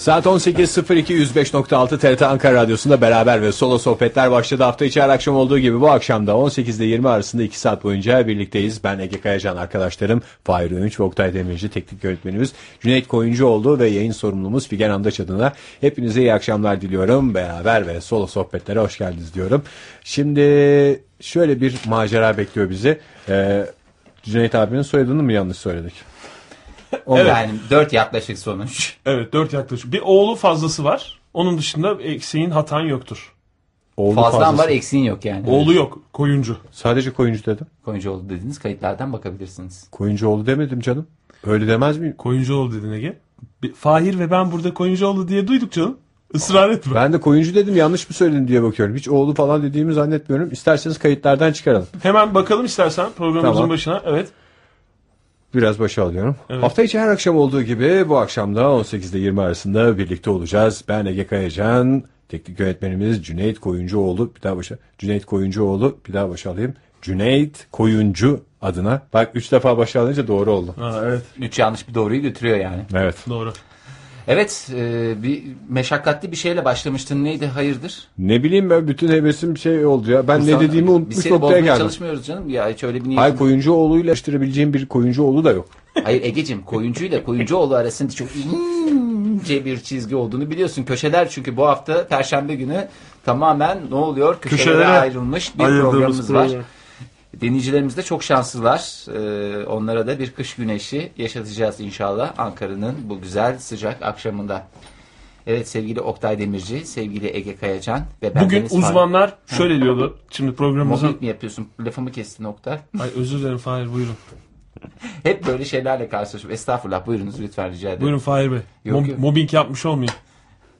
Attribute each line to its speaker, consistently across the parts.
Speaker 1: Saat 18.02 105.6 TRT Ankara Radyosu'nda beraber ve solo sohbetler başladı. Hafta içi her akşam olduğu gibi bu akşam da 18 ile 20 arasında 2 saat boyunca birlikteyiz. Ben Ege Kayacan arkadaşlarım Fahir Öğünç ve Oktay Demirci teknik yönetmenimiz Cüneyt Koyuncuoğlu ve yayın sorumlumuz Figen Andaç adına hepinize iyi akşamlar diliyorum. Beraber ve solo sohbetlere hoş geldiniz diyorum. Şimdi şöyle bir macera bekliyor bizi. Ee, Cüneyt abinin soyadını mı yanlış söyledik?
Speaker 2: O yani dört yaklaşık sonuç.
Speaker 3: Evet dört yaklaşık. Bir oğlu fazlası var. Onun dışında eksiğin hatan yoktur.
Speaker 1: Oğlu
Speaker 2: Fazlan
Speaker 1: fazlası.
Speaker 2: var eksiğin yok yani.
Speaker 3: Oğlu yok. Koyuncu.
Speaker 1: Sadece koyuncu dedim.
Speaker 2: Koyuncuoğlu dediğiniz kayıtlardan bakabilirsiniz.
Speaker 1: Koyuncuoğlu demedim canım. Öyle demez miyim?
Speaker 3: Koyuncuoğlu dedin Ege. Bir- Fahir ve ben burada Koyuncuoğlu diye duyduk canım. Israr etme.
Speaker 1: Ben de koyuncu dedim yanlış mı söyledim diye bakıyorum. Hiç oğlu falan dediğimi zannetmiyorum. İsterseniz kayıtlardan çıkaralım.
Speaker 3: Hemen bakalım istersen programımızın
Speaker 1: Tamam.
Speaker 3: başına. Evet.
Speaker 1: Biraz başa alıyorum. Hafta içi her akşam olduğu gibi bu akşam da 18 ile 20 arasında birlikte olacağız. Ben Ege Kayacan, teknik yönetmenimiz Cüneyt Koyuncuoğlu. Bir daha başa. Cüneyt Koyuncuoğlu bir daha başa alayım. Cüneyt Koyuncu adına. Bak üç defa başa alınca doğru oldu.
Speaker 3: Ha, evet.
Speaker 2: Üç yanlış bir doğruyu götürüyor yani.
Speaker 1: Evet.
Speaker 3: Doğru.
Speaker 2: Evet e, bir meşakkatli bir şeyle başlamıştın neydi hayırdır?
Speaker 1: Ne bileyim ben bütün hevesim şey oldu ya. Ben
Speaker 2: Bu
Speaker 1: ne
Speaker 2: sana-
Speaker 1: dediğimi
Speaker 2: Biz
Speaker 1: unutmuş
Speaker 2: seni
Speaker 1: noktaya
Speaker 2: bozmaya
Speaker 1: geldim.
Speaker 2: çalışmıyoruz canım. Ya hiç öyle bir
Speaker 1: Hayır
Speaker 2: niyetim.
Speaker 1: Koyuncuoğlu'yla eşleştirebileceğim bir Koyuncuoğlu da yok.
Speaker 2: Hayır Ege'cim koyuncuyla koyuncuoğlu arasında çok ince bir çizgi olduğunu biliyorsun. Köşeler çünkü bu hafta perşembe günü tamamen ne oluyor? Köşelere,
Speaker 3: Köşelere
Speaker 2: ayrılmış bir
Speaker 3: Ayırdığımız
Speaker 2: programımız var.
Speaker 3: program.
Speaker 2: Denizcilerimiz de çok şanslılar. Ee, onlara da bir kış güneşi yaşatacağız inşallah Ankara'nın bu güzel sıcak akşamında. Evet sevgili Oktay Demirci, sevgili Ege Kayacan ve ben
Speaker 3: Bugün
Speaker 2: Deniz Fahri.
Speaker 3: uzmanlar şöyle diyordu. Şimdi
Speaker 2: Mobbing
Speaker 3: programımızın...
Speaker 2: mi yapıyorsun? Lafımı kestin Oktay.
Speaker 3: Ay özür dilerim Fahir buyurun.
Speaker 2: Hep böyle şeylerle karşılaşıyorum. Estağfurullah buyurunuz lütfen rica ederim.
Speaker 3: Buyurun Fahir Bey.
Speaker 2: Yok,
Speaker 3: Mob-
Speaker 2: yok.
Speaker 3: Mobbing yapmış olmayın.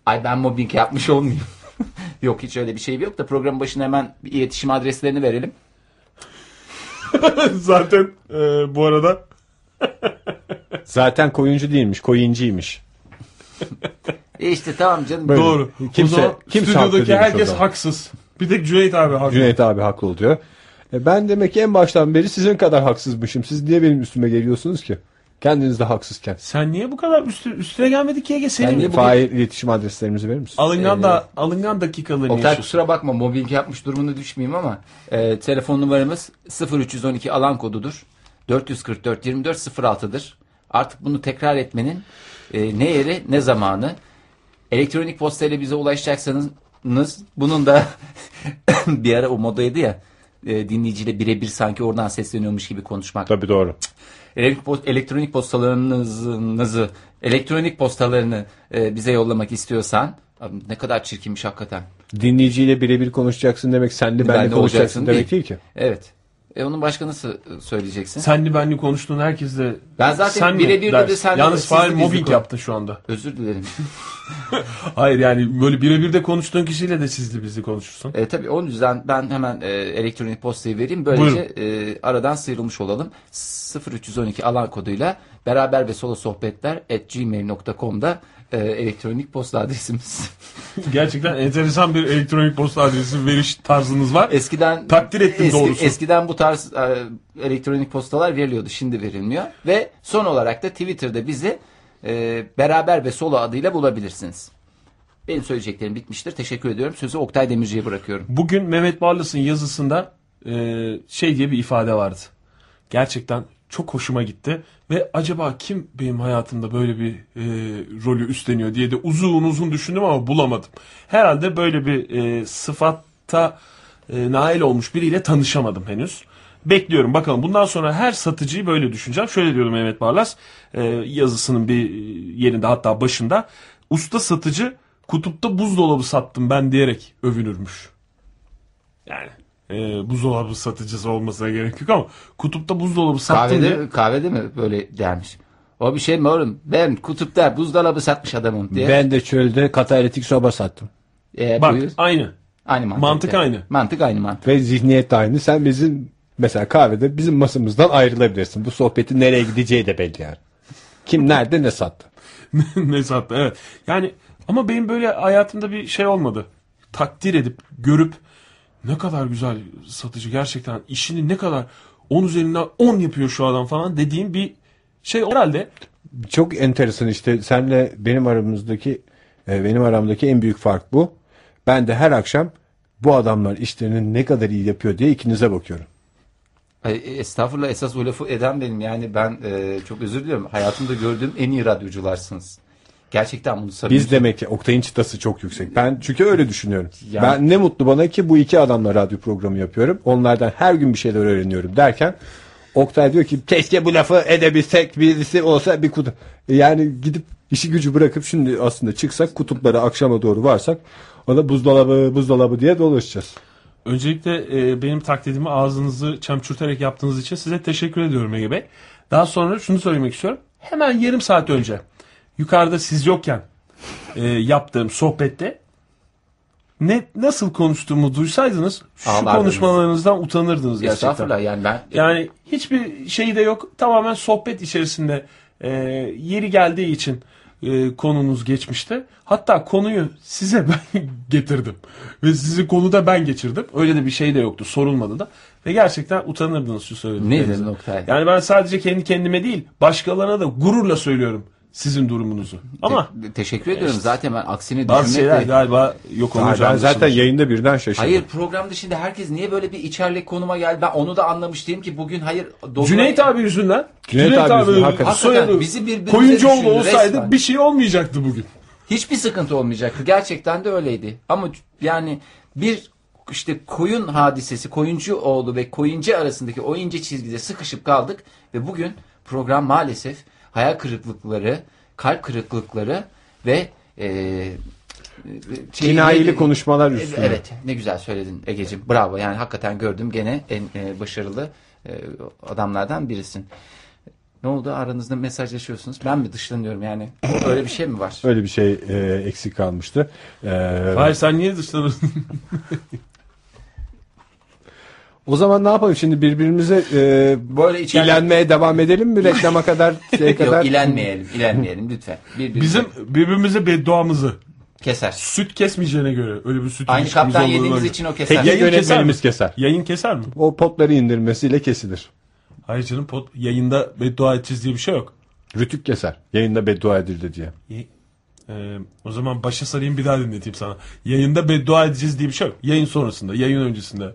Speaker 2: Ay ben mobbing yapmış olmayayım. yok hiç öyle bir şey yok da programın başına hemen bir iletişim adreslerini verelim.
Speaker 3: Zaten e, bu arada
Speaker 1: Zaten koyuncu değilmiş, koyuncuymuş.
Speaker 2: E işte tamam canım.
Speaker 1: Böyle.
Speaker 3: doğru.
Speaker 1: Kimse-
Speaker 3: o zaman
Speaker 1: kimse haklı
Speaker 3: stüdyodaki
Speaker 1: değilmiş o
Speaker 3: herkes
Speaker 1: zaman.
Speaker 3: haksız. Bir tek Cüneyt abi haklı.
Speaker 1: Cüneyt abi haklı oluyor. E ben demek ki en baştan beri sizin kadar haksızmışım. Siz niye benim üstüme geliyorsunuz ki? Kendiniz de haksızken.
Speaker 3: Sen niye bu kadar üstü, üstüne gelmedik ki Ege? Senin
Speaker 2: Ben niye bu-
Speaker 1: Fail iletişim adreslerimizi verir misin?
Speaker 3: alıngan,
Speaker 2: Ee,
Speaker 3: da, alıngan dakikalarını
Speaker 2: Oktay
Speaker 3: yaşıyorsun.
Speaker 2: kusura bakma mobbing yapmış durumuna düşmeyeyim ama e, telefon numaramız 0312 alan kodudur. 444 24 06'dır. Artık bunu tekrar etmenin e, ne yeri ne zamanı. Elektronik postayla bize ulaşacaksanız bunun da bir ara o modaydı ya e, dinleyiciyle birebir sanki oradan sesleniyormuş gibi konuşmak.
Speaker 1: Tabii doğru.
Speaker 2: Elektronik post- elektronik postalarınızı elektronik postalarını e, bize yollamak istiyorsan Abi ne kadar çirkinmiş hakikaten.
Speaker 1: Dinleyiciyle birebir konuşacaksın demek, senli benli
Speaker 2: Benli
Speaker 1: konuşacaksın
Speaker 2: olacaksın
Speaker 1: demek değil
Speaker 2: değil.
Speaker 1: ki.
Speaker 2: Evet. E onun başka nasıl e, söyleyeceksin?
Speaker 3: Senli benli konuştuğun herkesle
Speaker 2: Ben zaten
Speaker 3: sen mi
Speaker 2: birebir de
Speaker 3: dersin?
Speaker 2: de senli-
Speaker 3: Yalnız
Speaker 2: siz
Speaker 3: Fahir
Speaker 2: de biz de
Speaker 3: mobbing
Speaker 2: konu-
Speaker 3: yaptın şu anda.
Speaker 2: Özür dilerim.
Speaker 3: Hayır yani böyle birebir de konuştuğun kişiyle de sizli bizli konuşursun.
Speaker 2: e, tabii onun yüzden ben hemen e, elektronik postayı vereyim. Böylece e, aradan sıyrılmış olalım. 0312 alan koduyla beraber ve solo sohbetler at gmail.com'da e, elektronik posta adresimiz.
Speaker 3: Gerçekten enteresan bir elektronik posta adresi veriş tarzınız var.
Speaker 2: Eskiden
Speaker 3: Takdir ettim doğrusu.
Speaker 2: Eskiden bu tarz e, elektronik postalar veriliyordu. Şimdi verilmiyor. Ve son olarak da Twitter'da bizi e, beraber ve solo adıyla bulabilirsiniz. Benim söyleyeceklerim bitmiştir. Teşekkür ediyorum. Sözü Oktay Demirci'ye bırakıyorum.
Speaker 3: Bugün Mehmet Barlas'ın yazısında e, şey diye bir ifade vardı. Gerçekten çok hoşuma gitti ve acaba kim benim hayatımda böyle bir e, rolü üstleniyor diye de uzun uzun düşündüm ama bulamadım. Herhalde böyle bir e, sıfatta e, nail olmuş biriyle tanışamadım henüz. Bekliyorum bakalım. Bundan sonra her satıcıyı böyle düşüneceğim. Şöyle diyordu Mehmet Barlas e, yazısının bir e, yerinde hatta başında. Usta satıcı kutupta buzdolabı sattım ben diyerek övünürmüş. Yani e, buzdolabı satıcısı olmasına gerek yok ama kutupta buzdolabı sattım
Speaker 2: Kahvede,
Speaker 3: diye.
Speaker 2: kahvede mi böyle dermiş? O bir şey mi oğlum? Ben kutupta buzdolabı satmış adamım diye.
Speaker 1: Ben de çölde katalitik soba sattım.
Speaker 2: E,
Speaker 3: Bak
Speaker 2: buyur.
Speaker 3: aynı.
Speaker 2: Aynı mantık.
Speaker 3: mantık
Speaker 2: yani.
Speaker 3: aynı.
Speaker 2: Mantık aynı mantık.
Speaker 1: Ve zihniyet de aynı. Sen bizim mesela kahvede bizim masamızdan ayrılabilirsin. Bu sohbetin nereye gideceği de belli yani. Kim nerede ne sattı.
Speaker 3: ne sattı evet. Yani ama benim böyle hayatımda bir şey olmadı. Takdir edip görüp ne kadar güzel satıcı gerçekten işini ne kadar 10 üzerinden 10 yapıyor şu adam falan dediğim bir şey herhalde
Speaker 1: Çok enteresan işte senle benim aramızdaki E, benim aramdaki en büyük fark bu. Ben de her akşam bu adamlar işlerini ne kadar iyi yapıyor diye ikinize bakıyorum.
Speaker 2: Ay, e, Estağfurullah esas o lafı eden benim. Yani ben e, çok özür diliyorum. Hayatımda gördüğüm en iyi radyocularsınız. Gerçekten bunu samimi
Speaker 1: Biz demek ki Oktay'ın çıtası çok yüksek. Ben çünkü öyle düşünüyorum.
Speaker 2: Yani-
Speaker 1: Ben ne mutlu bana ki bu iki adamla radyo programı yapıyorum. Onlardan her gün bir şeyler öğreniyorum derken Oktay diyor ki keşke bu lafı edebilsek birisi olsa bir kutu. Yani gidip işi gücü bırakıp şimdi aslında çıksak kutuplara akşama doğru varsak ona buzdolabı buzdolabı diye dolaşacağız.
Speaker 3: Öncelikle e, benim taklidimi ağzınızı çemçürterek yaptığınız için size teşekkür ediyorum Ege Bey. Daha sonra şunu söylemek istiyorum. Hemen yarım saat önce yukarıda siz yokken e, yaptığım sohbette ne nasıl konuştuğumu duysaydınız şu
Speaker 2: Ağlardınız.
Speaker 3: konuşmalarınızdan utanırdınız gerçekten.
Speaker 2: Estağfurullah yani ben e,
Speaker 3: Yani hiçbir şey de yok. Tamamen sohbet içerisinde e, yeri geldiği için e, konunuz geçmişte. Hatta konuyu size ben getirdim. Ve sizi konuda ben geçirdim. Öyle de bir şey de yoktu. Sorulmadı da. Ve gerçekten utanırdınız şu
Speaker 2: ne
Speaker 3: söylediğinizde.
Speaker 2: dedin Oktay?
Speaker 3: Yani ben sadece kendi kendime değil başkalarına da gururla söylüyorum sizin durumunuzu. Ama
Speaker 2: Te- teşekkür ediyorum. Zaten ben aksini
Speaker 3: bazı şeyler
Speaker 2: düşünmek de...
Speaker 3: galiba yok
Speaker 1: Ay,
Speaker 3: olacağını
Speaker 1: ben zaten
Speaker 3: düşünüyorum.
Speaker 1: yayında birden şaşırdım.
Speaker 2: Hayır program dışında herkes niye böyle bir içerlek konuma geldi? Ben onu da anlamış değilim ki bugün hayır. dokuna-
Speaker 3: Cüneyt abi yüzünden.
Speaker 1: Cüneyt abi yüzünden, hakikaten.
Speaker 2: Hakikaten
Speaker 3: soyadı
Speaker 2: bizi birbirimize
Speaker 3: Koyuncuoğlu
Speaker 2: düşündü
Speaker 3: olsaydı
Speaker 2: resmen.
Speaker 3: bir şey olmayacaktı bugün.
Speaker 2: Hiçbir sıkıntı olmayacaktı. Gerçekten de öyleydi. Ama yani bir işte koyun hadisesi, koyuncu oğlu ve koyuncu arasındaki o ince çizgide sıkışıp kaldık ve bugün program maalesef hayal kırıklıkları, kalp kırıklıkları ve e, e, şey-
Speaker 1: Kinayeli konuşmalar
Speaker 2: E,
Speaker 1: üstüne.
Speaker 2: Evet, ne güzel söyledin Egeciğim. Bravo. Yani hakikaten gördüm gene en e, başarılı e, adamlardan birisin. Ne oldu? Aranızda mesajlaşıyorsunuz. Ben mi dışlanıyorum yani? Öyle bir şey mi var?
Speaker 1: Öyle bir şey e, eksik kalmıştı. E,
Speaker 3: Hayır sen niye dışlanırsın?
Speaker 1: O zaman ne yapalım şimdi birbirimize e,
Speaker 2: Böyle içeride-
Speaker 1: ilenmeye devam edelim mi reklama kadar şeye
Speaker 2: Yok,
Speaker 1: kadar?
Speaker 2: ilenmeyelim, ilenmeyelim lütfen. Birbirimize
Speaker 3: Bizim birbirimize bedduamızı
Speaker 2: keser.
Speaker 3: süt kesmeyeceğine göre öyle bir süt
Speaker 2: Aynı
Speaker 3: ilişkimiz
Speaker 2: kaptan
Speaker 3: olduğuna
Speaker 2: yediğiniz
Speaker 3: göre.
Speaker 2: için o keser.
Speaker 1: Yayın
Speaker 3: Yayın keser
Speaker 1: yönetmenimiz
Speaker 3: mi?
Speaker 1: keser.
Speaker 3: Yayın keser mi?
Speaker 1: O potları indirmesiyle kesilir.
Speaker 3: Hayır canım pod, yayında beddua edeceğiz diye bir şey yok.
Speaker 1: Rütük keser. Yayında beddua edildi diye.
Speaker 3: Ee, o zaman başa sarayım bir daha dinleteyim sana. Yayında beddua edeceğiz diye bir şey yok. Yayın sonrasında, yayın öncesinde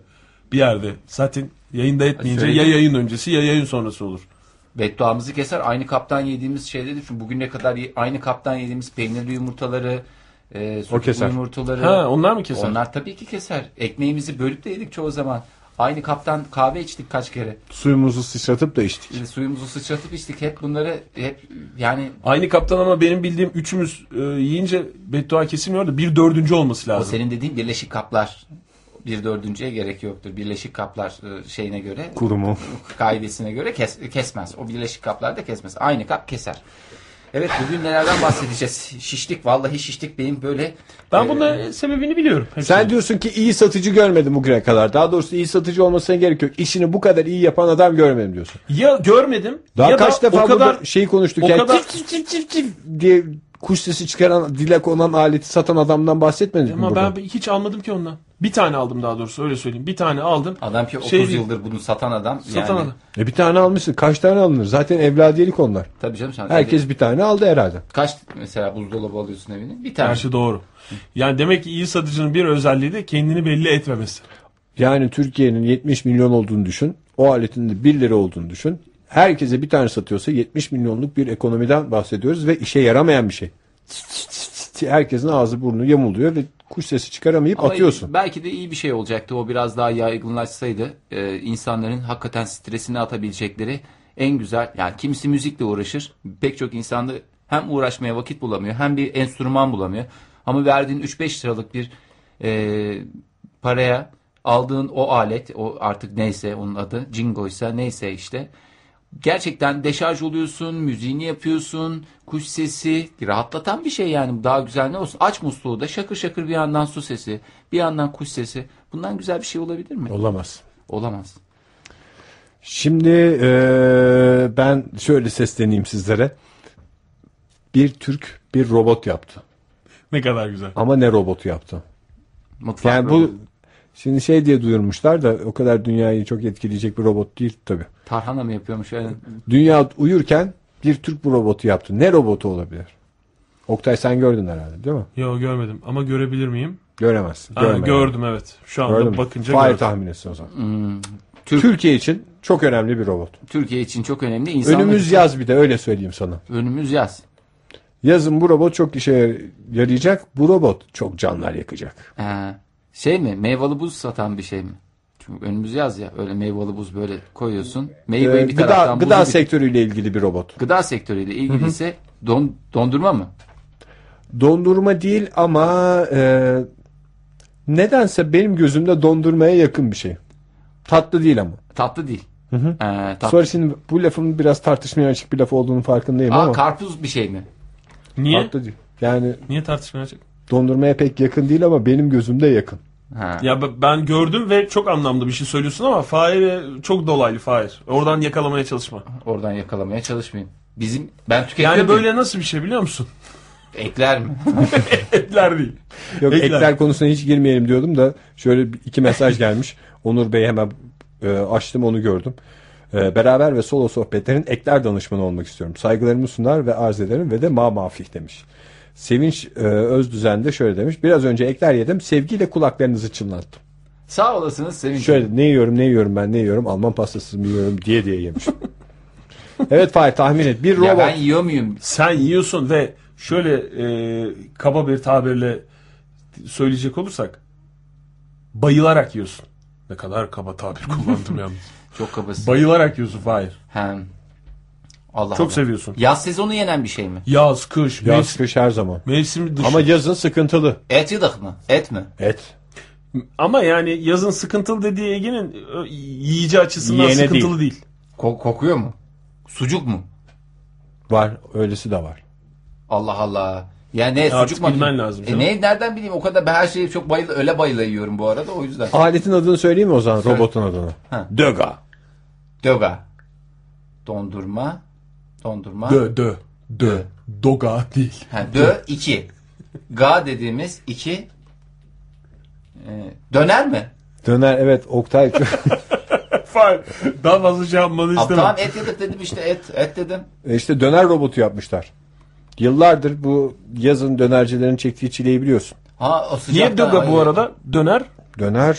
Speaker 3: bir yerde. Zaten yayında etmeyince
Speaker 2: Söyle.
Speaker 3: ya yayın öncesi ya yayın sonrası olur.
Speaker 2: Bedduamızı keser. Aynı kaptan yediğimiz şeyleri düşün. Bugüne kadar ye- aynı kaptan yediğimiz peynirli yumurtaları, e,
Speaker 1: O
Speaker 2: sucuklu
Speaker 1: keser.
Speaker 2: yumurtaları.
Speaker 3: Ha onlar mı keser?
Speaker 2: Onlar tabii ki keser. Ekmeğimizi bölüp de yedik çoğu zaman. Aynı kaptan kahve içtik kaç kere.
Speaker 1: Suyumuzu sıçratıp da içtik.
Speaker 2: E, suyumuzu sıçratıp içtik. Hep bunları hep yani
Speaker 3: Aynı kaptan ama benim bildiğim üçümüz e, yiyince beddua kesilmiyor da bir dördüncü olması
Speaker 2: o
Speaker 3: lazım.
Speaker 2: senin dediğin birleşik kaplar. Bir dördüncüye gerek yoktur. Birleşik kaplar e, şeyine göre
Speaker 1: Kurumu.
Speaker 2: kaidesine göre kes, kesmez. O birleşik kaplarda kesmez. Aynı kap keser. Evet bugün nelerden bahsedeceğiz? Şişlik vallahi şişlik benim böyle.
Speaker 3: Ben
Speaker 2: e,
Speaker 3: bunun sebebini biliyorum. Hepsini.
Speaker 1: Sen diyorsun ki iyi satıcı görmedim bugüne kadar. Daha doğrusu iyi satıcı olmasına gerek yok. İşini bu kadar iyi yapan adam görmedim diyorsun.
Speaker 3: Ya görmedim
Speaker 1: Daha
Speaker 3: ya
Speaker 1: kaç
Speaker 3: da
Speaker 1: defa
Speaker 3: o kadar
Speaker 1: burada şeyi konuştuk.
Speaker 3: o
Speaker 1: yani
Speaker 3: kadar-
Speaker 1: cif cif cif cif cif diye kuş sesi çıkaran dile konan aleti satan adamdan bahsetmedik mi
Speaker 3: ama
Speaker 1: burada?
Speaker 3: ben hiç almadım ki ondan. Bir tane aldım daha doğrusu öyle söyleyeyim. Bir tane aldım.
Speaker 2: Adam ki 30
Speaker 3: Şey değil.
Speaker 2: yıldır bunu satan adam.
Speaker 3: Satan
Speaker 2: yani,
Speaker 3: adam.
Speaker 1: E bir tane almışsın. Kaç tane alınır? Zaten evladiyelik onlar.
Speaker 2: Tabii canım sen.
Speaker 1: Herkes bir tane aldı herhalde.
Speaker 2: kaç mesela buzdolabı alıyorsun evine? Bir tane.
Speaker 3: Her şey doğru. Yani demek ki iyi satıcının bir özelliği de kendini belli etmemesi.
Speaker 1: Yani Türkiye'nin 70 milyon olduğunu düşün. O aletin de 1 lira olduğunu düşün. Herkese bir tane satıyorsa 70 milyonluk bir ekonomiden bahsediyoruz ve işe yaramayan bir şey. Herkesin ağzı burnu yamuluyor ve kuş sesi çıkaramayıp
Speaker 2: Ama
Speaker 1: atıyorsun.
Speaker 2: Belki de iyi bir şey olacaktı. O biraz daha yaygınlaşsaydı e, insanların hakikaten stresini atabilecekleri en güzel. Yani kimisi müzikle uğraşır. Pek çok insanda hem uğraşmaya vakit bulamıyor hem bir enstrüman bulamıyor. Ama verdiğin 3-5 liralık bir e, paraya aldığın o alet o artık neyse onun adı jingoysa neyse işte gerçekten deşarj oluyorsun, müziğini yapıyorsun, kuş sesi rahatlatan bir şey yani daha güzel ne olsun. Aç musluğu da şakır şakır bir yandan su sesi, bir yandan kuş sesi. Bundan güzel bir şey olabilir mi?
Speaker 1: Olamaz.
Speaker 2: Olamaz.
Speaker 1: Şimdi eee, ben şöyle sesleneyim sizlere. Bir Türk bir robot yaptı.
Speaker 3: Ne kadar güzel.
Speaker 1: Ama ne robotu yaptı?
Speaker 2: Mutfak
Speaker 1: Yani bu
Speaker 2: bu
Speaker 1: şimdi şey diye duyurmuşlar da o kadar dünyayı çok etkileyecek bir robot değil tabii.
Speaker 2: tarhana mı yapıyormuş öyle?
Speaker 1: Dünya uyurken bir Türk bu robotu yaptı. Ne robotu olabilir? Oktay sen gördün herhalde değil mi?
Speaker 3: Yo görmedim ama görebilir miyim?
Speaker 1: Göremezsin.
Speaker 3: Ha,
Speaker 1: görme yani.
Speaker 3: gördüm evet. Şu anda
Speaker 1: Gördün mü?
Speaker 3: bakınca
Speaker 1: Fahir
Speaker 3: gördüm.
Speaker 1: tahmin etsin o zaman. Türkiye için çok önemli bir robot.
Speaker 2: Türkiye için çok önemli. İnsanlar
Speaker 1: Önümüz
Speaker 2: için-
Speaker 1: yaz bir de öyle söyleyeyim sana.
Speaker 2: Önümüz yaz.
Speaker 1: Yazın bu robot çok işe yarayacak. Bu robot çok canlar yakacak.
Speaker 2: Ee, şey mi? Meyveli buz satan bir şey mi? Çünkü önümüz yaz ya. Öyle meyveli buz böyle koyuyorsun. Meyveyi
Speaker 1: Ee,
Speaker 2: bir
Speaker 1: gıda
Speaker 2: taraftan
Speaker 1: gıda
Speaker 2: buzu bir-
Speaker 1: sektörüyle ilgili bir robot.
Speaker 2: gıda sektörüyle ilgili ise don, dondurma mı?
Speaker 1: Dondurma değil ama e, nedense benim gözümde dondurmaya yakın bir şey. Tatlı değil ama.
Speaker 2: Tatlı değil. Ee, tatlı.
Speaker 1: Sonra şimdi bu lafın biraz tartışmaya açık bir laf olduğunu farkındayım
Speaker 2: Aa
Speaker 1: ama
Speaker 2: karpuz bir şey mi?
Speaker 3: Niye?
Speaker 1: tatlı değil. Yani
Speaker 3: Niye tartışmaya açık?
Speaker 1: dondurmaya pek yakın değil ama benim gözümde yakın.
Speaker 2: Ha.
Speaker 3: Ya b- ben gördüm ve çok anlamlı bir şey söylüyorsun ama Fahir e, çok dolaylı Fahir. Oradan yakalamaya çalışma.
Speaker 2: Oradan yakalamaya çalışmayayım. Bizim ben tüketiyor
Speaker 3: Yani
Speaker 2: muyum?
Speaker 3: böyle nasıl bir şey biliyor musun?
Speaker 2: ekler mi?
Speaker 3: Etler değil.
Speaker 1: Yok
Speaker 3: Ekler.
Speaker 1: ekler. konusuna hiç girmeyelim diyordum da şöyle bir- iki mesaj gelmiş. Onur Bey hemen e, açtım onu gördüm. E, beraber ve solo sohbetlerin ekler danışmanı olmak istiyorum. Saygılarımı sunar ve arz ederim ve de ma mafih demiş. Sevinç e, Özdüzen de şöyle demiş. Biraz önce ekler yedim sevgiyle kulaklarınızı çınlattım.
Speaker 2: Sağ olasınız sevinçli.
Speaker 1: Şöyle ne yiyorum ne yiyorum ben ne yiyorum Alman pastası mı yiyorum diye diye yemiş. evet Fahir tahmin et. Bir
Speaker 2: Ya
Speaker 1: robot.
Speaker 2: ben yiyor muyum?
Speaker 3: Sen yiyorsun ve şöyle e, kaba bir tabirle söyleyecek olursak bayılarak yiyorsun. Ne kadar kaba tabir kullandım yalnız.
Speaker 2: Çok kabasın.
Speaker 3: Bayılarak yiyorsun Fahir.
Speaker 2: Hem. Allah
Speaker 3: Çok
Speaker 2: Allah.
Speaker 3: seviyorsun.
Speaker 2: Yaz sezonu yenen bir şey mi?
Speaker 3: Yaz, kış,
Speaker 1: Yaz
Speaker 3: mevsim,
Speaker 1: kış her zaman.
Speaker 3: mevsim dışı.
Speaker 1: Ama
Speaker 3: Ama,
Speaker 1: yazın sıkıntılı.
Speaker 2: Et yıdık mı? Et mi?
Speaker 1: Et.
Speaker 3: yani yazın sıkıntılı dediği Ege'nin ö, yiyici açısından
Speaker 1: Yiyene
Speaker 3: sıkıntılı değil.
Speaker 2: Ko- kokuyor mu? Sucuk mu?
Speaker 1: Var öylesi de var.
Speaker 2: Allah Allah. Ya ne
Speaker 3: artık
Speaker 2: sucuk mu?
Speaker 3: bilmen lazım
Speaker 2: E
Speaker 3: canım.
Speaker 2: ne nereden bileyim o kadar ben her şeyi çok bayıl öyle bayıla yiyorum bu arada o yüzden.
Speaker 1: Aletin adını söyleyeyim mi o zaman robotun adını?
Speaker 2: Ha.
Speaker 1: Döga.
Speaker 2: Döga. Dondurma. Dondurma.
Speaker 3: Dö, dö, dö. Doga değil.
Speaker 2: Ha, dö 2. Ga dediğimiz 2. döner mi?
Speaker 1: Döner evet Oktay
Speaker 3: Fahir daha fazla şey yapmanı
Speaker 2: Abi
Speaker 3: istemem.
Speaker 2: tamam et yedik dedim işte et et dedim.
Speaker 1: E işte döner robotu yapmışlar. Yıllardır bu yazın dönercilerin çektiği çileyi biliyorsun.
Speaker 2: Ha o sıcaktan.
Speaker 3: Niye döga bu
Speaker 2: ay-
Speaker 3: arada? Döner,
Speaker 1: Döner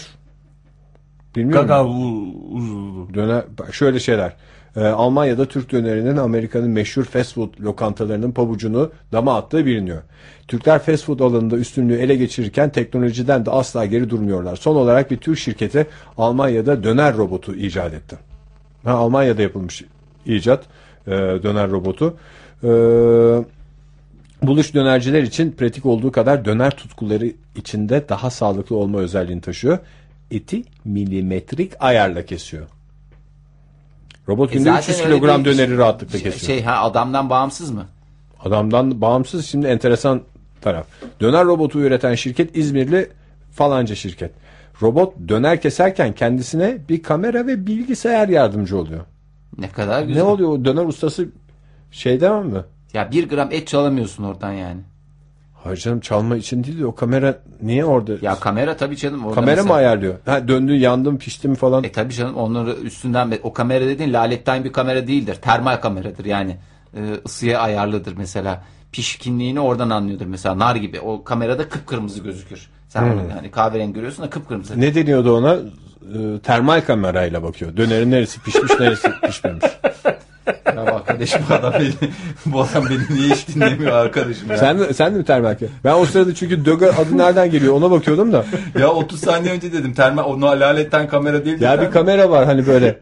Speaker 1: bilmiyorum.
Speaker 3: gaga u- uzunluğu.
Speaker 1: Döner bak şöyle şeyler. E, Almanya'da Türk dönerinin Amerika'nın meşhur fast food lokantalarının pabucunu dama attığı biliniyor. Türkler fast food alanında üstünlüğü ele geçirirken teknolojiden de asla geri durmuyorlar. Son olarak bir Türk şirketi Almanya'da döner robotu icat etti. Ha, Almanya'da yapılmış icat e, döner robotu. E, buluş dönerciler için pratik olduğu kadar döner tutkuları içinde daha sağlıklı olma özelliğini taşıyor. Eti milimetrik ayarla kesiyor. Robot
Speaker 2: E
Speaker 1: günde
Speaker 2: zaten
Speaker 1: 300
Speaker 2: öyle
Speaker 1: kilogram
Speaker 2: bir-
Speaker 1: döneri rahatlıkla
Speaker 2: Şey,
Speaker 1: kesiyor.
Speaker 2: şey, ha adamdan bağımsız mı?
Speaker 1: Adamdan bağımsız şimdi enteresan taraf. Döner robotu üreten şirket İzmirli falanca şirket. Robot döner keserken kendisine bir kamera ve bilgisayar yardımcı oluyor.
Speaker 2: Ne kadar güzel.
Speaker 1: Ne oluyor o döner ustası şey demem mi?
Speaker 2: Ya bir gram et çalamıyorsun oradan yani.
Speaker 1: Hayır canım çalma için değil de o kamera niye orada?
Speaker 2: Ya kamera tabii canım. Orada
Speaker 1: kamera mı
Speaker 2: mesela-
Speaker 1: ayarlıyor? Ha, döndü yandım piştim falan.
Speaker 2: E tabii canım onları üstünden o kamera dediğin laletten bir kamera değildir. Termal kameradır yani. Ee, ısıya ayarlıdır mesela. Pişkinliğini oradan anlıyordur mesela nar gibi. O kamerada kıpkırmızı gözükür. Sen onu yani kahverengi görüyorsun da kıpkırmızı.
Speaker 1: ne deniyordu ona? Ee, termal kamerayla bakıyor. Dönerin neresi pişmiş neresi pişmemiş.
Speaker 2: Ya bak kardeşim bu adam beni, bu adam beni niye hiç dinlemiyor arkadaşım ya.
Speaker 1: sen, de- sen de mi termal kamera? Ben o sırada çünkü Döga adı nereden geliyor ona bakıyordum da.
Speaker 2: Ya 30 saniye önce dedim termal onu laletten kamera değil.
Speaker 1: Ya bir kamera var hani böyle.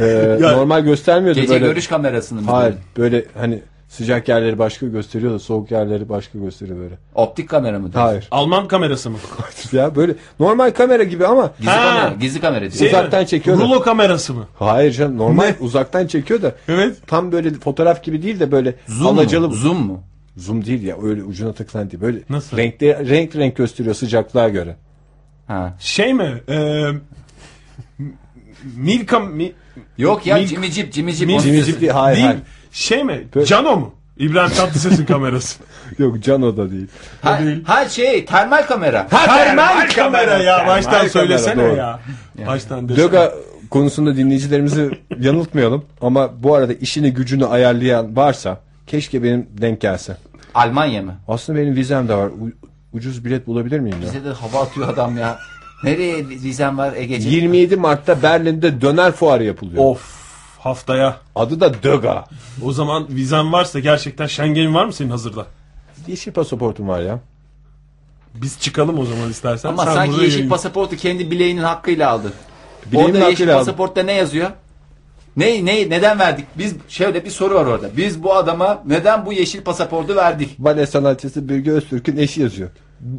Speaker 1: e, normal göstermiyordu
Speaker 2: Gece
Speaker 1: böyle.
Speaker 2: görüş kamerasını mı?
Speaker 1: Hayır
Speaker 2: dedin?
Speaker 1: böyle hani sıcak yerleri başka gösteriyor da soğuk yerleri başka gösteriyor böyle.
Speaker 2: Optik kamera mı? dedin?
Speaker 1: Hayır.
Speaker 3: Alman kamerası mı?
Speaker 1: ya böyle normal kamera gibi ama
Speaker 2: Gizli
Speaker 3: Ha.
Speaker 2: kamera. Gizli kamera diyor.
Speaker 1: Şey- Uzaktan çekiyor da.
Speaker 3: Rulo kamerası mı?
Speaker 1: hayır canım normal uzaktan çekiyor da
Speaker 3: Evet.
Speaker 1: tam böyle fotoğraf gibi değil de böyle
Speaker 2: Zoom
Speaker 1: alacalı
Speaker 2: mu? Zoom mu?
Speaker 1: Zoom değil ya öyle ucuna takılan değil böyle
Speaker 3: Nasıl?
Speaker 1: renkli renk renk gösteriyor sıcaklığa göre.
Speaker 2: Ha.
Speaker 3: Şey mi? Ee, Milka mi?
Speaker 2: Yok ya
Speaker 3: Milk-
Speaker 2: Jimmy Jeep, Jimmy Jeep.
Speaker 3: Milk-
Speaker 2: onun
Speaker 1: Jimmy
Speaker 2: sesi.
Speaker 1: Jeep değil hayır
Speaker 3: değil
Speaker 1: hayır.
Speaker 3: Şey mi?
Speaker 1: Böyle-
Speaker 3: Cano mu? İbrahim Tatlıses'in kamerası.
Speaker 1: Yok Cano da değil.
Speaker 2: Ha,
Speaker 3: değil.
Speaker 2: ha şey termal kamera.
Speaker 3: Termal kamera ya. Baştan
Speaker 1: kamera,
Speaker 3: söylesene
Speaker 1: doğru.
Speaker 3: ya. Baştan desene.
Speaker 1: Döga konusunda dinleyicilerimizi yanıltmayalım ama bu arada işini gücünü ayarlayan varsa keşke benim denk gelse.
Speaker 2: Almanya mı?
Speaker 1: Aslında benim vizem de var. U- ucuz bilet bulabilir miyim? Ya?
Speaker 2: Bize de hava atıyor adam ya. Nereye vizem var Ege'ciğim?
Speaker 1: 27 Mart'ta Berlin'de döner fuarı yapılıyor.
Speaker 3: Of haftaya.
Speaker 1: Adı da Döga.
Speaker 3: O zaman vizen varsa gerçekten Schengen var mı senin hazırda?
Speaker 1: Yeşil pasaportum var ya.
Speaker 3: Biz çıkalım o zaman istersen.
Speaker 2: Ama
Speaker 3: Sen
Speaker 2: sanki
Speaker 3: burada
Speaker 2: yeşil
Speaker 3: yayın-
Speaker 2: pasaportu kendi bileğinin hakkıyla aldı.
Speaker 1: Bileğimin
Speaker 2: orada yeşil
Speaker 1: hakkıyla aldım.
Speaker 2: pasaportta ne yazıyor? Ne, ne, neden verdik? Biz şöyle bir soru var orada. Biz bu adama neden bu yeşil pasaportu verdik?
Speaker 1: Bale sanatçısı Bürge Öztürk'ün eşi yazıyor.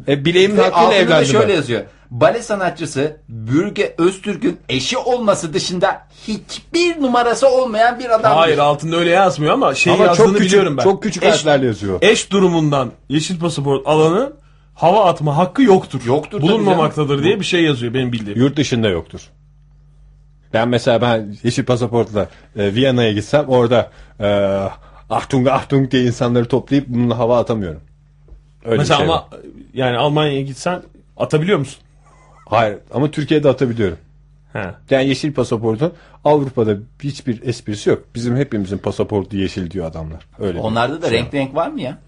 Speaker 1: E, bileğimin
Speaker 2: Ve
Speaker 1: hakkıyla
Speaker 2: altında da
Speaker 1: evlendim
Speaker 2: şöyle
Speaker 1: ben.
Speaker 2: yazıyor. Bale sanatçısı Bürge Öztürk'ün eşi olması dışında hiçbir numarası olmayan bir adam.
Speaker 3: Hayır altında öyle yazmıyor ama şey
Speaker 1: Ama
Speaker 3: yazdığını
Speaker 1: çok
Speaker 3: biliyorum
Speaker 1: küçük,
Speaker 3: ben.
Speaker 1: çok küçük
Speaker 2: Eş-
Speaker 1: harflerle yazıyor.
Speaker 3: Eş durumundan yeşil pasaport alanı hava atma hakkı yoktur.
Speaker 2: Yoktur tabii
Speaker 3: Bulunmamaktadır diye bir şey yazıyor benim bildiğim.
Speaker 1: Yurt dışında yoktur. Ben mesela ben yeşil pasaportla e, Viyana'ya gitsem orada e, Achtung Achtung diye insanları toplayıp bununla hava atamıyorum. Öyle bir
Speaker 3: Mesela
Speaker 1: şey var.
Speaker 3: ama yani Almanya'ya gitsen atabiliyor musun?
Speaker 1: Hayır ama Türkiye'de atabiliyorum.
Speaker 3: He.
Speaker 1: Yani yeşil pasaportun Avrupa'da hiçbir esprisi yok. Bizim hepimizin pasaportu yeşil diyor adamlar. Öyle. bir
Speaker 2: Onlarda da
Speaker 1: şey
Speaker 2: renk renk var mı ya?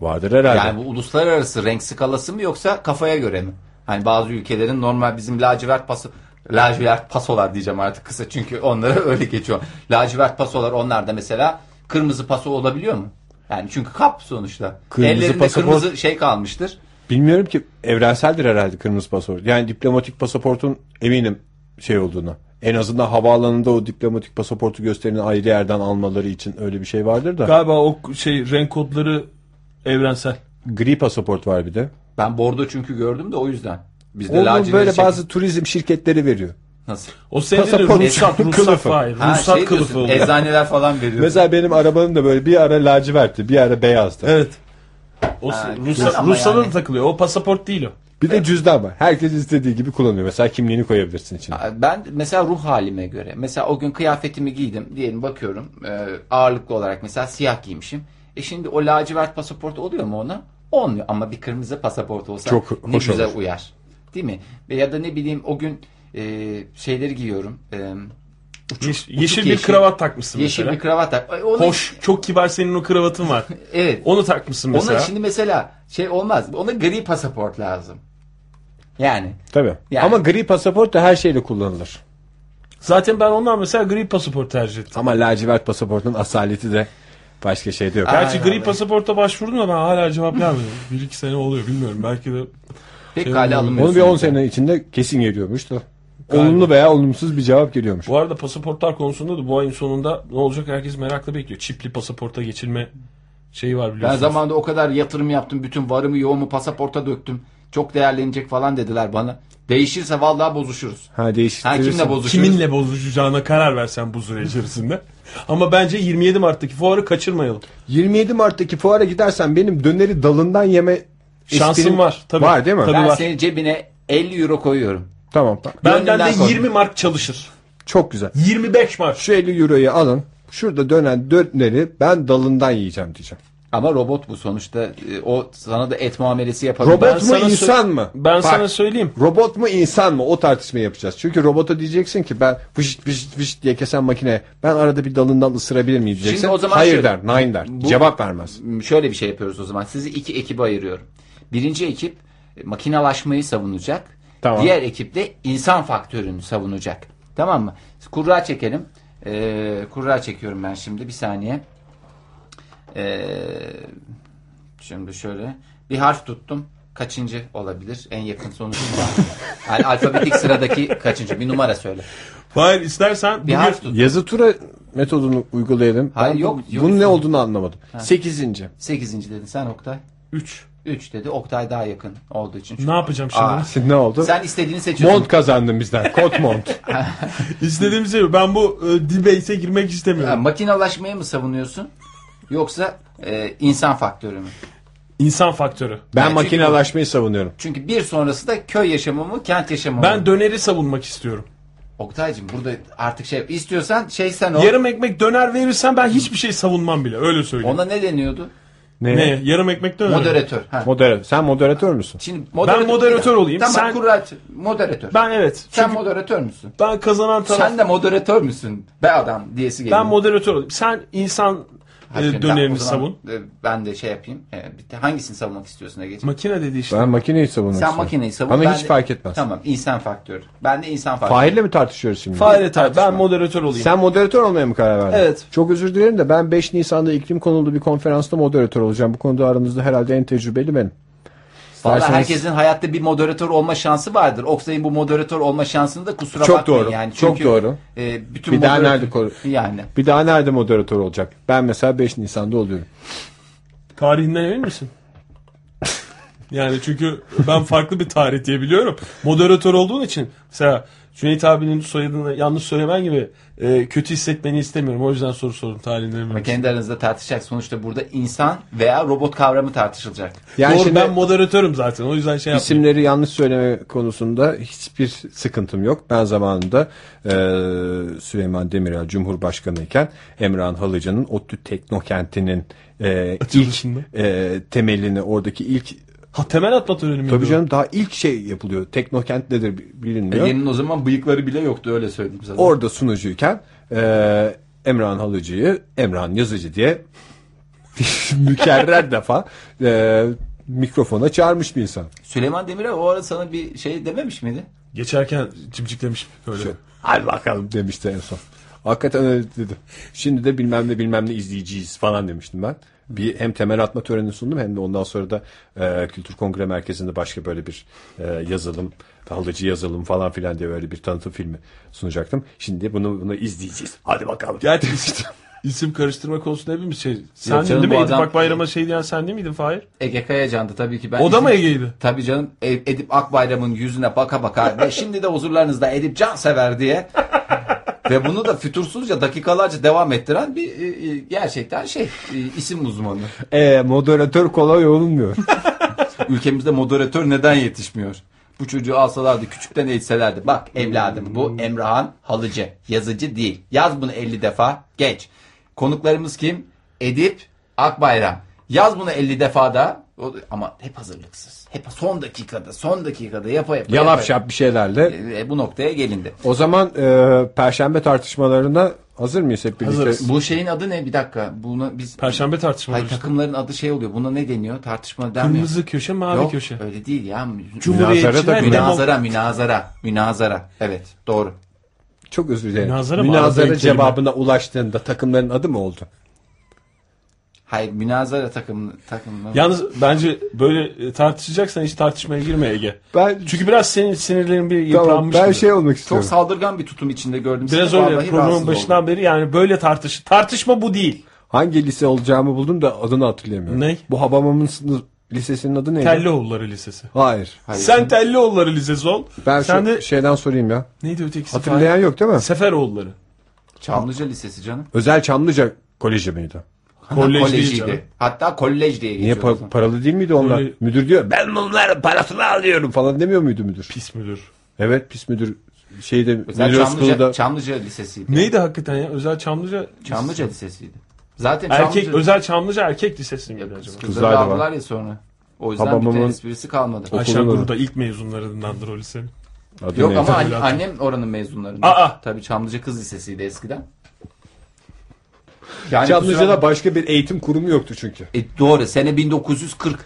Speaker 1: vardır herhalde.
Speaker 2: Yani bu uluslararası renk skalası mı yoksa kafaya göre mi? Hani bazı ülkelerin normal bizim lacivert paso lacivert pasolar diyeceğim artık kısa çünkü onlara öyle geçiyor. Lacivert pasolar onlar da mesela kırmızı paso olabiliyor mu? Yani çünkü kap sonuçta.
Speaker 1: Kırmızı
Speaker 2: Ellerinde
Speaker 1: pasaport-
Speaker 2: kırmızı şey kalmıştır.
Speaker 1: Bilmiyorum ki evrenseldir herhalde kırmızı pasaport. Yani diplomatik pasaportun eminim şey olduğuna. En azından havaalanında o diplomatik pasaportu göstereni ayrı yerden almaları için öyle bir şey vardır da.
Speaker 3: Galiba o şey renk kodları evrensel.
Speaker 1: Gri pasaport var bir de.
Speaker 2: Ben bordo çünkü gördüm de o yüzden. Bizde
Speaker 1: Onu
Speaker 2: lacivert
Speaker 1: böyle
Speaker 2: şey-
Speaker 1: bazı turizm şirketleri veriyor.
Speaker 2: nasıl?
Speaker 3: O senin
Speaker 1: Pasaport
Speaker 3: ruhsat,
Speaker 1: kılıfı.
Speaker 3: ruhsat, hayır,
Speaker 2: Ha,
Speaker 3: ruhsat
Speaker 2: şey
Speaker 3: kılıfı.
Speaker 2: diyorsun,
Speaker 3: oluyor.
Speaker 2: eczaneler falan veriyor.
Speaker 1: Mesela benim arabanın da böyle bir ara lacivertti, bir ara beyazdı.
Speaker 3: Evet. O
Speaker 2: Ha, güzel
Speaker 3: ruhsat,
Speaker 2: ama
Speaker 3: ruhsata
Speaker 2: yani.
Speaker 3: da takılıyor. O pasaport değil o.
Speaker 1: Bir de cüzdan var. Herkes istediği gibi kullanıyor. Mesela kimliğini koyabilirsin içine.
Speaker 2: Ben mesela ruh halime göre. Mesela o gün kıyafetimi giydim. Diyelim bakıyorum e, ağırlıklı olarak mesela siyah giymişim. E şimdi o lacivert pasaport oluyor mu ona? Olmuyor ama bir kırmızı pasaport olsa
Speaker 1: Çok
Speaker 2: ne
Speaker 1: hoş
Speaker 2: güzel
Speaker 1: olur.
Speaker 2: uyar. Değil mi? Ve Ya da ne bileyim o gün e, şeyleri giyiyorum. E,
Speaker 3: Yeş-
Speaker 2: uçuk
Speaker 3: yeşil bir
Speaker 2: yeşil.
Speaker 3: kravat takmışsın
Speaker 2: yeşil
Speaker 3: mesela.
Speaker 2: bir kravat tak. Ay, onu-
Speaker 3: Hoş, çok kibar senin o kravatın var.
Speaker 2: Evet.
Speaker 3: Onu takmışsın
Speaker 2: Ona
Speaker 3: mesela.
Speaker 2: şimdi mesela şey olmaz. Ona gri pasaport lazım. Yani
Speaker 1: Tabii.
Speaker 2: Yani-
Speaker 1: Ama gri pasaport da her şeyle kullanılır.
Speaker 3: Zaten ben ondan mesela gri pasaport tercih ettim.
Speaker 1: Ama lacivert pasaportun asaleti de başka şeyde yok.
Speaker 2: Aa.
Speaker 3: Gerçi
Speaker 2: Aynen.
Speaker 3: gri pasaporta başvurdum da ben hala cevap gelmedim. Bir iki sene oluyor bilmiyorum. Belki de
Speaker 2: pek
Speaker 3: Şey,
Speaker 2: hale
Speaker 3: onu bir
Speaker 2: alınmıyor.
Speaker 1: Onu bir
Speaker 2: sonuçta.
Speaker 1: 10 sene içinde kesin geliyormuş da. Olumlu veya olumsuz bir cevap geliyormuş.
Speaker 3: Bu arada pasaportlar konusunda da bu ayın sonunda ne olacak herkes merakla bekliyor. Çipli pasaporta geçilme şeyi var
Speaker 2: Ben
Speaker 3: biliyorsunuz.
Speaker 2: zamanında o kadar yatırım yaptım. Bütün varımı yoğumu pasaporta döktüm. Çok değerlenecek falan dediler bana. Değişirse vallahi bozuşuruz.
Speaker 1: Ha
Speaker 2: Ha
Speaker 1: değiştirirsin.
Speaker 2: kimle bozuşuruz?
Speaker 3: Kiminle bozuşacağına karar versen bu süre içerisinde. Ama bence 27 Mart'taki fuarı kaçırmayalım.
Speaker 1: 27 Mart'taki fuara gidersen benim döneri dalından yeme
Speaker 3: Şansın
Speaker 1: esprim-
Speaker 3: var, tabii.
Speaker 1: Var değil mi?
Speaker 3: Tabii.
Speaker 2: Ben
Speaker 3: var.
Speaker 2: senin cebine 50 euro koyuyorum.
Speaker 1: Tamam.
Speaker 3: Benden
Speaker 2: Gönlünden
Speaker 3: de
Speaker 2: koy.
Speaker 3: 20 mark çalışır.
Speaker 1: Çok güzel.
Speaker 3: 25 mark.
Speaker 1: Şu 50 euroyu alın. Şurada dönen döneri ben dalından yiyeceğim diyeceğim.
Speaker 2: Ama robot bu sonuçta. E, O sana da et muamelesi yapar.
Speaker 1: Robot
Speaker 2: Ben-
Speaker 1: mu
Speaker 3: sana sö-
Speaker 1: insan mı?
Speaker 3: Ben
Speaker 1: Bak.
Speaker 3: sana söyleyeyim.
Speaker 1: Robot mu insan mı? O tartışmayı yapacağız. Çünkü robota diyeceksin ki ben fışt fışt fışt diye kesen makine ben arada bir dalından ısırabilir miyim diyeceksin.
Speaker 2: Şimdi o zaman
Speaker 1: Hayır
Speaker 2: şöyle-
Speaker 1: der, nein der.
Speaker 2: Bu-
Speaker 1: Cevap vermez.
Speaker 2: Şöyle bir şey yapıyoruz o zaman. Sizi iki ekibe ayırıyorum. Birinci ekip e, makinalaşmayı savunacak.
Speaker 1: Tamam.
Speaker 2: Diğer ekip de insan faktörünü savunacak. Tamam mı? Kurra çekelim. E, kurra çekiyorum ben şimdi. Bir saniye. E, şimdi şöyle. Bir harf tuttum. Kaçıncı olabilir? En yakın sonuç. yani alfabetik sıradaki kaçıncı? Bir numara söyle.
Speaker 3: Hayır istersen
Speaker 2: Bir
Speaker 3: bugün-
Speaker 2: harf tut.
Speaker 1: Yazı tura metodunu uygulayalım.
Speaker 2: Hayır,
Speaker 1: Ben bu-
Speaker 2: yok, yok.
Speaker 1: Bunun ne olduğunu anlamadım. Sekizinci.
Speaker 2: Sekizinci dedin sen Oktay.
Speaker 3: 3.
Speaker 2: 3 dedi. Oktay daha yakın olduğu için.
Speaker 3: Ne yapacağım şimdi?
Speaker 2: Aa.
Speaker 1: Şimdi ne oldu?
Speaker 2: Sen istediğini seçiyorsun.
Speaker 1: Mont kazandın bizden. Kot mont.
Speaker 3: İstediğim şey bu. ben bu e, debate'e girmek
Speaker 2: Ha,
Speaker 3: istemiyorum.
Speaker 2: makinalaşmayı mı savunuyorsun? Yoksa e, insan faktörü mü?
Speaker 3: İnsan faktörü.
Speaker 1: Ben
Speaker 2: çünkü-
Speaker 1: makinalaşmayı savunuyorum.
Speaker 2: Çünkü bir sonrası da köy yaşamı mı, kent yaşamı mı?
Speaker 3: Ben döneri savunmak istiyorum.
Speaker 2: Oktay'cığım burada artık şey istiyorsan şey sen ol.
Speaker 3: Yarım ekmek döner verirsen ben hiçbir şey savunmam bile. Öyle söyleyeyim.
Speaker 2: Ona ne deniyordu?
Speaker 1: Ne?
Speaker 3: Ne? Yarım ekmek döner. mi?
Speaker 2: Moderatör. Ha.
Speaker 1: Moderatör. Sen moderatör müsün?
Speaker 2: Şimdi moderatör,
Speaker 3: Ben moderatör olayım,
Speaker 2: Tamam
Speaker 3: sen-
Speaker 2: Kurra- moderatör.
Speaker 3: Ben evet.
Speaker 2: sen
Speaker 3: Çünkü
Speaker 2: moderatör müsün?
Speaker 3: ben kazanan taraf.
Speaker 2: Sen de moderatör müsün be adam diyesi geliyor.
Speaker 3: ben moderatör olayım. Sen insan
Speaker 2: Hadi
Speaker 3: e,
Speaker 2: şimdi
Speaker 3: dönerini
Speaker 2: ben- o zaman,
Speaker 3: savun.
Speaker 2: e, Ben de şey yapayım. E, bir de hangisini savunmak istiyorsun Ege'ciğim?
Speaker 3: Makine dedi işte.
Speaker 1: Ben makineyi savunmak
Speaker 2: Sen
Speaker 1: istiyorum.
Speaker 2: makineyi savun.
Speaker 1: Ama
Speaker 2: ben
Speaker 1: hiç
Speaker 2: de-
Speaker 1: fark etmez.
Speaker 2: Tamam insan faktörü. Ben de insan faktörü.
Speaker 1: Fahir'le mi tartışıyoruz şimdi?
Speaker 3: Fare tartışma.
Speaker 2: Tartışma.
Speaker 3: Ben moderatör olayım.
Speaker 1: Sen moderatör olmaya mı karar verdin?
Speaker 3: Evet.
Speaker 1: Çok özür dilerim de ben 5 Nisan'da iklim konulu bir konferansta moderatör olacağım. Bu konuda aranızda herhalde en tecrübeli benim.
Speaker 2: Valla
Speaker 1: İsterseniz-
Speaker 2: herkesin hayatta bir moderatör olma şansı vardır. Oktay'ın bu moderatör olma şansını da kusura
Speaker 1: Çok
Speaker 2: bakmayın.
Speaker 1: doğru,
Speaker 2: Yani
Speaker 1: çok
Speaker 2: Çünkü,
Speaker 1: doğru.
Speaker 2: e, bütün
Speaker 1: Bir daha
Speaker 2: moderatör-
Speaker 1: nerede koru-
Speaker 2: Yani.
Speaker 1: Bir daha nerede moderatör olacak? Ben mesela 5 Nisan'da oluyorum.
Speaker 3: Tarihinden emin misin? Yani çünkü ben farklı bir tarih diye biliyorum. Moderatör olduğun için mesela Cüneyt abinin soyadını yanlış söylemen gibi e, kötü hissetmeni istemiyorum. O yüzden soru sordum tarihinden emin
Speaker 2: Ama
Speaker 3: misin?
Speaker 2: kendi aranızda tartışacak. Sonuçta burada insan veya robot kavramı tartışılacak.
Speaker 1: Yani
Speaker 3: Doğru
Speaker 1: şimdi
Speaker 3: ben moderatörüm zaten o yüzden şey yapmıyorum.
Speaker 1: isimleri yanlış söyleme konusunda hiçbir sıkıntım yok. Ben zamanında e, Süleyman Demirel Cumhurbaşkanı iken Emrah Halıcı'nın ODTÜ Teknokenti'nin e, ilk
Speaker 3: Açılışında.
Speaker 1: e, temelini oradaki ilk
Speaker 3: Ha temel atma töreni miydi
Speaker 1: Tabii
Speaker 3: o?
Speaker 1: canım daha ilk şey yapılıyor. Teknokent nedir bi-
Speaker 2: E,
Speaker 1: bilinmiyor.
Speaker 4: Ege'nin o zaman bıyıkları bile yoktu öyle söyleyeyim sana.
Speaker 1: Orada sunucuyken e, Emrah'ın Halıcı'yı Emrah'ın Yazıcı diye mükerrer defa e, mikrofona çağırmış bir insan.
Speaker 2: Süleyman Demirel o ara sana bir şey dememiş miydi?
Speaker 3: Geçerken cimciklemiş böyle.
Speaker 1: Şey, Hadi bakalım demişti en son. Hakikaten öyle dedi. Şimdi de bilmem ne bilmem ne izleyeceğiz falan demiştim ben. Bir hem temel atma töreni sundum hem de ondan sonra da e, Kültür Kongre Merkezi'nde başka böyle bir e, yazılım, halıcı yazılım falan filan diye böyle bir tanıtım filmi sunacaktım. Şimdi bunu bunu izleyeceğiz. Hadi bakalım.
Speaker 3: Gerçi isim karıştırma konusunda hepimiz şey. Sen
Speaker 2: canım,
Speaker 3: değil mi
Speaker 2: bu
Speaker 3: Edip
Speaker 2: adam-
Speaker 3: Akbayram'a şey diyen sen değil miydin Fahir?
Speaker 2: Ege Kayacan'dı tabii ki. Ben
Speaker 3: O da mı
Speaker 2: izin-
Speaker 3: Ege'ydi?
Speaker 2: Tabii canım E- Edip Akbayram'ın yüzüne baka baka ve şimdi de huzurlarınızda Edip Cansever diye ve bunu da fütursuzca dakikalarca devam ettiren bir e, e, gerçekten şey e, isim uzmanı.
Speaker 1: E, moderatör kolay olunmuyor.
Speaker 2: Ülkemizde moderatör neden yetişmiyor? Bu çocuğu alsalardı küçükten eğitselerdi. Bak evladım bu Emrahan Halıcı yazıcı değil. Yaz bunu 50 defa geç. Konuklarımız kim? Edip Akbayram. Yaz bunu 50 defa da O- ama hep hazırlıksız. Hep son dakikada son dakikada yapa yapa. yapa-
Speaker 1: Yalap şap bir şeylerle.
Speaker 2: E, bu noktaya gelindi.
Speaker 1: O zaman e, Perşembe tartışmalarına hazır mıyız hep birlikte?
Speaker 3: Hazırız.
Speaker 2: Bu şeyin adı ne? Bir dakika. Buna biz
Speaker 3: Perşembe tartışmaları
Speaker 2: Hayır,
Speaker 3: işte.
Speaker 2: takımların adı şey oluyor. Buna ne deniyor? Tartışma denmiyor.
Speaker 3: Kırmızı köşe mavi
Speaker 2: Yok,
Speaker 3: köşe.
Speaker 2: öyle değil ya.
Speaker 1: Münazara da
Speaker 3: Cumhuriyetçiler
Speaker 1: günah.
Speaker 3: demok-
Speaker 2: Münazara, münazara, münazara. Evet, doğru.
Speaker 1: Çok özür dilerim.
Speaker 3: Münazara mı? Arada
Speaker 1: Münazara
Speaker 3: kelime.
Speaker 1: cevabına ulaştığında takımların adı mı oldu?
Speaker 2: Hayır, münazara takım takımı.
Speaker 3: Yalnız bence böyle e, tartışacaksan hiç tartışmaya girme Ege.
Speaker 1: Ben
Speaker 3: Çünkü biraz senin sinirlerin bir
Speaker 1: Tamam
Speaker 3: yıpranmış.
Speaker 1: ben
Speaker 3: gibi.
Speaker 1: şey olmak
Speaker 2: Çok
Speaker 1: istiyorum.
Speaker 2: saldırgan bir tutum içinde gördüm.
Speaker 3: biraz
Speaker 2: Sizi
Speaker 3: öyle
Speaker 2: vallahi
Speaker 3: programın
Speaker 2: rahatsız
Speaker 3: başından
Speaker 2: oldum.
Speaker 3: beri yani böyle tartış tartışma bu değil.
Speaker 1: Hangi lise olacağımı buldum da adını hatırlayamıyorum.
Speaker 3: Ne?
Speaker 1: Bu Habamam'ın sınıf lisesinin adı neydi?
Speaker 3: Tellioğulları Lisesi.
Speaker 1: Hayır.
Speaker 2: Hayır.
Speaker 3: Sen Tellioğulları Lisesi ol.
Speaker 1: Ben şu
Speaker 3: Sen de
Speaker 1: şeyden sorayım ya.
Speaker 3: neydi ötekisi?
Speaker 1: Hatırlayan yok değil mi?
Speaker 3: Seferoğulları.
Speaker 2: Çamlıca Lisesi canım.
Speaker 1: Özel Çamlıca Koleji miydi?
Speaker 3: Kolej değil canım.
Speaker 2: Kolejiydi. Hatta kolej diye
Speaker 1: Niye
Speaker 2: geçiyor.
Speaker 1: pa- paralı değil miydi onlar?
Speaker 3: Öyle-
Speaker 1: Müdür diyor ben bunların parasını alıyorum falan demiyor muydu müdür?
Speaker 3: Pis müdür.
Speaker 1: Evet pis müdür şeyde
Speaker 2: Özel
Speaker 1: müdür
Speaker 2: Çamlıca,
Speaker 1: okulda
Speaker 2: Çamlıca Lisesi'ydi.
Speaker 3: Neydi hakikaten ya? Özel Çamlıca.
Speaker 2: Çamlıca Lisesi'ydi. Zaten
Speaker 3: Erkek,
Speaker 2: Çamlıca-
Speaker 3: özel Çamlıca erkek lisesi miydi acaba?
Speaker 1: Kızlar
Speaker 2: Kızları
Speaker 1: da
Speaker 2: aldılar ya sonra. O yüzden
Speaker 1: Babamın-
Speaker 2: bir de esprisi kalmadı.
Speaker 1: O-
Speaker 3: Ayşe
Speaker 1: Okulun adı.
Speaker 3: Guru'da ilk mezunlarındandır o lisenin.
Speaker 1: Adı
Speaker 2: Yok
Speaker 1: neydi?
Speaker 2: ama hani- an-
Speaker 3: Tabii.
Speaker 2: annem oranın mezunlarından.
Speaker 3: Aa!
Speaker 2: Tabii Çamlıca Kız Lisesi'ydi eskiden. Yani kusura
Speaker 1: Çamlıca'da
Speaker 2: bakma.
Speaker 1: başka bir eğitim kurumu yoktu çünkü.
Speaker 2: E, doğru sene 1940.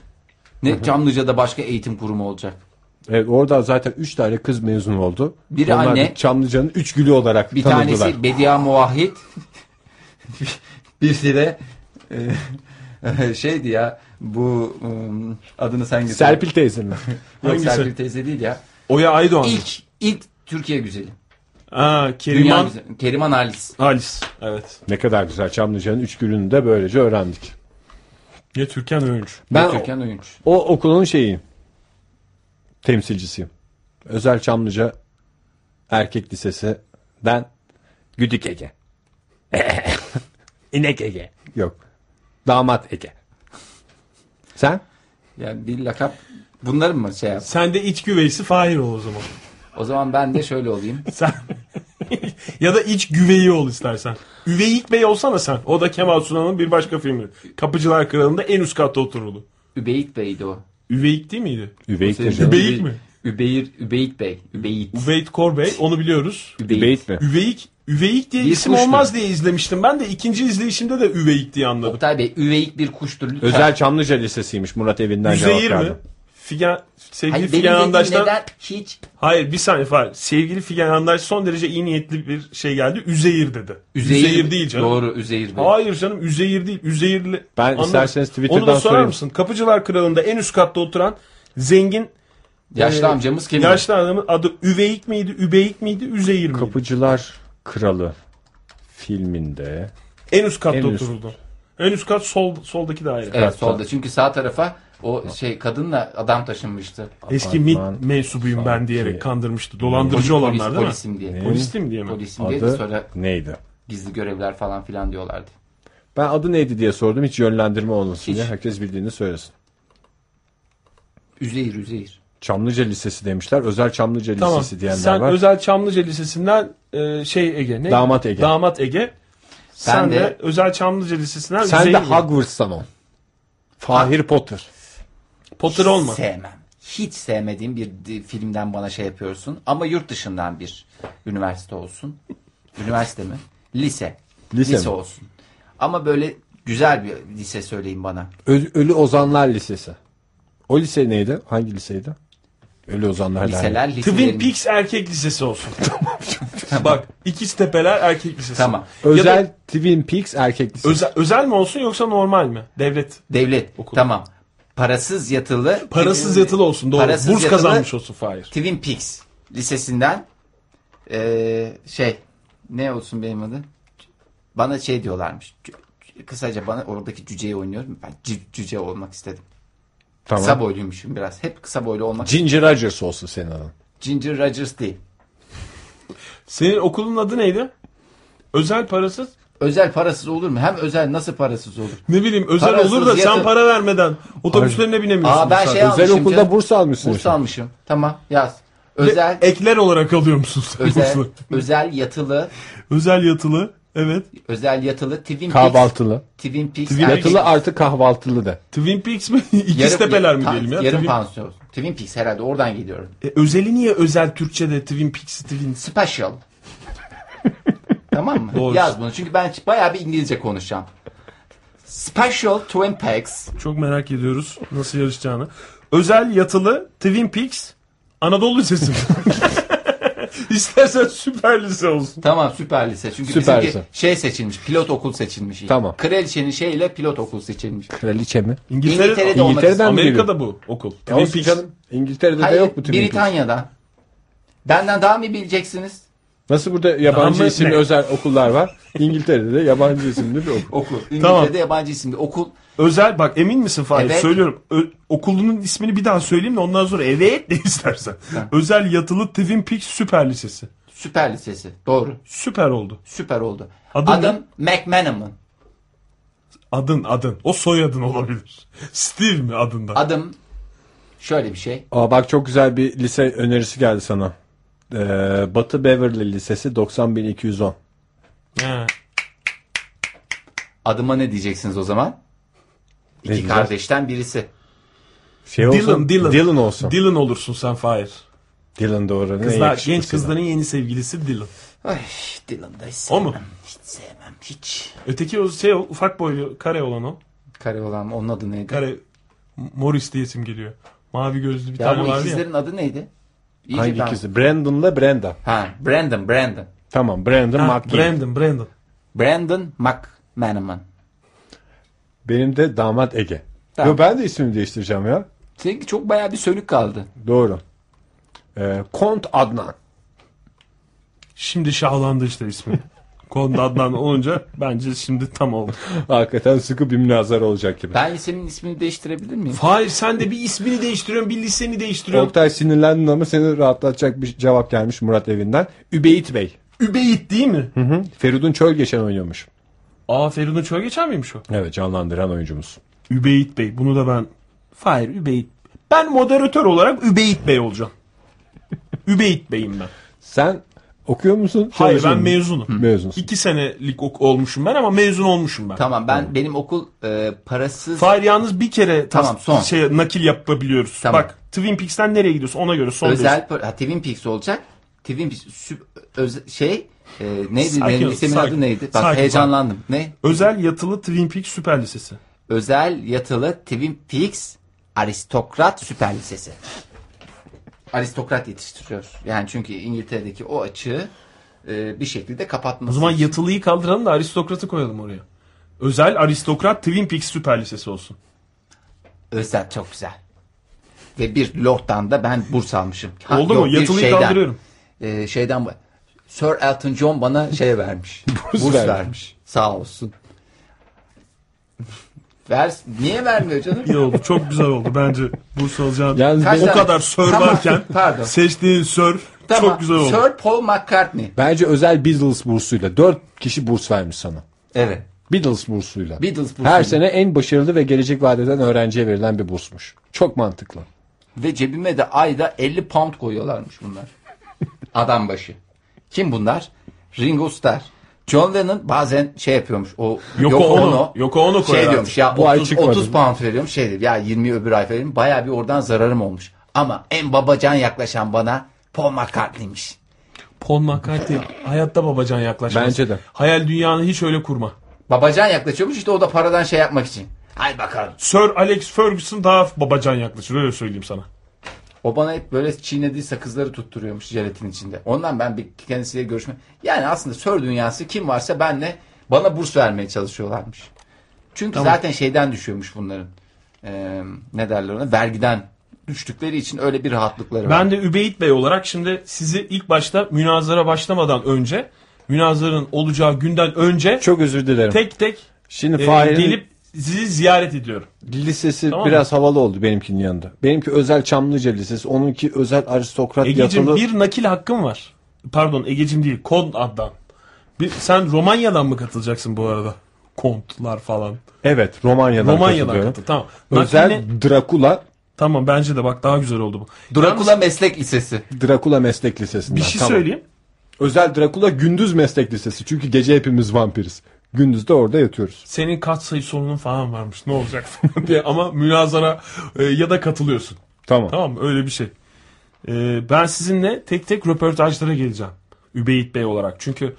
Speaker 2: Ne Çamlıca'da başka eğitim kurumu olacak.
Speaker 1: Evet orada zaten 3 tane kız mezun oldu.
Speaker 2: Biri
Speaker 1: Onlar
Speaker 2: anne.
Speaker 1: da Çamlıca'nın üç gülü olarak
Speaker 2: Bir
Speaker 1: tanındılar.
Speaker 2: tanesi Bedia Muvahhid. Birisi de e, e, şeydi ya bu ım, adını sen getir.
Speaker 1: Serpil teyze mi?
Speaker 2: Yok,
Speaker 3: Hangisi?
Speaker 2: Serpil teyze değil ya.
Speaker 3: Oya Aydoğan.
Speaker 2: İlk ilk Türkiye güzeli.
Speaker 3: Aa,
Speaker 2: Dünya
Speaker 3: Keriman
Speaker 2: güzeli. Keriman Halis.
Speaker 3: Halis. Evet.
Speaker 1: Ne kadar güzel Çamlıca'nın üç gülünü de böylece öğrendik.
Speaker 3: Ya Türkan Öğünç.
Speaker 1: Ben o,
Speaker 2: Türkan Oyuncu.
Speaker 1: o okulun şeyiyim. Temsilcisiyim. Özel Çamlıca Erkek Lisesi'den Güdük Ege. İnek Ege. Yok. Damat Ege. Sen?
Speaker 2: Yani bir lakap bunların mı şey yap?
Speaker 3: Sen de iç güveysi Fahir ol o zaman.
Speaker 2: O zaman ben de şöyle olayım.
Speaker 3: Sen ya da iç güveyi ol istersen. Üveyik Bey olsana sen. O da Kemal Sunal'ın bir başka filmi. Kapıcılar Kralı'nda en üst katta otururdu.
Speaker 2: Übeyit Bey'di o.
Speaker 3: Üveyik değil miydi?
Speaker 1: Üveyit'tir
Speaker 2: Senin
Speaker 1: canım.
Speaker 3: Übeyit
Speaker 2: Übe-
Speaker 3: mi?
Speaker 2: Übeyir, Übeyit Bey. Übeyit.
Speaker 3: Üveyit Korbey onu biliyoruz.
Speaker 1: Üveyit mi?
Speaker 3: Üveyik Üveyik diye
Speaker 2: Bir
Speaker 3: isim
Speaker 2: kuştur.
Speaker 3: olmaz diye izlemiştim. Ben de ikinci izleyişimde de üveyik diye anladım.
Speaker 2: Oktay Bey üveyik bir kuştur lütfen.
Speaker 1: Özel Çamlıca Lisesi'ymiş Murat evinden
Speaker 3: Üzeyir
Speaker 1: cevap
Speaker 3: mi?
Speaker 1: verdi.
Speaker 3: Figen, sevgili
Speaker 2: Hayır, benim
Speaker 3: Figen
Speaker 2: dediğim
Speaker 3: Andaş'tan...
Speaker 2: neden hiç
Speaker 3: Hayır bir saniye Fahir. Sevgili Figen Andaş son derece iyi niyetli bir şey geldi. Üzeyir dedi. Üzeyir, değil canım.
Speaker 2: Doğru Üzeyir Bey.
Speaker 3: Hayır canım Üzeyir değil. Üzeyirli.
Speaker 1: Ben
Speaker 3: Anladım.
Speaker 1: isterseniz Twitter'dan
Speaker 3: Onu da sorar
Speaker 1: sorayım.
Speaker 3: mısın? Kapıcılar Kralı'nda en üst katta oturan zengin
Speaker 2: Yaşlı
Speaker 3: Ee,
Speaker 2: amcamız kim?
Speaker 3: yaşlı adamın adı Üveyik miydi? Übeyik miydi? Üzeyir miydi?
Speaker 1: Kapıcılar Kralı filminde
Speaker 3: En üst katta
Speaker 1: En üst.
Speaker 3: oturuldu. En üst kat sol soldaki daire.
Speaker 2: Evet solda. Çünkü sağ tarafa o şey kadınla adam taşınmıştı.
Speaker 3: Eski MIT
Speaker 1: Apartman
Speaker 3: mensubuyum ben diyerek
Speaker 1: ki-
Speaker 3: kandırmıştı.
Speaker 2: Polis-
Speaker 3: Dolandırıcı olanlar değil mi?
Speaker 2: Polisim diye.
Speaker 1: Ne?
Speaker 3: Polistim diye mi?
Speaker 2: Polisim diye de
Speaker 1: adı
Speaker 2: sonra
Speaker 1: neydi?
Speaker 2: gizli görevler falan filan diyorlardı.
Speaker 1: Ben adı neydi diye sordum hiç yönlendirme olmasın
Speaker 2: Hiç.
Speaker 1: diye. Herkes bildiğini söylesin.
Speaker 2: Üzeyir Üzeyir.
Speaker 1: Çamlıca Lisesi demişler. Özel Çamlıca
Speaker 3: Tamam.
Speaker 1: Lisesi diyenler
Speaker 3: Sen
Speaker 1: var.
Speaker 3: Özel Çamlıca Lisesi'nden e, şey Ege ne?
Speaker 1: Damat Ege.
Speaker 3: Damat Ege. Sen de,
Speaker 2: de-
Speaker 3: Özel Çamlıca Lisesi'nden
Speaker 1: Sen
Speaker 3: Üzeyir
Speaker 1: de
Speaker 3: mi?
Speaker 1: Hogwarts'tan ol. Fahir Potter.
Speaker 3: Potter olma.
Speaker 2: Sevmem. Hiç sevmediğim bir di- filmden bana şey yapıyorsun. Ama yurt dışından bir üniversite olsun. Üniversite mi? Lise.
Speaker 1: Lise
Speaker 2: Lise,
Speaker 1: mi?
Speaker 2: olsun. Ama böyle güzel bir lise söyleyin bana.
Speaker 1: Ö- Ölü Ozanlar Lisesi. O lise neydi? Hangi liseydi? Ölü Ozanlar Derneği.
Speaker 2: Liseler, liselerin...
Speaker 3: Twin Peaks Erkek Lisesi olsun. Bak İkiz Tepeler Erkek Lisesi.
Speaker 2: Tamam.
Speaker 1: Özel Twin Peaks Erkek Lisesi.
Speaker 3: Özel, özel mi olsun yoksa normal mi? Devlet.
Speaker 2: Devlet.
Speaker 3: Okul.
Speaker 2: Tamam. Parasız yatılı.
Speaker 3: Parasız
Speaker 2: Twin-
Speaker 3: yatılı olsun doğru.
Speaker 2: Parasız
Speaker 3: Burs
Speaker 2: yatılı-
Speaker 3: kazanmış olsun Fahir.
Speaker 2: Twin Peaks lisesinden eee, şey ne olsun benim adı? Bana şey diyorlarmış. Cü- cü- Kısaca bana oradaki cüceyi oynuyorum. Ben cü- cüce olmak istedim.
Speaker 1: tamam.
Speaker 2: Kısa boyluymuşum biraz. Hep kısa boylu olmak.
Speaker 1: Ginger Rogers olsun senin adın.
Speaker 2: Ginger Rogers değil.
Speaker 3: Senin okulun adı neydi? Özel parasız.
Speaker 2: Özel parasız olur mu? Hem özel nasıl parasız olur?
Speaker 3: Ne bileyim özel
Speaker 2: Parasız
Speaker 3: olur da sen
Speaker 2: yatı-
Speaker 3: para vermeden otobüslerine binemiyorsun.
Speaker 2: Aa ben
Speaker 3: sen.
Speaker 2: şey almışım.
Speaker 1: Özel okulda
Speaker 2: canım.
Speaker 1: burs almışsın.
Speaker 2: burs
Speaker 1: sen.
Speaker 2: almışım. Tamam yaz. Özel
Speaker 3: Ekler olarak alıyor musun sen
Speaker 2: özel
Speaker 3: bursları?
Speaker 2: özel yatılı
Speaker 3: Özel yatılı. Evet.
Speaker 2: özel yatılı Twin Peaks
Speaker 1: Kahvaltılı.
Speaker 2: Twin Peaks
Speaker 3: Twin
Speaker 2: erkek-
Speaker 1: Yatılı artı kahvaltılı de.
Speaker 3: Twin Peaks mi? İkiz
Speaker 2: Yarım-
Speaker 3: Tepeler mi
Speaker 2: pa-
Speaker 3: diyelim ya?
Speaker 2: Yarım
Speaker 3: Twin-
Speaker 2: pansiyon. Twin Peaks herhalde oradan geliyorum.
Speaker 3: E, özeli niye özel Türkçe'de Twin Peaks, Twin
Speaker 2: Special. tamam mı?
Speaker 3: Doğru.
Speaker 2: Yaz bunu. Çünkü ben bayağı bir İngilizce konuşacağım. Special Twin Peaks.
Speaker 3: Çok merak ediyoruz nasıl yarışacağını. Özel yatılı Twin Peaks Anadolu Lisesi mi? İstersen süper lise olsun.
Speaker 2: Tamam süper lise. Çünkü
Speaker 1: Süper
Speaker 2: bizimki
Speaker 1: lise.
Speaker 2: şey seçilmiş. Pilot okul seçilmiş.
Speaker 1: Tamam.
Speaker 2: Kraliçenin şeyiyle pilot okul seçilmiş.
Speaker 1: Kraliçe mi?
Speaker 3: İngiltere,
Speaker 2: İngiltere'de olmak
Speaker 1: İngiltere'den mi geliyor?
Speaker 3: Amerika'da bu okul. Twin
Speaker 1: Olsun
Speaker 3: Peaks.
Speaker 1: canım. İngiltere'de de
Speaker 2: Hayır,
Speaker 1: yok bu Twin Peaks.
Speaker 2: Britanya'da. Benden daha mı bileceksiniz?
Speaker 1: Nasıl burada
Speaker 3: Daha
Speaker 1: yabancı
Speaker 3: mı
Speaker 1: isimli
Speaker 3: ne?
Speaker 1: özel okullar var? İngiltere'de de yabancı isimli bir okul.
Speaker 2: Okul. İngiltere'de
Speaker 3: Tamam.
Speaker 2: yabancı isimli okul.
Speaker 3: Özel bak emin misin Fahir?
Speaker 2: Evet.
Speaker 3: Söylüyorum. Ö- okulunun ismini bir daha söyleyeyim de ondan sonra evet de istersen. Özel yatılı Twin Peaks Süper Lisesi.
Speaker 2: Süper lisesi. Doğru.
Speaker 3: Süper oldu.
Speaker 2: Süper oldu.
Speaker 3: Adı
Speaker 2: Adım McManaman.
Speaker 3: Adın adın. O soyadın olabilir. Steve mi adında?
Speaker 2: Adım şöyle bir şey.
Speaker 1: Aa, bak çok güzel bir lise önerisi geldi sana. Ee, Batı Beverly Lisesi 90210.
Speaker 3: He.
Speaker 2: Adıma ne diyeceksiniz o zaman? İki
Speaker 1: diyeceğiz?
Speaker 2: kardeşten birisi.
Speaker 1: Şey
Speaker 3: Dylan,
Speaker 1: olsun,
Speaker 3: Dylan.
Speaker 1: Dylan olsun.
Speaker 3: Dylan olursun sen Fahir.
Speaker 1: Dylan doğru. Ne
Speaker 3: Kızlar,
Speaker 1: yakışıklı
Speaker 3: genç
Speaker 1: senin.
Speaker 3: kızların yeni sevgilisi Dylan.
Speaker 2: Ay Dylan'da hiç
Speaker 3: O
Speaker 2: sevmem.
Speaker 3: mu?
Speaker 2: Hiç sevmem. Hiç.
Speaker 3: Öteki o şey o, ufak boylu kare olan o.
Speaker 2: Kare olan mı? onun adı neydi?
Speaker 3: Kare Morris diye isim geliyor. Mavi gözlü bir
Speaker 2: ya
Speaker 3: tane
Speaker 2: bu
Speaker 3: vardı ya.
Speaker 2: ikizlerin adı neydi? İyice
Speaker 1: Hangi
Speaker 2: ben-
Speaker 1: ikisi? Brandon'la Brenda.
Speaker 2: Ha Brandon Brandon.
Speaker 1: Tamam Brandon
Speaker 3: Ha,
Speaker 1: McGee.
Speaker 3: Brandon, Brandon.
Speaker 2: Brandon McManaman.
Speaker 1: Benim de damat Ege.
Speaker 2: Tamam.
Speaker 1: Yo, ben de ismimi değiştireceğim ya.
Speaker 2: Seninki çok bayağı bir sönük kaldı.
Speaker 1: Doğru. Ee, Kont Adnan.
Speaker 3: Şimdi şahlandı işte ismi. Konda Adnan olunca bence şimdi tam oldu.
Speaker 1: Hakikaten sıkı bir münazara olacak gibi.
Speaker 2: Ben lisenin ismini değiştirebilir miyim?
Speaker 3: Hayır sen de bir ismini değiştiriyorsun, bir liseni değiştiriyorsun.
Speaker 1: Oktay sinirlendin ama seni rahatlatacak bir cevap gelmiş Murat evinden. Übeyit Bey.
Speaker 3: Übeyit değil mi?
Speaker 1: Hı? Feridun Çöl geçen oynuyormuş.
Speaker 3: Aa Feridun Çöl geçer miymiş o?
Speaker 1: Evet canlandıran oyuncumuz.
Speaker 3: Übeyit Bey. Bunu da ben... Hayır Übeyit. Ben moderatör olarak Übeyit Bey olacağım. Übeyit Bey'im ben.
Speaker 1: Sen okuyor musun?
Speaker 3: Hayır
Speaker 1: Çalışıyor
Speaker 3: ben
Speaker 1: musun?
Speaker 3: mezunum.
Speaker 1: Mezunsun.
Speaker 3: İki senelik ok- olmuşum ben ama mezun olmuşum ben.
Speaker 2: Tamam ben benim okul e, parasız
Speaker 3: Fahir yalnız bir kere tas-
Speaker 2: Tamam, son.
Speaker 3: şey nakil yapabiliyoruz.
Speaker 2: Tamam.
Speaker 3: Bak Twin Peaks'ten nereye gidiyorsun ona göre son
Speaker 2: özel
Speaker 3: diyorsun.
Speaker 2: par- ha, Twin Peaks olacak. Twin Peaks sü- öz- şey e, neydi?
Speaker 3: Sakin
Speaker 2: Sakin,
Speaker 3: ol,
Speaker 2: lisemin
Speaker 3: sakin.
Speaker 2: adı neydi? Bak
Speaker 3: Sakin,
Speaker 2: heyecanlandım. Ne?
Speaker 3: Özel yatılı Twin Peaks Süper Lisesi.
Speaker 2: Özel yatılı Twin Peaks Aristokrat Süper Lisesi. Aristokrat yetiştiriyor. Yani çünkü İngiltere'deki o açığı e, bir şekilde kapatması.
Speaker 3: O zaman yatılıyı kaldıralım da aristokratı koyalım oraya. Özel aristokrat Twin Peaks Süper Lisesi olsun.
Speaker 2: Özel çok güzel. Ve bir lord'dan da ben burs almışım. Ha,
Speaker 3: Oldu
Speaker 2: yok,
Speaker 3: mu?
Speaker 2: bir
Speaker 3: Yatılıyı kaldırıyorum.
Speaker 2: e, şeyden bu- Sir Elton John bana şey vermiş. burs,
Speaker 1: vermiş.
Speaker 2: vermiş. Sağ olsun. Ver, niye vermiyor canım?
Speaker 3: İyi oldu. Çok güzel oldu bence. Burs alacağın.
Speaker 1: Yalnız
Speaker 2: Kaç
Speaker 1: ben-
Speaker 3: o
Speaker 2: tane-
Speaker 3: kadar sör
Speaker 2: Tamam,
Speaker 3: varken
Speaker 2: pardon.
Speaker 3: seçtiğin sör
Speaker 2: Tamam,
Speaker 3: çok güzel oldu.
Speaker 2: Sir Paul McCartney.
Speaker 1: Bence özel Beatles bursuyla 4 kişi burs vermiş sana.
Speaker 2: Evet.
Speaker 1: Beatles bursuyla.
Speaker 2: Beatles bursuyla.
Speaker 1: Her sene en başarılı ve gelecek vadeden öğrenciye verilen bir bursmuş. Çok mantıklı.
Speaker 2: Ve cebime de ayda 50 pound koyuyorlarmış bunlar. Adam başı. Kim bunlar? Ringo Starr. John Lennon bazen şey yapıyormuş. O
Speaker 3: Yoko Ono. Yoko Ono
Speaker 2: Şey
Speaker 3: koyar
Speaker 2: diyormuş ya
Speaker 1: Bu ay
Speaker 2: 30,
Speaker 1: çıkmadı.
Speaker 2: 30 pound veriyorum. Şey diyor, ya 20 öbür ay veriyorum. Bayağı bir oradan zararım olmuş. Ama en babacan yaklaşan bana Paul McCartney'miş.
Speaker 3: Paul McCartney hayatta babacan yaklaşmaz.
Speaker 1: Bence de.
Speaker 3: Hayal dünyanı hiç öyle kurma.
Speaker 2: Babacan yaklaşıyormuş işte o da paradan şey yapmak için. Hay bakalım.
Speaker 3: Sir Alex Ferguson daha babacan yaklaşır öyle söyleyeyim sana.
Speaker 2: O bana hep böyle çiğnediği sakızları tutturuyormuş jelatin içinde. Ondan ben bir kendisiyle görüşme... Yani aslında sör dünyası kim varsa benle bana burs vermeye çalışıyorlarmış. Çünkü zaten şeyden düşüyormuş bunların. Ee, ne derler ona? Vergiden düştükleri için öyle bir rahatlıkları var.
Speaker 3: Ben de Übeyit Bey olarak şimdi sizi ilk başta münazara başlamadan önce münazaranın olacağı günden önce
Speaker 1: Çok özür dilerim.
Speaker 3: tek tek
Speaker 1: Şimdi
Speaker 3: e,
Speaker 1: Fahir'in
Speaker 3: gelip sizi ziyaret ediyorum.
Speaker 1: lisesi
Speaker 3: Tamam mı?
Speaker 1: biraz havalı oldu benimkinin yanında. Benimki özel Çamlıca lisesi, onunki özel aristokrat
Speaker 3: Egeciğim
Speaker 1: yatılı.
Speaker 3: bir nakil hakkım var. Pardon Egeciğim değil Kont addan. Bir, sen Romanya'dan mı katılacaksın bu arada? Kontlar falan.
Speaker 1: Evet, Romanya'dan
Speaker 3: Romanya'dan
Speaker 1: katılıyorum.
Speaker 3: katıl. Tamam.
Speaker 1: Özel
Speaker 3: Nakiline-
Speaker 1: Drakula,
Speaker 3: Tamam bence de bak daha güzel oldu bu.
Speaker 2: Drakula Meslek Lisesi.
Speaker 1: Drakula Meslek Lisesi'nden.
Speaker 3: Bir şey
Speaker 1: Tamam.
Speaker 3: söyleyeyim.
Speaker 1: Özel Drakula Gündüz Meslek Lisesi. Çünkü gece hepimiz vampiriz. Gündüz de orada yatıyoruz.
Speaker 3: Senin kaç sayı sorunun falan varmış. Ne olacak falan diye ama münazara e, ya da katılıyorsun.
Speaker 1: Tamam.
Speaker 3: Tamam mı? Öyle bir şey. Ee, ben sizinle tek tek röportajlara geleceğim. Übeyit Bey olarak. Çünkü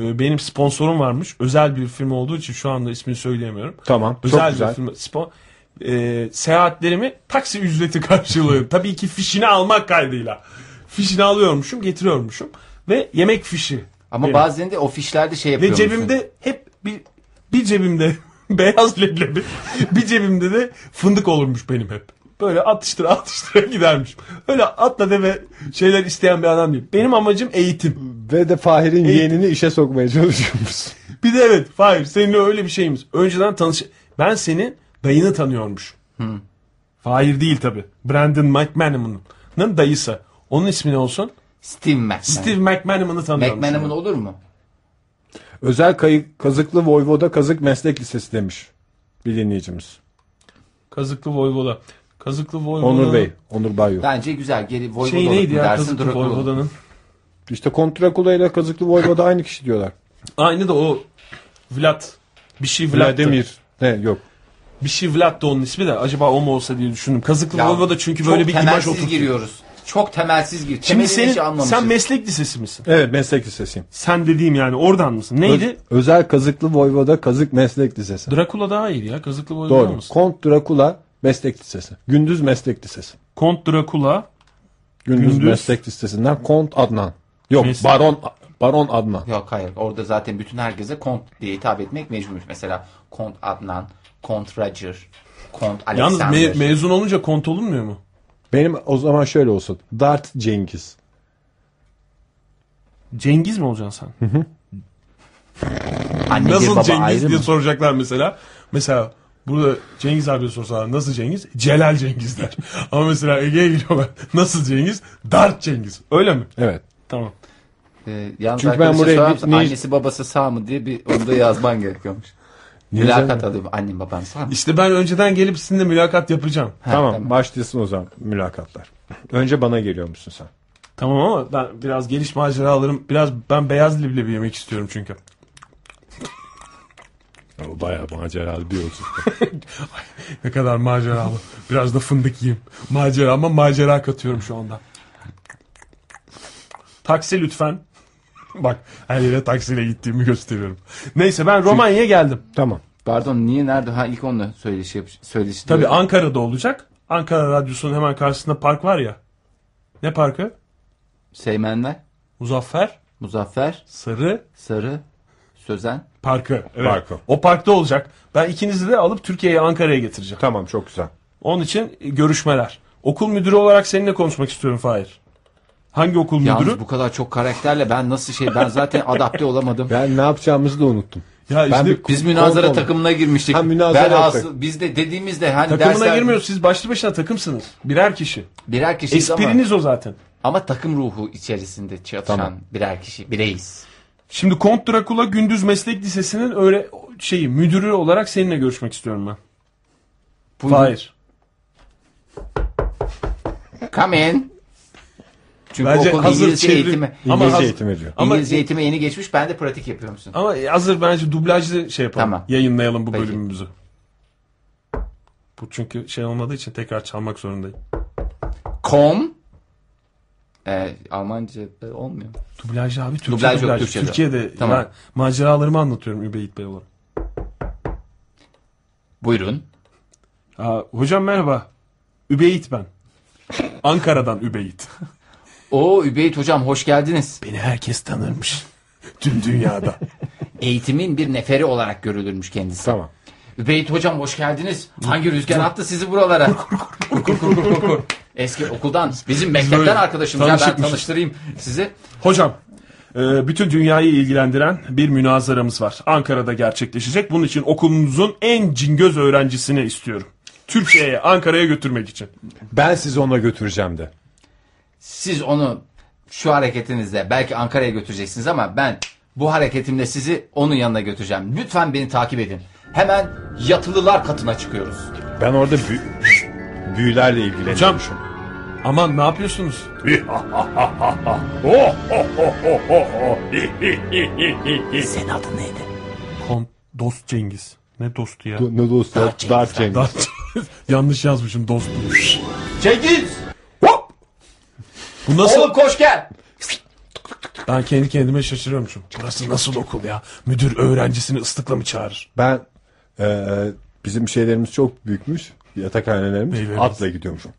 Speaker 3: e, benim sponsorum varmış. Özel bir firma olduğu için şu anda ismini söyleyemiyorum.
Speaker 1: Tamam, çok
Speaker 3: Özel bir
Speaker 1: güzel.
Speaker 3: firma. Spon- Ee, seyahatlerimi taksi ücreti karşılığı. Tabii ki fişini almak kaydıyla. Fişini alıyormuşum, getiriyormuşum. Ve yemek fişi.
Speaker 2: Ama
Speaker 3: Benim.
Speaker 2: bazen de o fişlerde şey
Speaker 3: Ve
Speaker 2: yapıyormuş.
Speaker 3: cebimde hep bir bir cebimde beyaz leblebi, bir cebimde de fındık olurmuş benim hep. Böyle atıştıra atıştıra gidermiş. Öyle atla deve şeyler isteyen bir adam değil. Benim amacım eğitim.
Speaker 1: Ve de Fahir'in yeğenini işe sokmaya çalışıyoruz.
Speaker 3: Bir de evet, Fahir seninle öyle bir şeyimiz. Önceden tanış... Ben senin dayını tanıyormuş. Fahir değil tabi. Brandon McManaman'ın dayısı. Onun ismi ne olsun?
Speaker 2: Steve McMahon.
Speaker 3: Steve McManaman'ı tanıyormuş.
Speaker 2: McManaman olur mu?
Speaker 1: Özel kayık, kazıklı Voyvoda Kazık Meslek Lisesi demiş bir dinleyicimiz.
Speaker 3: Kazıklı Voyvoda. Kazıklı Voyvoda.
Speaker 1: Onur Bey, Onur Bayyo.
Speaker 2: Bence güzel. Geri Voyvoda
Speaker 3: Şey neydi ya
Speaker 2: dersin,
Speaker 3: Kazıklı
Speaker 2: Drakula.
Speaker 3: Voyvoda'nın?
Speaker 1: İşte Kontrakula ile Kazıklı Voyvoda aynı kişi diyorlar.
Speaker 3: Aynı da o Vlad. Bir şey Vlad'tı.
Speaker 1: Vladimir. Ne yok.
Speaker 3: Bir şey Vlad'tı onun ismi de. Acaba o mu olsa diye düşündüm. Kazıklı
Speaker 2: Ya,
Speaker 3: Volvo da çünkü
Speaker 2: çok
Speaker 3: böyle bir imaj
Speaker 2: temelsiz
Speaker 3: oturttu.
Speaker 2: giriyoruz. Çok temelsiz gir.
Speaker 3: Şimdi
Speaker 2: Temelini hiç
Speaker 3: senin,
Speaker 2: anlamışız.
Speaker 3: sen meslek lisesi misin?
Speaker 1: Evet meslek lisesiyim.
Speaker 3: Sen dediğim yani oradan mısın? Neydi?
Speaker 1: Ö- Özel Kazıklı Voyvoda Kazık Meslek Lisesi.
Speaker 3: Drakula daha iyi ya. Kazıklı Volvo
Speaker 1: Doğru.
Speaker 3: mısın?
Speaker 1: Kont Drakula Meslek Lisesi. Gündüz Meslek Lisesi.
Speaker 3: Kont Drakula.
Speaker 1: Gündüz,
Speaker 3: Gündüz.
Speaker 1: Meslek Lisesi'nden Kont Adnan. Yok
Speaker 3: Meslek-
Speaker 1: Baron Baron Adnan.
Speaker 2: Yok hayır. Orada zaten bütün herkese kont diye hitap etmek mecbur. Mesela kont Adnan, kont Roger, kont
Speaker 3: Yalnız
Speaker 2: Alexander.
Speaker 3: me- mezun olunca kont olunmuyor mu?
Speaker 1: Benim o zaman şöyle olsun. Dart Cengiz.
Speaker 3: Cengiz mi olacaksın sen?
Speaker 2: Anne bir
Speaker 3: Nasıl
Speaker 2: baba
Speaker 3: Cengiz
Speaker 2: ayrı
Speaker 3: diye
Speaker 2: mı?
Speaker 3: soracaklar mesela. Mesela burada Cengiz abiye sorsalar nasıl Cengiz? Celal Cengiz der. Ama mesela Ege'ye gidiyorlar. Nasıl Cengiz? Dart Cengiz. Öyle mi?
Speaker 1: Evet.
Speaker 3: Tamam.
Speaker 2: Ee, yalnız
Speaker 1: Çünkü
Speaker 2: Çünkü
Speaker 1: ben
Speaker 2: ben
Speaker 1: buraya bir- ne-
Speaker 2: annesi babası sağ mı diye bir onu da yazman gerekiyormuş. Mülakat alıyorum. Annem baban sağ mı?
Speaker 3: İşte ben önceden gelip sizinle mülakat yapacağım.
Speaker 2: Ha,
Speaker 1: tamam, başlasın o zaman mülakatlar. Önce bana geliyormuşsun sen.
Speaker 3: Tamam ama ben biraz geliş maceralarım. Biraz ben beyaz leblebi yemek istiyorum çünkü.
Speaker 1: O bayağı maceralı bir yolculuk.
Speaker 3: Ne kadar maceralı. Biraz da fındık yiyeyim. Macera ama macera katıyorum şu anda. Taksi lütfen. Bak her yere taksiyle gittiğimi gösteriyorum. Neyse ben Romanya'ya geldim.
Speaker 1: Tamam.
Speaker 2: Pardon niye nerede? Ha ilk onunla söyleşi yap söyleşi.
Speaker 3: Tabii
Speaker 2: diyorum.
Speaker 3: Ankara'da olacak. Ankara Radyosu'nun hemen karşısında park var ya. Ne parkı?
Speaker 2: Seymenler,
Speaker 3: Muzaffer
Speaker 2: Muzaffer,
Speaker 3: Sarı
Speaker 2: Sarı, Sözen.
Speaker 3: Parkı. Evet.
Speaker 1: Parkı.
Speaker 3: O parkta olacak. Ben ikinizi de alıp Türkiye'ye Ankara'ya getireceğim.
Speaker 1: Tamam çok güzel.
Speaker 3: Onun için e, görüşmeler. Okul müdürü olarak seninle konuşmak istiyorum Fahir. Hangi okul
Speaker 2: Yalnız
Speaker 3: müdürü?
Speaker 2: bu kadar çok karakterle ben nasıl şey ben zaten adapte olamadım.
Speaker 1: Ben ne yapacağımızı da unuttum.
Speaker 3: Ya
Speaker 1: Ben
Speaker 3: işte
Speaker 1: bir-
Speaker 2: Biz münazara
Speaker 1: Korkma.
Speaker 2: takımına girmiştik.
Speaker 1: Ha, münazara
Speaker 2: ben
Speaker 1: yaptık.
Speaker 2: asıl, biz de dediğimizde hani
Speaker 3: takımına
Speaker 2: dersler
Speaker 3: girmiyoruz. Siz başlı başına takımsınız. Birer kişi.
Speaker 2: birer kişiyiz ama,
Speaker 3: Espriniz o zaten.
Speaker 2: ama takım ruhu içerisinde çatışan
Speaker 1: Tamam.
Speaker 2: birer kişi bireyiz.
Speaker 3: Şimdi Kont Drakula Gündüz Meslek Lisesi'nin öyle şeyi müdürü olarak seninle görüşmek istiyorum ben.
Speaker 2: Buyurun.
Speaker 3: Hayır.
Speaker 2: Come in. Çünkü
Speaker 3: Bence
Speaker 2: okul
Speaker 3: hazır
Speaker 2: İngilizce
Speaker 3: çevrim-
Speaker 2: eğitimi.
Speaker 3: Ama
Speaker 1: İngilizce
Speaker 3: hazır-
Speaker 1: eğitim veriyor.
Speaker 3: Ama-
Speaker 2: İngilizce eğitimi yeni geçmiş. Ben de pratik yapıyor musun?
Speaker 3: Ama hazır bence dublajlı şey yapalım.
Speaker 2: Tamam.
Speaker 3: Yayınlayalım bu
Speaker 2: Peki.
Speaker 3: bölümümüzü. Bu çünkü şey olmadığı için tekrar çalmak zorundayım.
Speaker 2: Kom. Ee, Almanca da olmuyor.
Speaker 3: Dublaj abi Türkçe
Speaker 2: Dublaj
Speaker 3: dublaj.
Speaker 2: yok, Türkçe'de.
Speaker 3: Türkiye'de
Speaker 2: Tamam.
Speaker 3: ben maceralarımı anlatıyorum Übeyit Bey olarak.
Speaker 2: Buyurun.
Speaker 3: Aa, hocam merhaba. Übeyit ben. Ankara'dan Übeyit.
Speaker 2: O Übeyt hocam hoş geldiniz.
Speaker 3: Beni herkes tanırmış. Tüm dünyada.
Speaker 2: Eğitimin bir neferi olarak görülürmüş kendisi.
Speaker 1: Tamam.
Speaker 2: Übeyt hocam hoş geldiniz. Hangi rüzgar attı sizi buralara? Kur, kur, kur, kur, kur. Eski okuldan bizim
Speaker 3: böyle
Speaker 2: mektepten arkadaşımız. Ya ben
Speaker 3: tanışıkmışız.
Speaker 2: tanıştırayım sizi.
Speaker 3: Hocam, e, bütün dünyayı ilgilendiren bir münazaramız var. Ankara'da gerçekleşecek. Bunun için okulumuzun en cingöz öğrencisini istiyorum. Türkiye'ye, Ankara'ya götürmek için.
Speaker 1: Ben sizi ona götüreceğim de.
Speaker 2: Siz onu şu hareketinizle belki Ankara'ya götüreceksiniz ama ben bu hareketimle sizi onun yanına götüreceğim. Lütfen beni takip edin. Hemen yatılılar katına çıkıyoruz.
Speaker 1: Ben orada büyü- büyülerle ilgileniyorum.
Speaker 3: Hocam, aman ne yapıyorsunuz?
Speaker 2: Senin adın neydi?
Speaker 3: Kon dost Cengiz. Ne dostu ya?
Speaker 1: Ne dostu?
Speaker 2: Dark
Speaker 1: Dark Cengiz.
Speaker 3: Daha- Yanlış yazmışım dost.
Speaker 2: Cengiz!
Speaker 3: Hop! Bu nasıl?
Speaker 2: Oğlum koş gel!
Speaker 3: Ben kendi kendime şaşırıyormuşum. Burası nasıl okul ya? Müdür öğrencisini ıslıkla mı çağırır?
Speaker 1: Ben e, bizim şeylerimiz çok büyükmüş. Yatakhanelerimiz.
Speaker 3: Beylerimiz.
Speaker 1: Atla gidiyormuşum.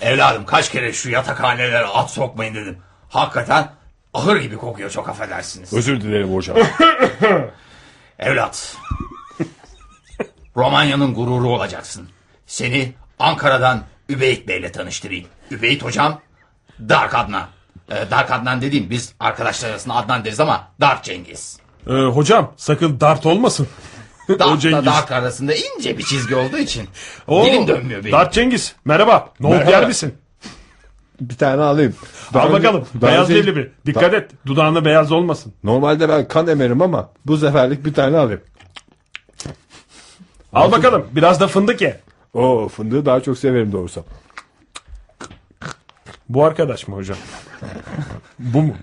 Speaker 5: Evladım kaç kere şu yatakhanelere at sokmayın dedim. Hakikaten ahır gibi kokuyor çok affedersiniz.
Speaker 1: Özür dilerim hocam.
Speaker 5: Evlat. Romanya'nın gururu olacaksın. Seni Ankara'dan Übeyt Bey'le tanıştırayım. Übeyt hocam Dark Adnan. Ee, Dark Adnan dediğim biz arkadaşlar arasında Adnan deriz ama Dark Cengiz.
Speaker 3: Ee, hocam sakın dart olmasın. Cengiz.
Speaker 5: Dark'la Dark arasında ince bir çizgi olduğu için
Speaker 3: Oo,
Speaker 5: dilim dönmüyor benim.
Speaker 3: Dart Cengiz merhaba. Ne oldu
Speaker 1: Merhaba.
Speaker 3: yer misin?
Speaker 1: bir tane alayım. Daha
Speaker 3: Al
Speaker 1: önce-
Speaker 3: bakalım.
Speaker 1: daha
Speaker 3: Beyaz
Speaker 1: önce-
Speaker 3: belli bir. Dikkat et. Dudağında beyaz olmasın.
Speaker 1: Normalde ben kan emerim ama bu seferlik bir tane alayım.
Speaker 3: Al bakalım. Biraz da fındık ye.
Speaker 1: Oo fındığı daha çok severim doğrusu.
Speaker 3: Bu arkadaş mı hocam? Bu mu?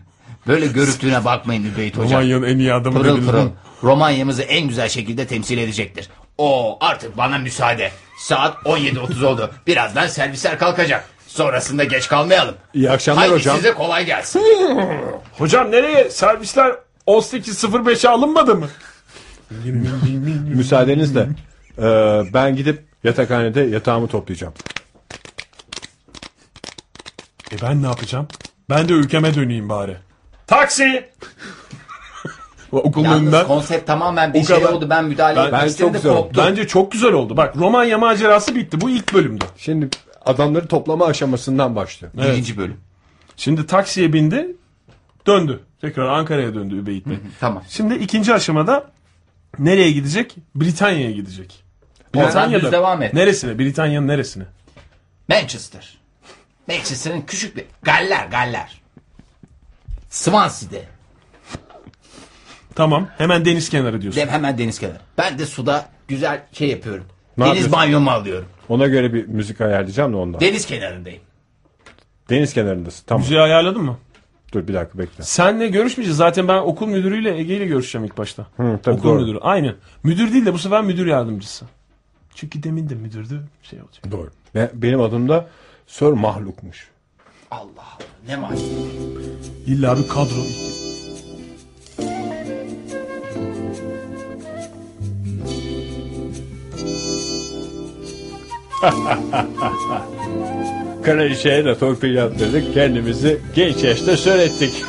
Speaker 5: Böyle görüntüne bakmayın Übeyt hocam.
Speaker 3: Romanya'nın en iyi adamı
Speaker 5: Pırıl
Speaker 3: dediniz değil
Speaker 5: pırıl
Speaker 3: mi?
Speaker 5: Romanya'mızı en güzel şekilde temsil edecektir. Oo artık bana müsaade. Saat 17.30 oldu. Birazdan servisler kalkacak. Sonrasında geç kalmayalım.
Speaker 1: İyi akşamlar
Speaker 5: Haydi
Speaker 1: hocam.
Speaker 5: size kolay gelsin.
Speaker 3: Hocam nereye? Servisler 18.05'e alınmadı mı?
Speaker 1: Müsaadenizle e, ben gidip yatakhanede yatağımı toplayacağım.
Speaker 3: E ben ne yapacağım? Ben de ülkeme döneyim bari. Taksi! Okulun
Speaker 2: Yalnız
Speaker 3: önünden.
Speaker 2: konsept tamamen
Speaker 3: O
Speaker 2: bir şey
Speaker 3: kadar-
Speaker 2: oldu. Ben müdahale
Speaker 3: Ben-
Speaker 2: etmek
Speaker 1: ben
Speaker 2: istedim
Speaker 1: çok
Speaker 2: de
Speaker 1: zor-
Speaker 2: koptu.
Speaker 3: Bence çok güzel oldu. Bak Romanya macerası bitti. Bu ilk bölümdü.
Speaker 1: Şimdi adamları toplama aşamasından başlıyor.
Speaker 2: Birinci bölüm.
Speaker 3: Şimdi taksiye bindi. Döndü. Tekrar Ankara'ya döndü Übeyit Bey.
Speaker 2: Tamam.
Speaker 3: Şimdi ikinci aşamada nereye gidecek? Britanya'ya gidecek.
Speaker 2: Oradan düz devam et.
Speaker 3: Neresine? Britanya'nın neresine?
Speaker 2: Manchester. Manchester'ın küçük bir... Galler, galler. Swansea'de.
Speaker 3: Tamam. Hemen deniz kenarı diyorsun.
Speaker 2: Dem hemen deniz kenarı. Ben de suda güzel şey yapıyorum.
Speaker 1: Ne
Speaker 2: deniz
Speaker 1: yapıyorsun?
Speaker 2: banyomu alıyorum.
Speaker 1: Ona göre bir müzik ayarlayacağım da ondan.
Speaker 2: Deniz kenarındayım.
Speaker 1: Deniz kenarındasın. Tamam.
Speaker 3: Müziği ayarladın mı?
Speaker 1: Dur bir dakika bekle.
Speaker 3: Senle görüşmeyeceğiz. Zaten ben okul müdürüyle Ege ile görüşeceğim ilk başta.
Speaker 1: tabii,
Speaker 3: okul
Speaker 1: doğru.
Speaker 3: müdürü. Aynı. Müdür değil de bu sefer müdür yardımcısı. Çünkü demin de müdürdü. Şey olacak.
Speaker 1: Doğru. Ve benim adım da Sir Mahluk'muş.
Speaker 6: Allah Allah ne mal.
Speaker 3: İlla bir kadro.
Speaker 1: Kraliçeye de torpil yaptırdık. Kendimizi genç yaşta söylettik.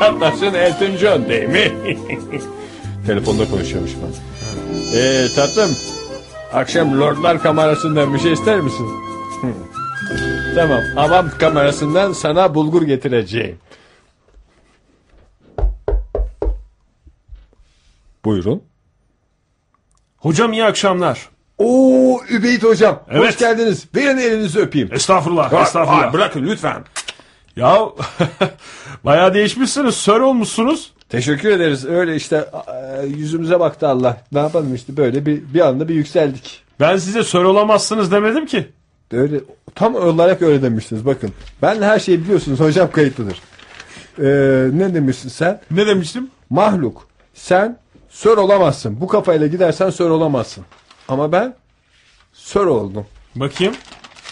Speaker 1: Çatlasın Elton John değil mi? Telefonda konuşuyormuş ben. Ee, tatlım. Akşam Lordlar kamerasından bir şey ister misin? Hı. tamam. Avam kamerasından sana bulgur getireceğim. Buyurun.
Speaker 3: Hocam iyi akşamlar.
Speaker 1: Oo Übeyt hocam. Hoş
Speaker 3: Evet.
Speaker 1: geldiniz. Verin elinizi öpeyim.
Speaker 3: Estağfurullah,
Speaker 1: Aa,
Speaker 3: estağfurullah.
Speaker 1: aa, bırakın lütfen.
Speaker 3: Ya bayağı değişmişsiniz. Sör olmuşsunuz.
Speaker 1: Teşekkür ederiz. Öyle işte e, yüzümüze baktı Allah. Ne yapalım işte böyle bir bir anda bir yükseldik.
Speaker 3: Ben size sör olamazsınız demedim ki.
Speaker 1: Öyle tam olarak öyle demiştiniz. Bakın ben her şeyi biliyorsunuz hocam kayıtlıdır. Ee, ne demişsin sen?
Speaker 3: Ne demiştim?
Speaker 1: Mahluk. Sen sör olamazsın. Bu kafayla gidersen sör olamazsın. Ama ben sör oldum.
Speaker 3: Bakayım.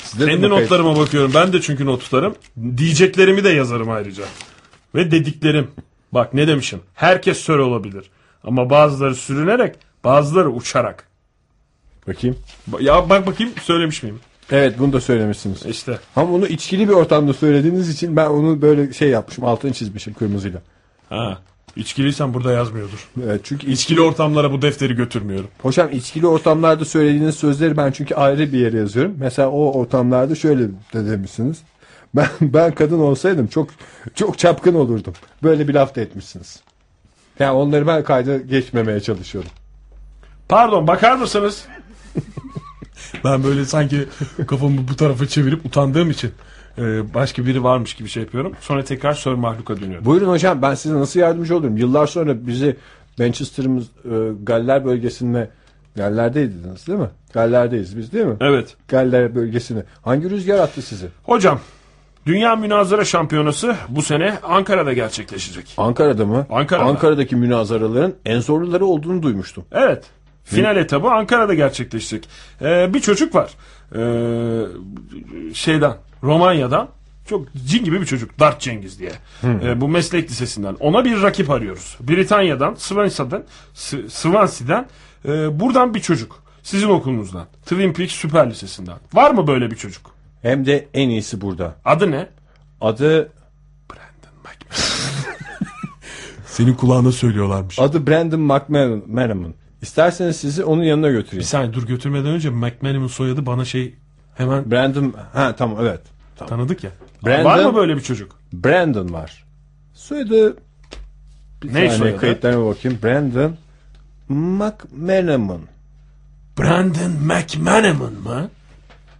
Speaker 1: Size de
Speaker 3: Kendi
Speaker 1: bu kayıt-
Speaker 3: notlarıma bakıyorum. Ben de çünkü not tutarım. Diyeceklerimi de yazarım ayrıca. Ve dediklerim. Bak ne demişim. Herkes sör olabilir. Ama bazıları sürünerek, bazıları uçarak.
Speaker 1: Bakayım.
Speaker 3: Ba- Ya bak bakayım söylemiş miyim?
Speaker 1: Evet bunu da söylemişsiniz.
Speaker 3: İşte.
Speaker 1: Ama onu içkili bir ortamda söylediğiniz için ben onu böyle şey yapmışım. Altını çizmişim kırmızıyla.
Speaker 3: Ha. İçkiliysen burada yazmıyordur.
Speaker 1: Evet, çünkü
Speaker 3: İçkili ortamlara bu defteri götürmüyorum.
Speaker 1: Hocam içkili ortamlarda söylediğiniz sözleri ben çünkü ayrı bir yere yazıyorum. Mesela o ortamlarda şöyle de demişsiniz. Ben ben kadın olsaydım çok çok çapkın olurdum. Böyle bir laf da etmişsiniz. Yani onları ben kayda geçmemeye çalışıyorum.
Speaker 3: Pardon bakar mısınız? ben böyle sanki kafamı bu tarafa çevirip utandığım için e, başka biri varmış gibi şey yapıyorum. Sonra tekrar sör mahluka dönüyorum.
Speaker 1: Buyurun hocam ben size nasıl yardımcı olurum? Yıllar sonra bizi Manchester'ımız e, Galler bölgesinde Galler'deydiniz değil mi? Galler'deyiz biz değil mi?
Speaker 3: Evet.
Speaker 1: Galler bölgesinde. Hangi rüzgar attı sizi?
Speaker 3: Hocam, Dünya Münazara Şampiyonası bu sene Ankara'da gerçekleşecek.
Speaker 1: Ankara'da mı?
Speaker 3: Ankara'da.
Speaker 1: Ankara'daki münazaraların en zorluları olduğunu duymuştum.
Speaker 3: Evet. Final etabı Ankara'da gerçekleşecek. Ee, bir çocuk var. Ee, şeyden, Romanya'dan. Çok cin gibi bir çocuk. Dart Cengiz diye. Ee, bu meslek lisesinden. Ona bir rakip arıyoruz. Britanya'dan, Swansea'dan, S- Swansea'den. e, buradan bir çocuk. Sizin okulunuzdan. Twin Peaks Süper Lisesi'nden. Var mı böyle bir çocuk?
Speaker 1: Hem de en iyisi burada.
Speaker 3: Adı ne?
Speaker 1: Adı
Speaker 3: Senin kulağına söylüyorlarmış.
Speaker 1: adı Brandon McManaman. İsterseniz sizi onun yanına
Speaker 3: Bir
Speaker 1: götüreyim.
Speaker 3: saniye dur götürmeden önce McManaman soyadı bana şey hemen
Speaker 1: Brandon ha tamam evet. Tamam.
Speaker 3: tanıdık ya.
Speaker 1: Brandon-
Speaker 3: Var mı böyle bir çocuk?
Speaker 1: Brandon var. Soyadı
Speaker 3: Ne
Speaker 1: yani
Speaker 3: soyadı?
Speaker 1: kayıtlarına bakayım. Brandon McManaman.
Speaker 3: Brandon McManaman mı?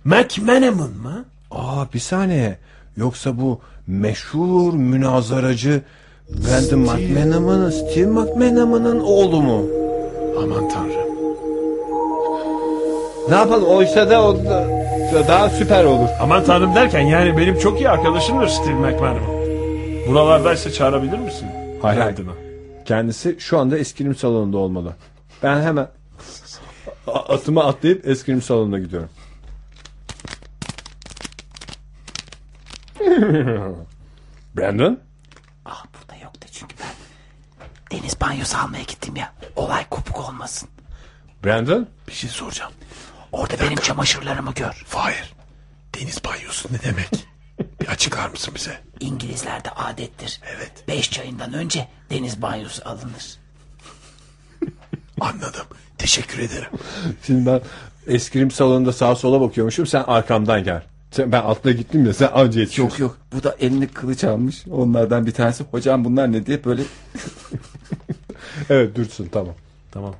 Speaker 3: McManaman mı?
Speaker 1: Aa bir saniye. Yoksa bu meşhur münazaracı Brandon McManaman'ın Steve McManaman'ın oğlu mu?
Speaker 3: Aman tanrım.
Speaker 1: Ne yapalım oysa da o da- da daha süper olur.
Speaker 3: Aman tanrım derken yani benim çok iyi arkadaşımdır Steve McManaman. Buralardaysa çağırabilir misin?
Speaker 1: Hayır, hayır.
Speaker 3: Brandon'ı?
Speaker 1: Kendisi şu anda eskrim salonunda olmalı. Ben hemen a- atıma atlayıp eskrim salonuna gidiyorum. Brandon?
Speaker 6: Ah burada yok da çünkü ben deniz banyosu almaya gittim ya. Olay kopuk olmasın.
Speaker 1: Brandon?
Speaker 6: Bir şey soracağım. Orada benim çamaşırlarımı gör.
Speaker 7: Hayır. Deniz banyosu ne demek? bir açıklar mısın bize?
Speaker 6: İngilizlerde adettir. Evet. Beş çayından önce deniz banyosu alınır.
Speaker 7: Anladım. Teşekkür ederim.
Speaker 1: Şimdi ben eskrim salonunda sağa sola bakıyormuşum. Sen arkamdan gel. Sen, ben altına gittim de sen anca yetişiyorsun.
Speaker 8: Yok yok bu da elini kılıç almış onlardan bir tanesi. Hocam bunlar ne diye böyle
Speaker 1: Evet dursun tamam.
Speaker 3: Tamam.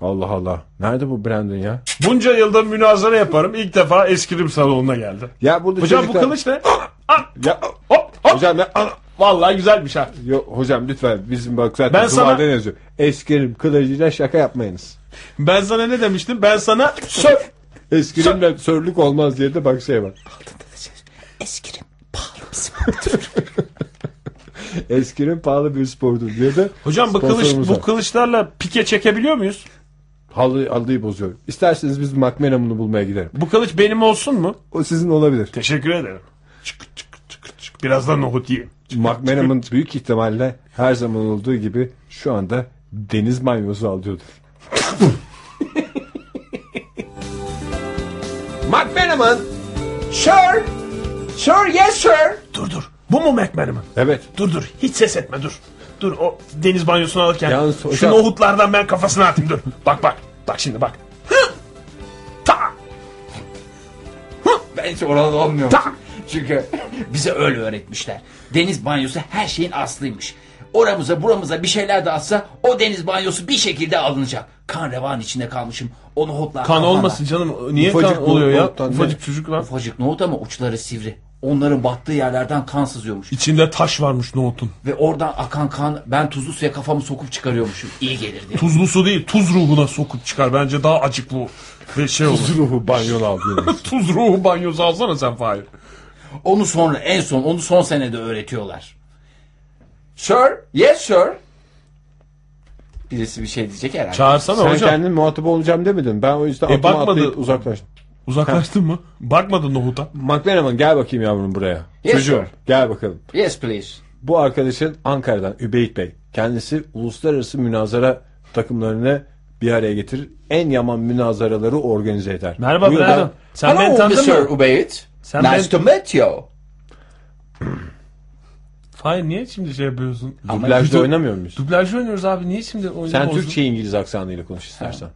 Speaker 1: Allah Allah. Nerede bu Brandon ya?
Speaker 3: Bunca yılda münazara yaparım. İlk defa eskrim salonuna geldi.
Speaker 1: Ya burada
Speaker 3: Hocam
Speaker 1: çocuklar-
Speaker 3: bu kılıç ne? Ah,
Speaker 1: Ya,
Speaker 3: hop hop.
Speaker 1: hocam ya, ana-
Speaker 3: Vallahi güzelmiş ha.
Speaker 1: Yo, hocam lütfen bizim bak zaten
Speaker 3: Ben sana-
Speaker 1: duvardan yazıyor. Eskrim kılıcıyla şaka yapmayınız.
Speaker 3: Ben sana ne demiştim? Ben sana sör.
Speaker 1: Eskrimle sörlük olmaz diye de bak şey var.
Speaker 6: Eskrim.
Speaker 1: Eskrim pahalı bir spordur diye de
Speaker 3: Hocam bu kılıç
Speaker 1: sponsorumuz
Speaker 3: bu
Speaker 1: var.
Speaker 3: kılıçlarla pike çekebiliyor muyuz?
Speaker 1: halı, halıyı bozuyor. İsterseniz biz Macmillan'ı bulmaya gidelim.
Speaker 3: Bu kılıç benim olsun mu?
Speaker 1: O sizin olabilir.
Speaker 3: Teşekkür ederim.
Speaker 9: çık çık çık çık. Birazdan nohut yiyeyim.
Speaker 1: Macmeram'ın büyük ihtimalle her zaman olduğu gibi şu anda deniz banyosu alıyordur. Macmeram'ın Sure, sure, yes sir.
Speaker 9: Dur dur. Bu mu Macman'ımın?
Speaker 1: Evet.
Speaker 9: Dur dur. Hiç ses etme dur. Dur o deniz banyosunu alırken
Speaker 1: Yalnız
Speaker 9: şu
Speaker 1: hocam-
Speaker 9: nohutlardan ben kafasına atayım dur. Bak bak. Bak şimdi bak. Hı! Ta.
Speaker 2: Ben hiç oralı olmuyorum.
Speaker 9: Ta.
Speaker 2: Çünkü bize öyle öğretmişler. Deniz banyosu her şeyin aslıymış. Oramıza buramıza bir şeyler de atsa o deniz banyosu bir şekilde alınacak. Kan revan içinde kalmışım. O nohutlar
Speaker 3: Kan
Speaker 2: kafana-
Speaker 3: olmasın canım. Niye
Speaker 1: Ufacık
Speaker 3: kan oluyor ya?
Speaker 1: nohuttan ne?
Speaker 3: Ufacık çocuk lan.
Speaker 2: Ufacık nohut ama uçları sivri. Onların battığı yerlerden kan sızıyormuş.
Speaker 3: İçinde taş varmış nohutun.
Speaker 2: Ve oradan akan kan ben tuzlu suya kafamı sokup çıkarıyormuşum. İyi gelirdi.
Speaker 3: Tuzlu su değil tuz ruhuna sokup çıkar. Bence daha acıklı ve şey olur.
Speaker 1: Tuz ruhu banyonu aldı.
Speaker 3: tuz ruhu banyosu alsana sen Fahir.
Speaker 2: Onu sonra en son onu son senede öğretiyorlar. Sir, yes sir. Birisi bir şey diyecek herhalde.
Speaker 3: Çağırsana
Speaker 1: Sen
Speaker 3: hocam.
Speaker 1: kendin muhatap olacağım demedin. Ben o yüzden
Speaker 3: E,
Speaker 1: e, atıma
Speaker 3: bakmadı.
Speaker 1: atlayıp uzaklaştım.
Speaker 3: Uzaklaştın mı? Bakmadın nohuta.
Speaker 1: McManaman gel bakayım yavrum buraya.
Speaker 2: Yes,
Speaker 1: Çocuğum
Speaker 2: sir.
Speaker 1: gel bakalım.
Speaker 2: Yes please.
Speaker 1: Bu arkadaşın Ankara'dan Übeyit Bey. Kendisi uluslararası münazara takımlarını bir araya getirir. En yaman münazaraları organize eder.
Speaker 3: Merhaba
Speaker 1: Bu yüzden-
Speaker 3: birader. Sen beni
Speaker 2: Hello
Speaker 1: şey-
Speaker 3: tanıdın
Speaker 2: Mr.
Speaker 3: mı?
Speaker 2: Ubeyt.
Speaker 3: Sen
Speaker 2: nice
Speaker 3: ben-
Speaker 2: to meet you.
Speaker 3: Fahir niye şimdi şey yapıyorsun?
Speaker 1: Dublajda
Speaker 3: Dublaj-
Speaker 1: oynamıyor muyuz?
Speaker 3: Dublajı oynuyoruz abi. Niye şimdi oyunu
Speaker 1: Sen
Speaker 3: bozdun?
Speaker 1: Türkçe İngiliz aksanıyla konuş istersen.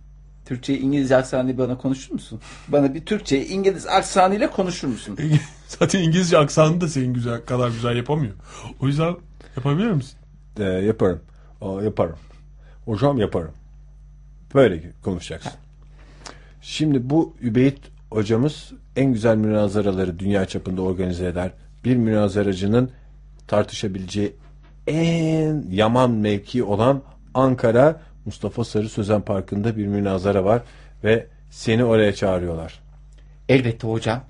Speaker 2: Türkçe İngilizce aksanıyla bana konuşur musun? Bana bir Türkçe İngiliz aksanıyla konuşur musun?
Speaker 3: Zaten İngilizce aksanını da senin güzel kadar güzel yapamıyor. O yüzden yapabilir misin?
Speaker 1: Ee, yaparım. Aa, yaparım. Hocam yaparım. Böyle ki- konuşacaksın. Şimdi bu Übeyit hocamız en güzel münazaraları dünya çapında organize eder. Bir münazaracının tartışabileceği en yaman mevki olan Ankara Mustafa Sarı Sözen Parkı'nda bir münazara var ve seni oraya çağırıyorlar.
Speaker 2: Elbette hocam.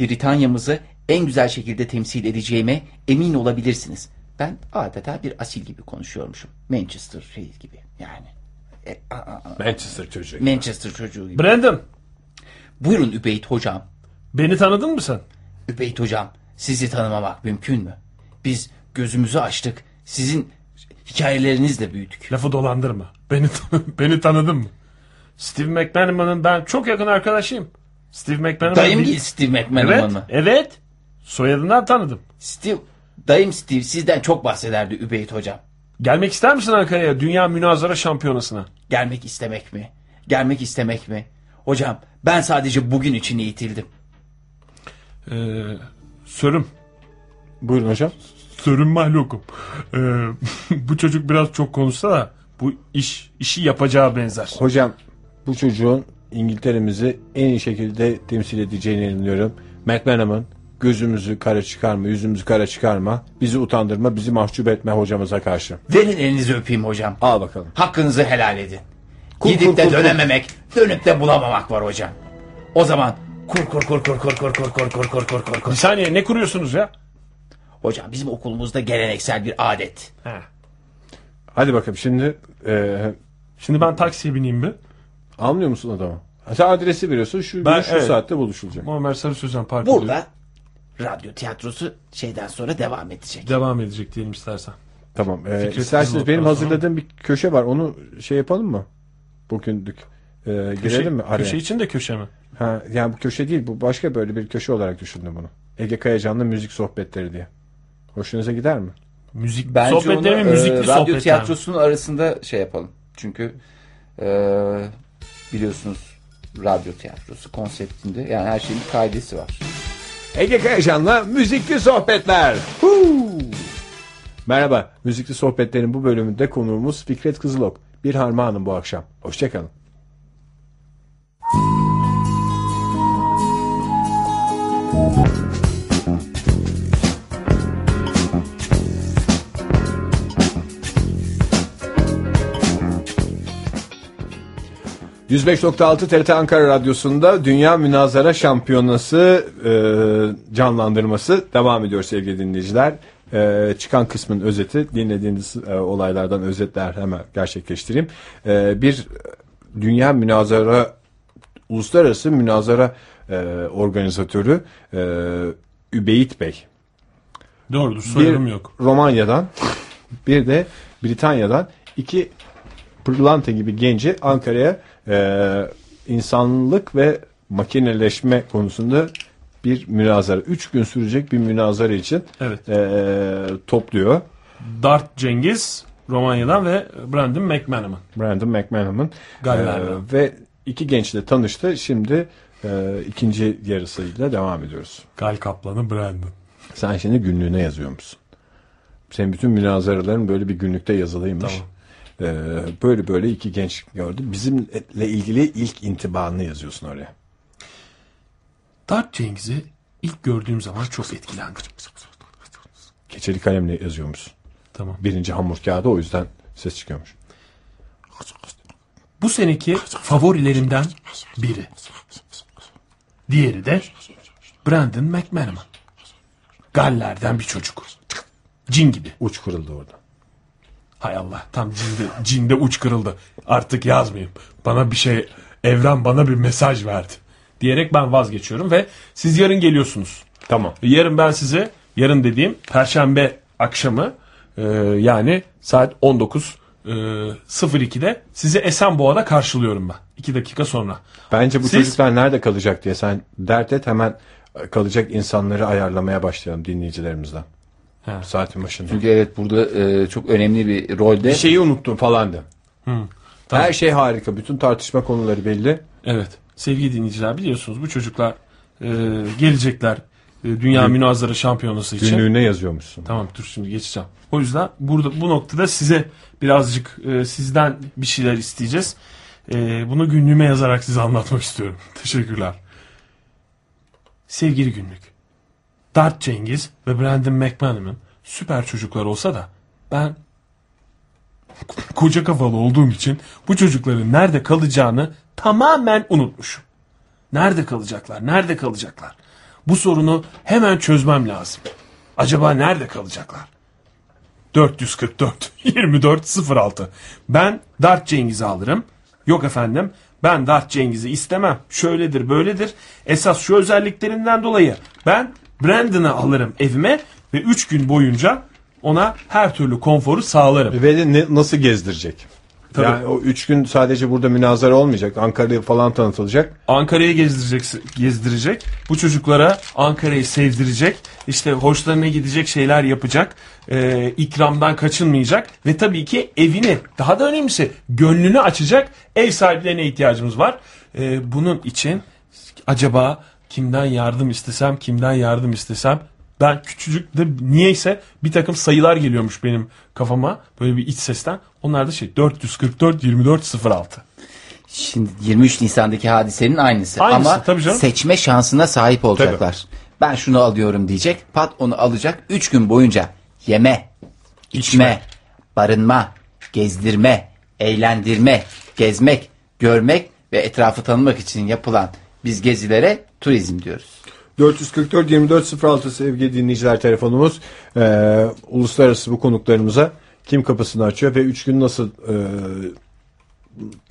Speaker 2: Britanya'mızı en güzel şekilde temsil edeceğime emin olabilirsiniz. Ben adeta bir asil gibi konuşuyormuşum. Manchester şey gibi yani. E, a- a- a-
Speaker 1: Manchester çocuğu.
Speaker 2: Manchester çocuğu gibi.
Speaker 3: Brandon
Speaker 2: Buyurun Übeyt hocam.
Speaker 3: beni tanıdın mı sen?
Speaker 2: Übeyt hocam sizi tanımamak mümkün mü? Biz gözümüzü açtık. Sizin hikayelerinizle büyüdük.
Speaker 3: Lafı dolandırma. Beni beni tanıdın mı? Steve McManaman'ın ben çok yakın arkadaşıyım. Steve McManaman.
Speaker 2: Dayım değil Steve McManaman
Speaker 3: Evet.
Speaker 2: mı?
Speaker 3: Evet. Soyadından tanıdım.
Speaker 2: Steve, dayım Steve sizden çok bahsederdi Übeyt hocam.
Speaker 3: Gelmek ister misin Ankara'ya Dünya Münazara Şampiyonası'na?
Speaker 2: Gelmek istemek mi? Gelmek istemek mi? Hocam ben sadece bugün için eğitildim.
Speaker 3: Ee, sörüm.
Speaker 1: Buyurun hocam.
Speaker 3: Sörüm mahlukum. Ee, bu çocuk biraz çok konuşsa da bu iş işi yapacağı benzer.
Speaker 1: Hocam bu çocuğun İngiltere'mizi en iyi şekilde temsil edeceğine inanıyorum. McManaman gözümüzü kara çıkarma, yüzümüzü kara çıkarma, bizi utandırma, bizi mahcup etme hocamıza karşı.
Speaker 2: Verin elinizi öpeyim hocam.
Speaker 1: Al bakalım.
Speaker 2: Hakkınızı helal edin.
Speaker 1: Kur,
Speaker 2: Gidip
Speaker 1: kur,
Speaker 2: de
Speaker 1: kur, kur.
Speaker 2: dönememek, dönüp de bulamamak var hocam. O zaman kur kur kur kur kur kur kur kur kur kur kur kur
Speaker 3: Bir
Speaker 2: kur.
Speaker 3: saniye ne kuruyorsunuz ya?
Speaker 2: Hocam bizim okulumuzda geleneksel bir adet.
Speaker 1: Hadi bakalım şimdi e,
Speaker 3: Şimdi ben taksiye bineyim bir.
Speaker 1: anlıyor musun adamı? Sen adresi veriyorsun şu gün
Speaker 3: Ben-
Speaker 1: şu
Speaker 3: evet.
Speaker 1: saatte buluşulacak.
Speaker 3: Muammer Sarı Sözen Parkı diyor.
Speaker 2: Burada radyo tiyatrosu şeyden sonra devam edecek.
Speaker 3: Devam edecek diyelim istersen.
Speaker 1: Tamam. E,
Speaker 3: Fikret'in
Speaker 1: isterseniz benim
Speaker 3: notları
Speaker 1: hazırladığım bir köşe var. Onu şey yapalım mı? Bugünlük. E, girelim mi?
Speaker 3: Köşe,
Speaker 1: Araya.
Speaker 3: köşe için de köşe mi?
Speaker 1: Ha, yani bu köşe değil bu başka böyle bir köşe olarak düşündüm bunu. Ege Kayacan'la müzik sohbetleri diye. Hoşunuza gider mi?
Speaker 3: Müzik
Speaker 10: Bence
Speaker 3: sohbetleri mi?
Speaker 10: onu,
Speaker 3: Müzikli
Speaker 10: e,
Speaker 3: sohbetler
Speaker 10: Radyo
Speaker 3: mi?
Speaker 10: tiyatrosunun arasında şey yapalım. Çünkü e, biliyorsunuz radyo tiyatrosu konseptinde yani her şeyin bir kaidesi var.
Speaker 1: Ege Kayacan'la müzikli sohbetler. Huu! Merhaba, müzikli sohbetlerin bu bölümünde konuğumuz Fikret Kızılok. Bir harmanım bu akşam. Hoşçakalın. ...105.6 TRT Ankara Radyosu'nda... ...Dünya Münazara Şampiyonası... e, ...canlandırması... ...devam ediyor sevgili dinleyiciler. E, çıkan kısmın özeti... ...dinlediğiniz e, olaylardan özetler... ...hemen gerçekleştireyim. E, bir Dünya Münazara... ...Uluslararası Münazara... e, ...organizatörü... E, Übeyit Bey.
Speaker 3: Doğrudur
Speaker 1: Bir
Speaker 3: soyadım yok.
Speaker 1: Romanya'dan bir de Britanya'dan iki pırlanta gibi genci Ankara'ya e, insanlık ve makineleşme konusunda bir münazara. Üç gün sürecek bir münazara için
Speaker 3: Evet.
Speaker 1: e, topluyor.
Speaker 3: Dart Cengiz Romanya'dan ve Brandon McManaman.
Speaker 1: Brandon McManaman.
Speaker 3: Galler'den.
Speaker 1: E, ve iki gençle tanıştı. Şimdi e, ikinci yarısıyla devam ediyoruz.
Speaker 3: Gal Kaplan'ı Brandon.
Speaker 1: Sen şimdi günlüğüne yazıyor musun? Senin bütün münazaraların böyle bir günlükte yazılıymış. Ee, böyle böyle iki genç gördüm. Bizimle ilgili ilk intibanını yazıyorsun oraya.
Speaker 3: Dart Cengiz'i ilk gördüğüm zaman çok etkilendim.
Speaker 1: Keçeli kalemle yazıyormuşsun.
Speaker 3: Tamam.
Speaker 1: Birinci hamur kağıdı o yüzden ses çıkıyormuş.
Speaker 3: Bu seneki favorilerimden biri. Diğeri de Brandon McManaman. Galler'den bir çocuk. Cin gibi.
Speaker 1: Uç kırıldı orada.
Speaker 3: Hay Allah tam cinde, cinde uç kırıldı. Artık yazmayayım. Bana bir şey evren bana bir mesaj verdi. Diyerek ben vazgeçiyorum ve siz yarın geliyorsunuz.
Speaker 1: Tamam.
Speaker 3: Yarın ben size yarın dediğim perşembe akşamı e, yani saat 19 e, 02'de sizi Esenboğa'da karşılıyorum ben. 2 dakika sonra.
Speaker 1: Bence bu
Speaker 3: Siz-
Speaker 1: çocuklar nerede kalacak diye sen dert et hemen e, kalacak insanları ayarlamaya başlayalım dinleyicilerimizden. Saatin başında.
Speaker 11: Çünkü evet burada e, çok önemli bir rolde.
Speaker 1: Bir şeyi unuttum falan de. Her şey harika. Bütün tartışma konuları belli.
Speaker 3: Evet sevgili dinleyiciler biliyorsunuz bu çocuklar e, gelecekler e, Dünya Münazara Şampiyonası için.
Speaker 1: Günlüğüne yazıyormuşsun.
Speaker 3: Tamam dur şimdi geçeceğim. O yüzden burada bu noktada size birazcık e, sizden bir şeyler isteyeceğiz. E, bunu günlüğüme yazarak size anlatmak istiyorum. Teşekkürler. Sevgili günlük. Dart Cengiz ve Brandon McManaman süper çocuklar olsa da ben koca kafalı olduğum için bu çocukların nerede kalacağını tamamen unutmuşum. Nerede kalacaklar? Nerede kalacaklar? Bu sorunu hemen çözmem lazım. Acaba nerede kalacaklar? 444 24 06. Ben Dart Cengiz'i alırım. Yok efendim ben Dart Cengiz'i istemem. Şöyledir böyledir. Esas şu özelliklerinden dolayı ben Brandon'ı alırım evime ve 3 gün boyunca ona her türlü konforu sağlarım.
Speaker 1: Ve de ne- nasıl gezdirecek?
Speaker 3: Tabii.
Speaker 1: Yani o üç gün sadece burada münazara olmayacak. Ankara'yı falan tanıtılacak.
Speaker 3: Ankara'yı gezdirecek, gezdirecek. Bu çocuklara Ankara'yı sevdirecek. İşte hoşlarına gidecek şeyler yapacak. Ee, ikramdan kaçınmayacak. Ve tabii ki evini, daha da önemlisi gönlünü açacak ev sahiplerine ihtiyacımız var. Ee, bunun için acaba kimden yardım istesem, kimden yardım istesem ben küçücük de niyeyse bir takım sayılar geliyormuş benim kafama böyle bir iç sesten. Onlar da şey 444 2406.
Speaker 11: Şimdi 23 Nisan'daki hadisenin aynısı.
Speaker 3: Aynısı,
Speaker 11: Ama
Speaker 3: tabii canım.
Speaker 11: seçme şansına sahip olacaklar. Ben şunu alıyorum diyecek. Pat onu alacak. 3 gün boyunca yeme, içme, barınma, gezdirme, eğlendirme, gezmek, görmek ve etrafı tanımak için yapılan biz gezilere turizm diyoruz.
Speaker 1: 444 2406 sevgili dinleyiciler telefonumuz. Ee, uluslararası bu konuklarımıza kim kapısını açıyor ve üç gün nasıl e,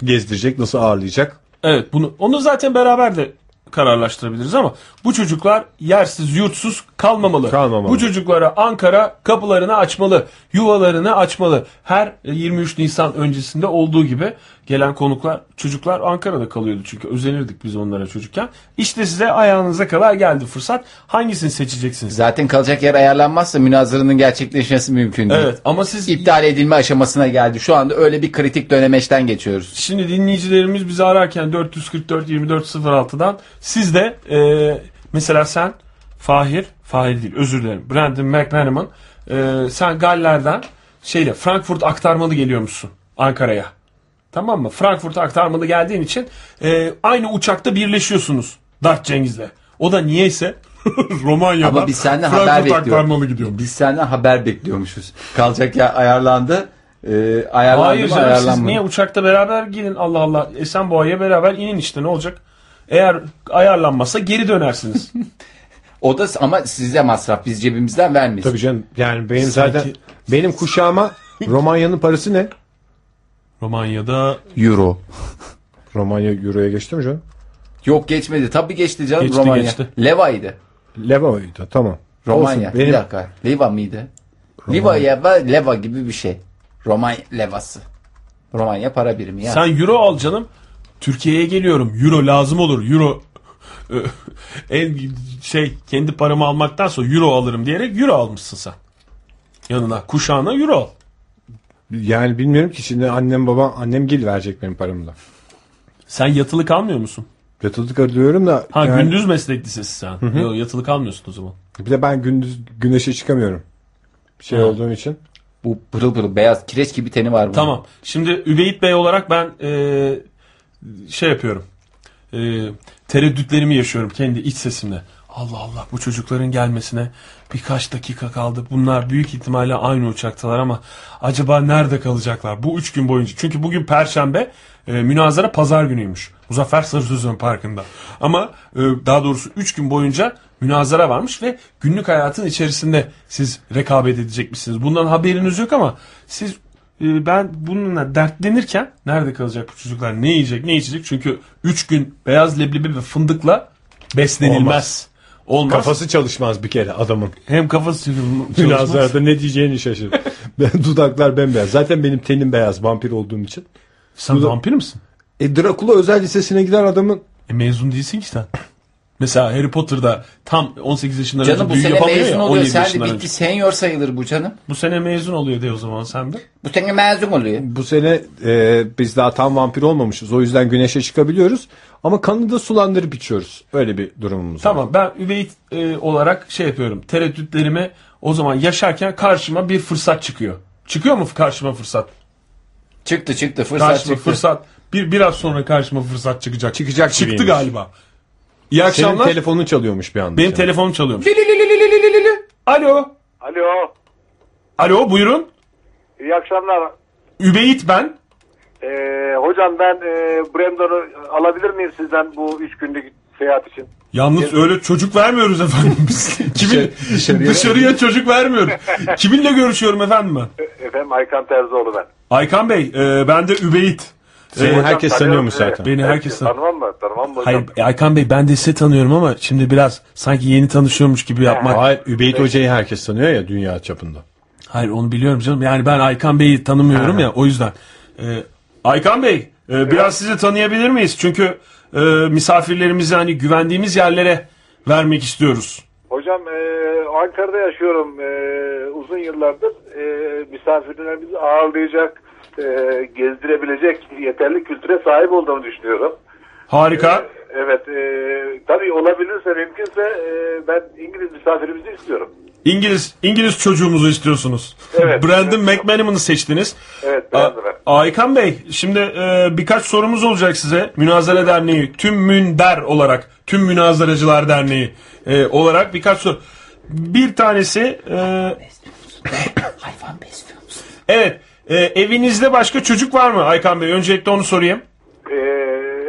Speaker 1: gezdirecek, nasıl ağırlayacak?
Speaker 3: Evet bunu onu zaten beraber de kararlaştırabiliriz ama bu çocuklar yersiz yurtsuz kalmamalı.
Speaker 1: Kalmamalı.
Speaker 3: Bu çocuklara Ankara kapılarını açmalı, yuvalarını açmalı. Her 23 Nisan öncesinde olduğu gibi gelen konuklar çocuklar Ankara'da kalıyordu çünkü özenirdik biz onlara çocukken. İşte size ayağınıza kadar geldi fırsat. Hangisini seçeceksiniz?
Speaker 11: Zaten kalacak yer ayarlanmazsa münazaranın gerçekleşmesi mümkün değil.
Speaker 3: Evet ama siz
Speaker 11: İptal edilme aşamasına geldi. Şu anda öyle bir kritik dönemeçten geçiyoruz.
Speaker 3: Şimdi dinleyicilerimiz bizi ararken 444 2406'dan siz de e, mesela sen Fahir, Fahir değil özür dilerim. Brandon McManaman e, sen Galler'den şeyle Frankfurt aktarmalı geliyormuşsun Ankara'ya. Tamam mı? Frankfurt'a aktarmalı geldiğin için e, aynı uçakta birleşiyorsunuz Dart Cengiz'le. O da niyeyse Romanya'dan
Speaker 11: Ama biz senden haber
Speaker 3: Frankfurt
Speaker 11: bekliyoruz.
Speaker 3: aktarmalı gidiyormuş.
Speaker 11: Biz senden haber bekliyormuşuz. Kalacak yer ayarlandı. Ee, ayarlandı
Speaker 3: Hayır
Speaker 11: mı
Speaker 3: canım siz
Speaker 11: ayarlanmadı.
Speaker 3: niye uçakta beraber gidin Allah Allah. E Esenboğa'ya beraber inin işte ne olacak? Eğer ayarlanmazsa geri dönersiniz.
Speaker 11: O da ama size masraf. Biz cebimizden vermeyiz.
Speaker 1: Tabii canım yani benim
Speaker 3: Sanki-
Speaker 1: zaten benim kuşağıma Romanya'nın parası ne?
Speaker 3: Romanya'da
Speaker 11: Euro.
Speaker 1: Romanya Euro'ya geçti mi canım?
Speaker 11: Yok geçmedi. Tabii geçti canım
Speaker 3: Geçti,
Speaker 11: Romanya.
Speaker 3: geçti.
Speaker 11: Leva'ydı.
Speaker 1: Leva uydu tamam.
Speaker 11: Romanya.
Speaker 1: Olsun, benim-
Speaker 11: Bir dakika. Liva mıydı? Liva ya da leva gibi bir şey. Romanya levası. Romanya para birimi ya.
Speaker 3: Sen euro al canım. Türkiye'ye geliyorum. Euro lazım olur. Euro en şey kendi paramı almaktan sonra euro alırım diyerek euro almışsın sen. Yanına kuşağına euro al.
Speaker 1: Yani bilmiyorum ki şimdi annem babam annem gil verecek benim paramla.
Speaker 3: Sen yatılı kalmıyor musun?
Speaker 1: Yatıldık arıyorum da
Speaker 3: Ha
Speaker 1: yani-
Speaker 3: gündüz meslek lisesi sen. Yok yatılı kalmıyorsun o zaman.
Speaker 1: bir de ben gündüz güneşe çıkamıyorum. Bir şey
Speaker 3: Ha.
Speaker 1: olduğum için.
Speaker 11: Bu pırıl pırıl beyaz kireç gibi teni var bunun.
Speaker 3: Tamam. Şimdi Übeyit Bey olarak ben e, şey yapıyorum. E, tereddütlerimi yaşıyorum kendi iç sesimle. Allah Allah bu çocukların gelmesine birkaç dakika kaldı. Bunlar büyük ihtimalle aynı uçaktalar ama acaba nerede kalacaklar bu üç gün boyunca? Çünkü bugün Perşembe e, münazara pazar günüymüş. Muzaffer Sarısözön Parkı'nda. Ama e, daha doğrusu üç gün boyunca münazara varmış ve günlük hayatın içerisinde siz rekabet edecekmişsiniz. Bundan haberiniz yok ama siz ee, ben bununla dertlenirken nerede kalacak bu çocuklar? Ne yiyecek, ne içecek? Çünkü 3 gün beyaz leblebi ve fındıkla beslenilmez. Olmaz.
Speaker 1: Olmaz. Kafası çalışmaz bir kere adamın.
Speaker 3: hem kafası çalışmaz.
Speaker 1: Münazarada ne diyeceğini şaşırır. ben, dudaklar bembeyaz. Zaten benim tenim beyaz vampir olduğum için.
Speaker 3: Sen vampir misin?
Speaker 1: E Drakula özel lisesine giden adamın
Speaker 3: E, mezun değilsin ki sen. Mesela Harry Potter'da tam 18 yaşından
Speaker 11: Canım
Speaker 3: önce
Speaker 11: bu
Speaker 3: büyü
Speaker 11: sene
Speaker 3: yapamıyor
Speaker 11: mezun
Speaker 3: ya
Speaker 11: oluyor.
Speaker 3: 17
Speaker 11: Sen de
Speaker 3: yaşından
Speaker 11: bitti
Speaker 3: önce.
Speaker 11: senior sayılır bu canım.
Speaker 3: Bu sene mezun oluyor de o zaman sen de.
Speaker 11: Bu sene mezun oluyor.
Speaker 1: bu sene e, biz daha tam vampir olmamışız. O yüzden güneşe çıkabiliyoruz. Ama kanı da sulandırıp içiyoruz. Öyle bir durumumuz var.
Speaker 3: Tamam ben üveyit e, olarak şey yapıyorum. Tereddütlerimi o zaman yaşarken karşıma bir fırsat çıkıyor. Çıkıyor mu karşıma fırsat?
Speaker 11: Çıktı çıktı fırsat
Speaker 3: karşıma
Speaker 11: çıktı.
Speaker 3: fırsat. Bir biraz sonra karşıma fırsat çıkacak.
Speaker 1: Çıkacak
Speaker 3: Çıktı
Speaker 1: gibiymiş.
Speaker 3: galiba. İyi akşamlar.
Speaker 1: Senin telefonun çalıyormuş bir anda.
Speaker 3: Benim
Speaker 1: canım.
Speaker 3: telefonum çalıyormuş. Alo.
Speaker 12: Alo.
Speaker 3: Alo buyurun.
Speaker 12: İyi akşamlar.
Speaker 3: Übeyit ben.
Speaker 12: Ee, hocam ben e, Brendon'u alabilir miyim sizden bu üç günlük seyahat için?
Speaker 3: Yalnız öyle çocuk vermiyoruz efendim biz. Kimin dışarıya, çocuk vermiyoruz. Kiminle görüşüyorum efendim ben?
Speaker 12: Efendim Aykan Terzioğlu ben.
Speaker 3: Aykan Bey, e, ben de Übeyit.
Speaker 1: Seni
Speaker 12: Hocam
Speaker 1: herkes
Speaker 12: tanıyorum
Speaker 1: tanıyormuş
Speaker 12: sizi.
Speaker 1: zaten.
Speaker 3: Beni herkes tanı-
Speaker 12: Tanımam mı? Tanımam mı hocam?
Speaker 3: Hayır Aykan Bey ben de sizi tanıyorum ama şimdi biraz sanki yeni tanışıyormuş gibi yapmak.
Speaker 1: Hayır Übeyt Hoca'yı herkes tanıyor ya dünya çapında.
Speaker 3: Hayır onu biliyorum canım. Yani ben Aykan Bey'i tanımıyorum ya o yüzden. Ee, Aykan Bey e, biraz sizi tanıyabilir miyiz? Çünkü e, misafirlerimizi hani güvendiğimiz yerlere vermek istiyoruz.
Speaker 12: Hocam e, Ankara'da yaşıyorum e, uzun yıllardır. E, misafirlerimizi ağırlayacak, e, gezdirebilecek yeterli kültüre sahip olduğumu düşünüyorum.
Speaker 3: Harika.
Speaker 12: Evet, e, tabii olabilirse, mümkünse e, ben İngiliz misafirimizi istiyorum.
Speaker 3: İngiliz İngiliz çocuğumuzu istiyorsunuz.
Speaker 12: Evet.
Speaker 3: Brandon McManaman'ı seçtiniz.
Speaker 12: Evet,
Speaker 3: A-
Speaker 12: Brandon.
Speaker 3: Aykan Bey şimdi e, birkaç sorumuz olacak size. Münazara Derneği, Tüm Münder olarak, Tüm Münazaracılar Derneği e, olarak birkaç soru. Bir tanesi e,
Speaker 11: Hayvan besliyor musun?
Speaker 3: Evet. e, evinizde başka çocuk var mı Aykan Bey? Öncelikle onu sorayım.
Speaker 12: Ee,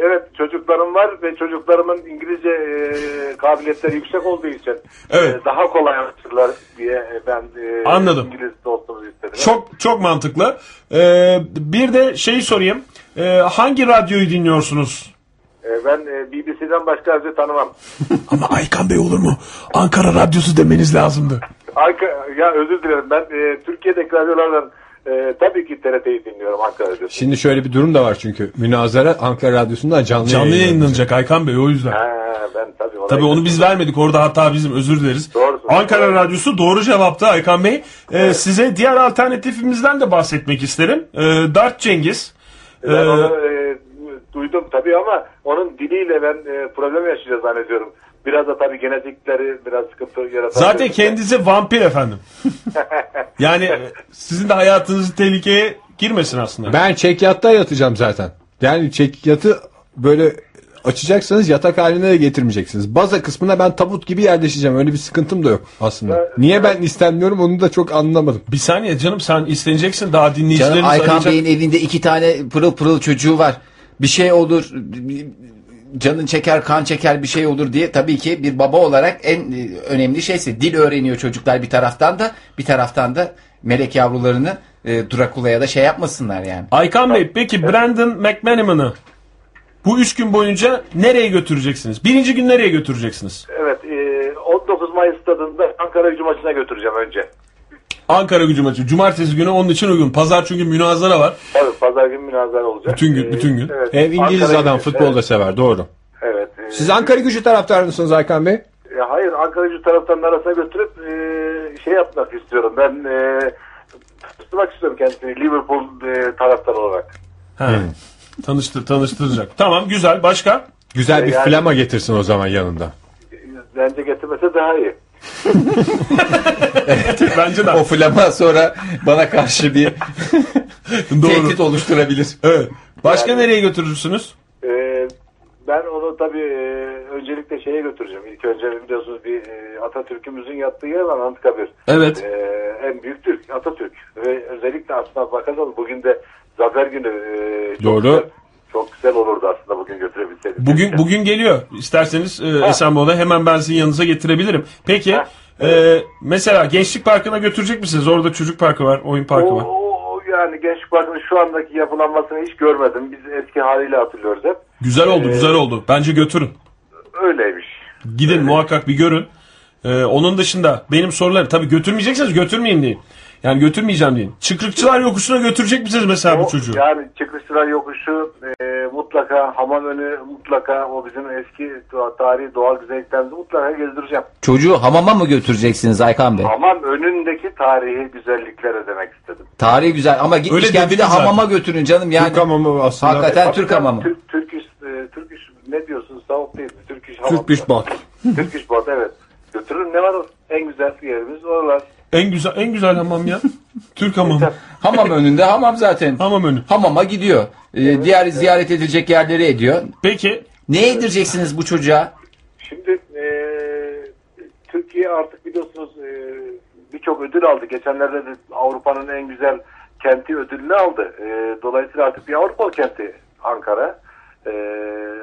Speaker 12: evet çocuklarım var ve çocuklarımın İngilizce e, kabiliyetleri yüksek olduğu için
Speaker 3: Evet.
Speaker 12: e, daha kolay anlaşırlar diye e, ben e,
Speaker 3: Anladım.
Speaker 12: İngiliz dostumuzu istedim.
Speaker 3: Çok çok mantıklı. E, bir de şeyi sorayım. E, hangi radyoyu dinliyorsunuz?
Speaker 12: E, ben e, BBC'den başka herkese tanımam.
Speaker 3: Ama Aykan Bey olur mu? Ankara Radyosu demeniz lazımdı.
Speaker 12: Arka, ya özür dilerim ben e, Türkiye'deki radyolardan e, tabii ki TRT'yi dinliyorum Ankara'da.
Speaker 1: Şimdi şöyle bir durum da var çünkü münazara Ankara Radyosu'ndan canlı,
Speaker 3: Canlı
Speaker 1: yayınlanıyor.
Speaker 3: yayınlanacak Aykan Bey o yüzden.
Speaker 12: Ha, ben tabii, oraya-
Speaker 3: Tabii onu biz vermedik orada hata bizim özür dileriz.
Speaker 12: Doğru.
Speaker 3: Ankara Radyosu doğru cevaptı Aykan Bey. E, Size diğer alternatifimizden de bahsetmek isterim. E, Dart Cengiz.
Speaker 12: Ben
Speaker 3: E,
Speaker 12: onu e, duydum tabii ama onun diliyle ben e, problem yaşayacağız zannediyorum. Biraz da tabii genetikleri biraz sıkıntı yaratabilir.
Speaker 3: Zaten kendisi vampir efendim. yani e, sizin de hayatınızı tehlikeye girmesin aslında.
Speaker 1: Ben çekyatta yatacağım zaten. Yani çekyatı böyle açacaksanız yatak haline de getirmeyeceksiniz. Baza kısmına ben tabut gibi yerleşeceğim. Öyle bir sıkıntım da yok aslında. Niye ben istemiyorum onu da çok anlamadım.
Speaker 3: Bir saniye canım sen isteneceksin daha dinleyicileriniz
Speaker 11: Canım Aykan
Speaker 3: arayacak.
Speaker 11: Bey'in evinde iki tane pırıl pırıl çocuğu var. Bir şey olur canın çeker kan çeker bir şey olur diye tabii ki bir baba olarak en e, önemli şeyse dil öğreniyor çocuklar bir taraftan da bir taraftan da melek yavrularını e, Drakula'ya da şey yapmasınlar yani.
Speaker 3: Aykan Bey peki Brandon McManaman'ı bu üç gün boyunca nereye götüreceksiniz? Birinci gün nereye götüreceksiniz?
Speaker 12: Evet, e, 19 19 Mayıs stadında Ankara gücü maçına götüreceğim önce.
Speaker 3: Ankara gücü maçı. Cumartesi günü onun için uygun. Pazar çünkü münazara var.
Speaker 12: Tabii pazar günü münazara olacak.
Speaker 3: Bütün gün,
Speaker 12: Ee,
Speaker 3: bütün gün.
Speaker 12: Evet,
Speaker 1: Hem İngiliz
Speaker 12: Ankara
Speaker 1: adam
Speaker 12: gücü,
Speaker 1: futbol da sever doğru.
Speaker 12: Evet. evet.
Speaker 1: Siz Ankara gücü taraftarı mısınız Hakan Bey?
Speaker 12: E, hayır Ankara gücü taraftarının arasına götürüp e, şey yapmak istiyorum. Ben e, tutmak istiyorum kendisini Liverpool e, taraftarı olarak.
Speaker 3: He.
Speaker 11: Hmm.
Speaker 3: Tanıştır, tanıştıracak. tamam güzel. Başka?
Speaker 1: Güzel bir
Speaker 12: Yani-
Speaker 1: flama getirsin o zaman yanında.
Speaker 12: Bence getirmese daha iyi.
Speaker 3: Bence de.
Speaker 13: O flama sonra bana karşı bir tehdit
Speaker 3: Doğru.
Speaker 13: oluşturabilir.
Speaker 3: Evet. Başka nereye götürürsünüz?
Speaker 12: Ee, ben onu tabii e, öncelikle şeye götüreceğim. İlk önce biliyorsunuz bir e, Atatürk'ümüzün yattığı yer var Anıtkabir.
Speaker 3: Evet.
Speaker 12: Ee, en büyük Türk Atatürk ve özellikle aslında bakarsanız bugün de zafer günü e, çok
Speaker 1: Doğru.
Speaker 12: Güzel, çok güzel olurdu aslında bugün götürebilseydik.
Speaker 3: Bugün bugün geliyor. İsterseniz e, Esenboğa'da hemen ben sizin yanınıza getirebilirim. Peki e, mesela Gençlik Parkı'na götürecek misiniz? Orada çocuk parkı var, oyun
Speaker 12: o,
Speaker 3: parkı var.
Speaker 12: o- yani Gençlik Parkı'nın şu andaki yapılanmasını hiç görmedim. Biz eski haliyle hatırlıyoruz hep.
Speaker 3: Güzel oldu, güzel oldu. Bence götürün.
Speaker 12: Öyleymiş.
Speaker 3: Gidin muhakkak bir görün. Ee, onun dışında benim sorularım tabii götürmeyecekseniz götürmeyeyim deyin. Yani götürmeyeceğim deyin. Çıkrıkçılar yokuşuna götürecek misiniz mesela bu
Speaker 12: O-
Speaker 3: çocuğu?
Speaker 12: Yani çıkışlar yokuşu e, mutlaka hamam önü mutlaka o bizim eski doğa- tarihi doğal güzelliklerimizi mutlaka gezdireceğim.
Speaker 11: Çocuğu hamama mı götüreceksiniz Aykan Bey?
Speaker 12: Hamam önündeki tarihi güzelliklere demek istedim.
Speaker 11: Tarihi güzel ama gitmişken bir de
Speaker 3: dediniz zaten.
Speaker 11: hamama götürün canım yani.
Speaker 1: Türk hamamı aslında.
Speaker 11: Hakikaten
Speaker 12: Tabii
Speaker 11: Türk
Speaker 12: tabii,
Speaker 11: hamamı.
Speaker 12: Türk, Türk iş, e, Türk iş- ne diyorsunuz? Tavuk değil. Türk iş hamamı.
Speaker 1: Türk bir bot.
Speaker 12: Türk iş bot, evet. Götürürüm ne var? o? En güzel yerimiz oralar.
Speaker 3: En güzel en güzel hamam ya. Türk hamamı.
Speaker 11: Hamam önünde hamam zaten.
Speaker 3: hamam önü.
Speaker 11: Hamama gidiyor. Ee, diğer ziyaret edilecek yerleri ediyor.
Speaker 3: Peki
Speaker 11: Ne yedireceksiniz bu çocuğa?
Speaker 12: Şimdi e, Türkiye artık biliyorsunuz e, birçok ödül aldı. Geçenlerde de Avrupa'nın en güzel kenti ödülünü aldı. E, dolayısıyla artık bir Avrupa kenti Ankara. E,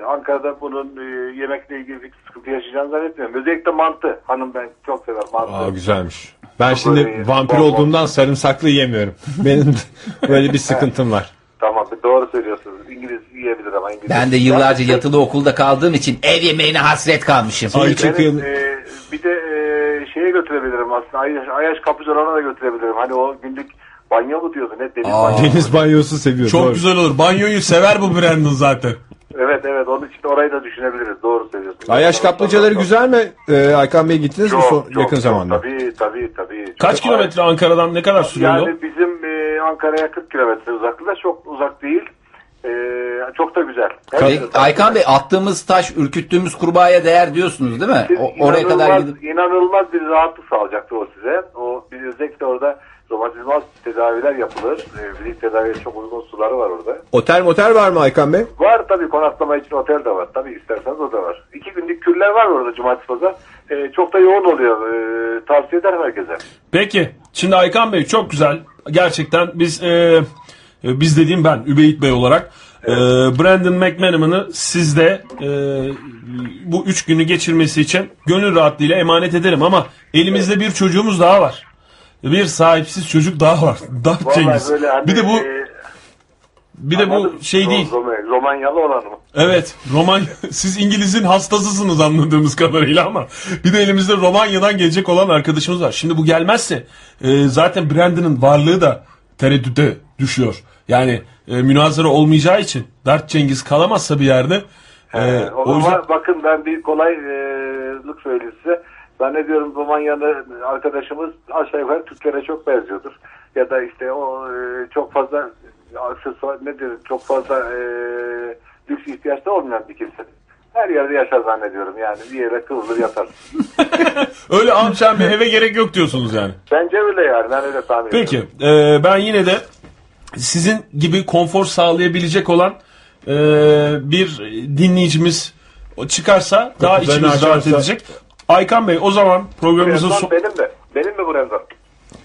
Speaker 12: Ankara'da bunun e, yemekle ilgili bir sıkıntı yaşayacağını zannetmiyorum. Özellikle mantı. Hanım ben çok sever mantı.
Speaker 1: Aa güzelmiş. Ben
Speaker 12: iyi.
Speaker 1: şimdi vampir
Speaker 12: Vallahi.
Speaker 1: olduğumdan sarımsaklı yemiyorum. Benim böyle bir sıkıntım var.
Speaker 12: Tamam doğru söylüyorsunuz. İngiliz yiyebilir ama İngiliz.
Speaker 11: Ben de yıllarca yatılı okulda kaldığım için ev yemeğine hasret kalmışım.
Speaker 1: Ay
Speaker 12: Evet,
Speaker 1: çıkın.
Speaker 12: e, bir de e, şeye götürebilirim aslında. Ayaş, Ayaş Kapıcılar'a da götürebilirim. Hani o günlük banyo mu diyordu ne deniz banyo.
Speaker 1: Deniz banyosu seviyorum.
Speaker 3: çok
Speaker 1: doğru.
Speaker 3: güzel olur. Banyoyu sever bu Brandon zaten.
Speaker 12: Evet evet onun için orayı da düşünebiliriz. Doğru söylüyorsun.
Speaker 1: Ayaş kaplıcaları güzel mi? Ee, Aykan Bey gittiniz mi
Speaker 12: Çok,
Speaker 1: son-
Speaker 12: çok,
Speaker 1: yakın
Speaker 12: çok.
Speaker 1: zamanda?
Speaker 12: Tabii tabii tabii. Çok-
Speaker 3: Kaç kilometre Ankara'dan ne kadar sürüyor yol?
Speaker 12: Yani bizim e, Ankara'ya 40 kilometre uzaklıkta çok uzak değil. E, çok da güzel.
Speaker 11: Ve E, Aykan Bey attığımız taş, ürküttüğümüz kurbağaya değer diyorsunuz değil mi?
Speaker 12: Siz
Speaker 11: O- oraya kadar
Speaker 12: inanılmaz-
Speaker 11: gidip
Speaker 12: inanılmaz bir rahatlık sağlayacaktır o size. O bir özellikle orada romatizmal tedaviler yapılır. E, fizik tedaviye çok uygun suları var orada.
Speaker 1: Otel motel var mı Aykan Bey?
Speaker 12: Var tabii konaklama için otel de var. Tabii isterseniz o da var. İki günlük kürler var orada cumartesi pazar. E, çok da yoğun oluyor. E, tavsiye ederim herkese.
Speaker 3: Peki. Şimdi Aykan Bey çok güzel. Gerçekten biz e, e, biz dediğim ben Übeyit Bey olarak e, Brandon McManaman'ı sizde e, bu üç günü geçirmesi için gönül rahatlığıyla emanet ederim ama elimizde bir çocuğumuz daha var. Bir sahipsiz çocuk daha var. Daha
Speaker 12: Vallahi
Speaker 3: Cengiz.
Speaker 12: böyle hani,
Speaker 3: Bir de bu
Speaker 12: e,
Speaker 3: bir de bu
Speaker 12: anladım.
Speaker 3: şey
Speaker 12: Ro-
Speaker 3: değil.
Speaker 12: Rome- Romanyalı olan mı?
Speaker 3: Evet. Roman siz İngiliz'in hastasısınız anladığımız kadarıyla ama bir de elimizde Romanya'dan gelecek olan arkadaşımız var. Şimdi bu gelmezse e, zaten Brandon'ın varlığı da tereddüte düşüyor. Yani e, münazara olmayacağı için Dert Cengiz kalamazsa bir yerde e,
Speaker 12: E, o
Speaker 3: o yüzden
Speaker 12: zaman bakın ben bir kolaylık söyleyeyim size. Zannediyorum Romanyalı arkadaşımız aşağı yukarı Türklere çok benziyordur. Ya da işte o e, çok fazla aksesuar nedir çok fazla e, lüks ihtiyaçta olmayan bir kimse. Her yerde yaşar zannediyorum yani bir yere kıvrılır yatar.
Speaker 3: öyle amşan bir eve gerek yok diyorsunuz yani.
Speaker 12: Bence öyle yani ben öyle tahmin
Speaker 3: Peki
Speaker 12: ediyorum.
Speaker 3: e, ben yine de sizin gibi konfor sağlayabilecek olan e, bir dinleyicimiz çıkarsa daha
Speaker 1: Kapılarını
Speaker 3: içimiz rahat
Speaker 1: açarsa-
Speaker 3: edecek. Aykan Bey o zaman programımızın
Speaker 12: Brenzan
Speaker 3: son-
Speaker 12: benim de. Benim mi Brenzan?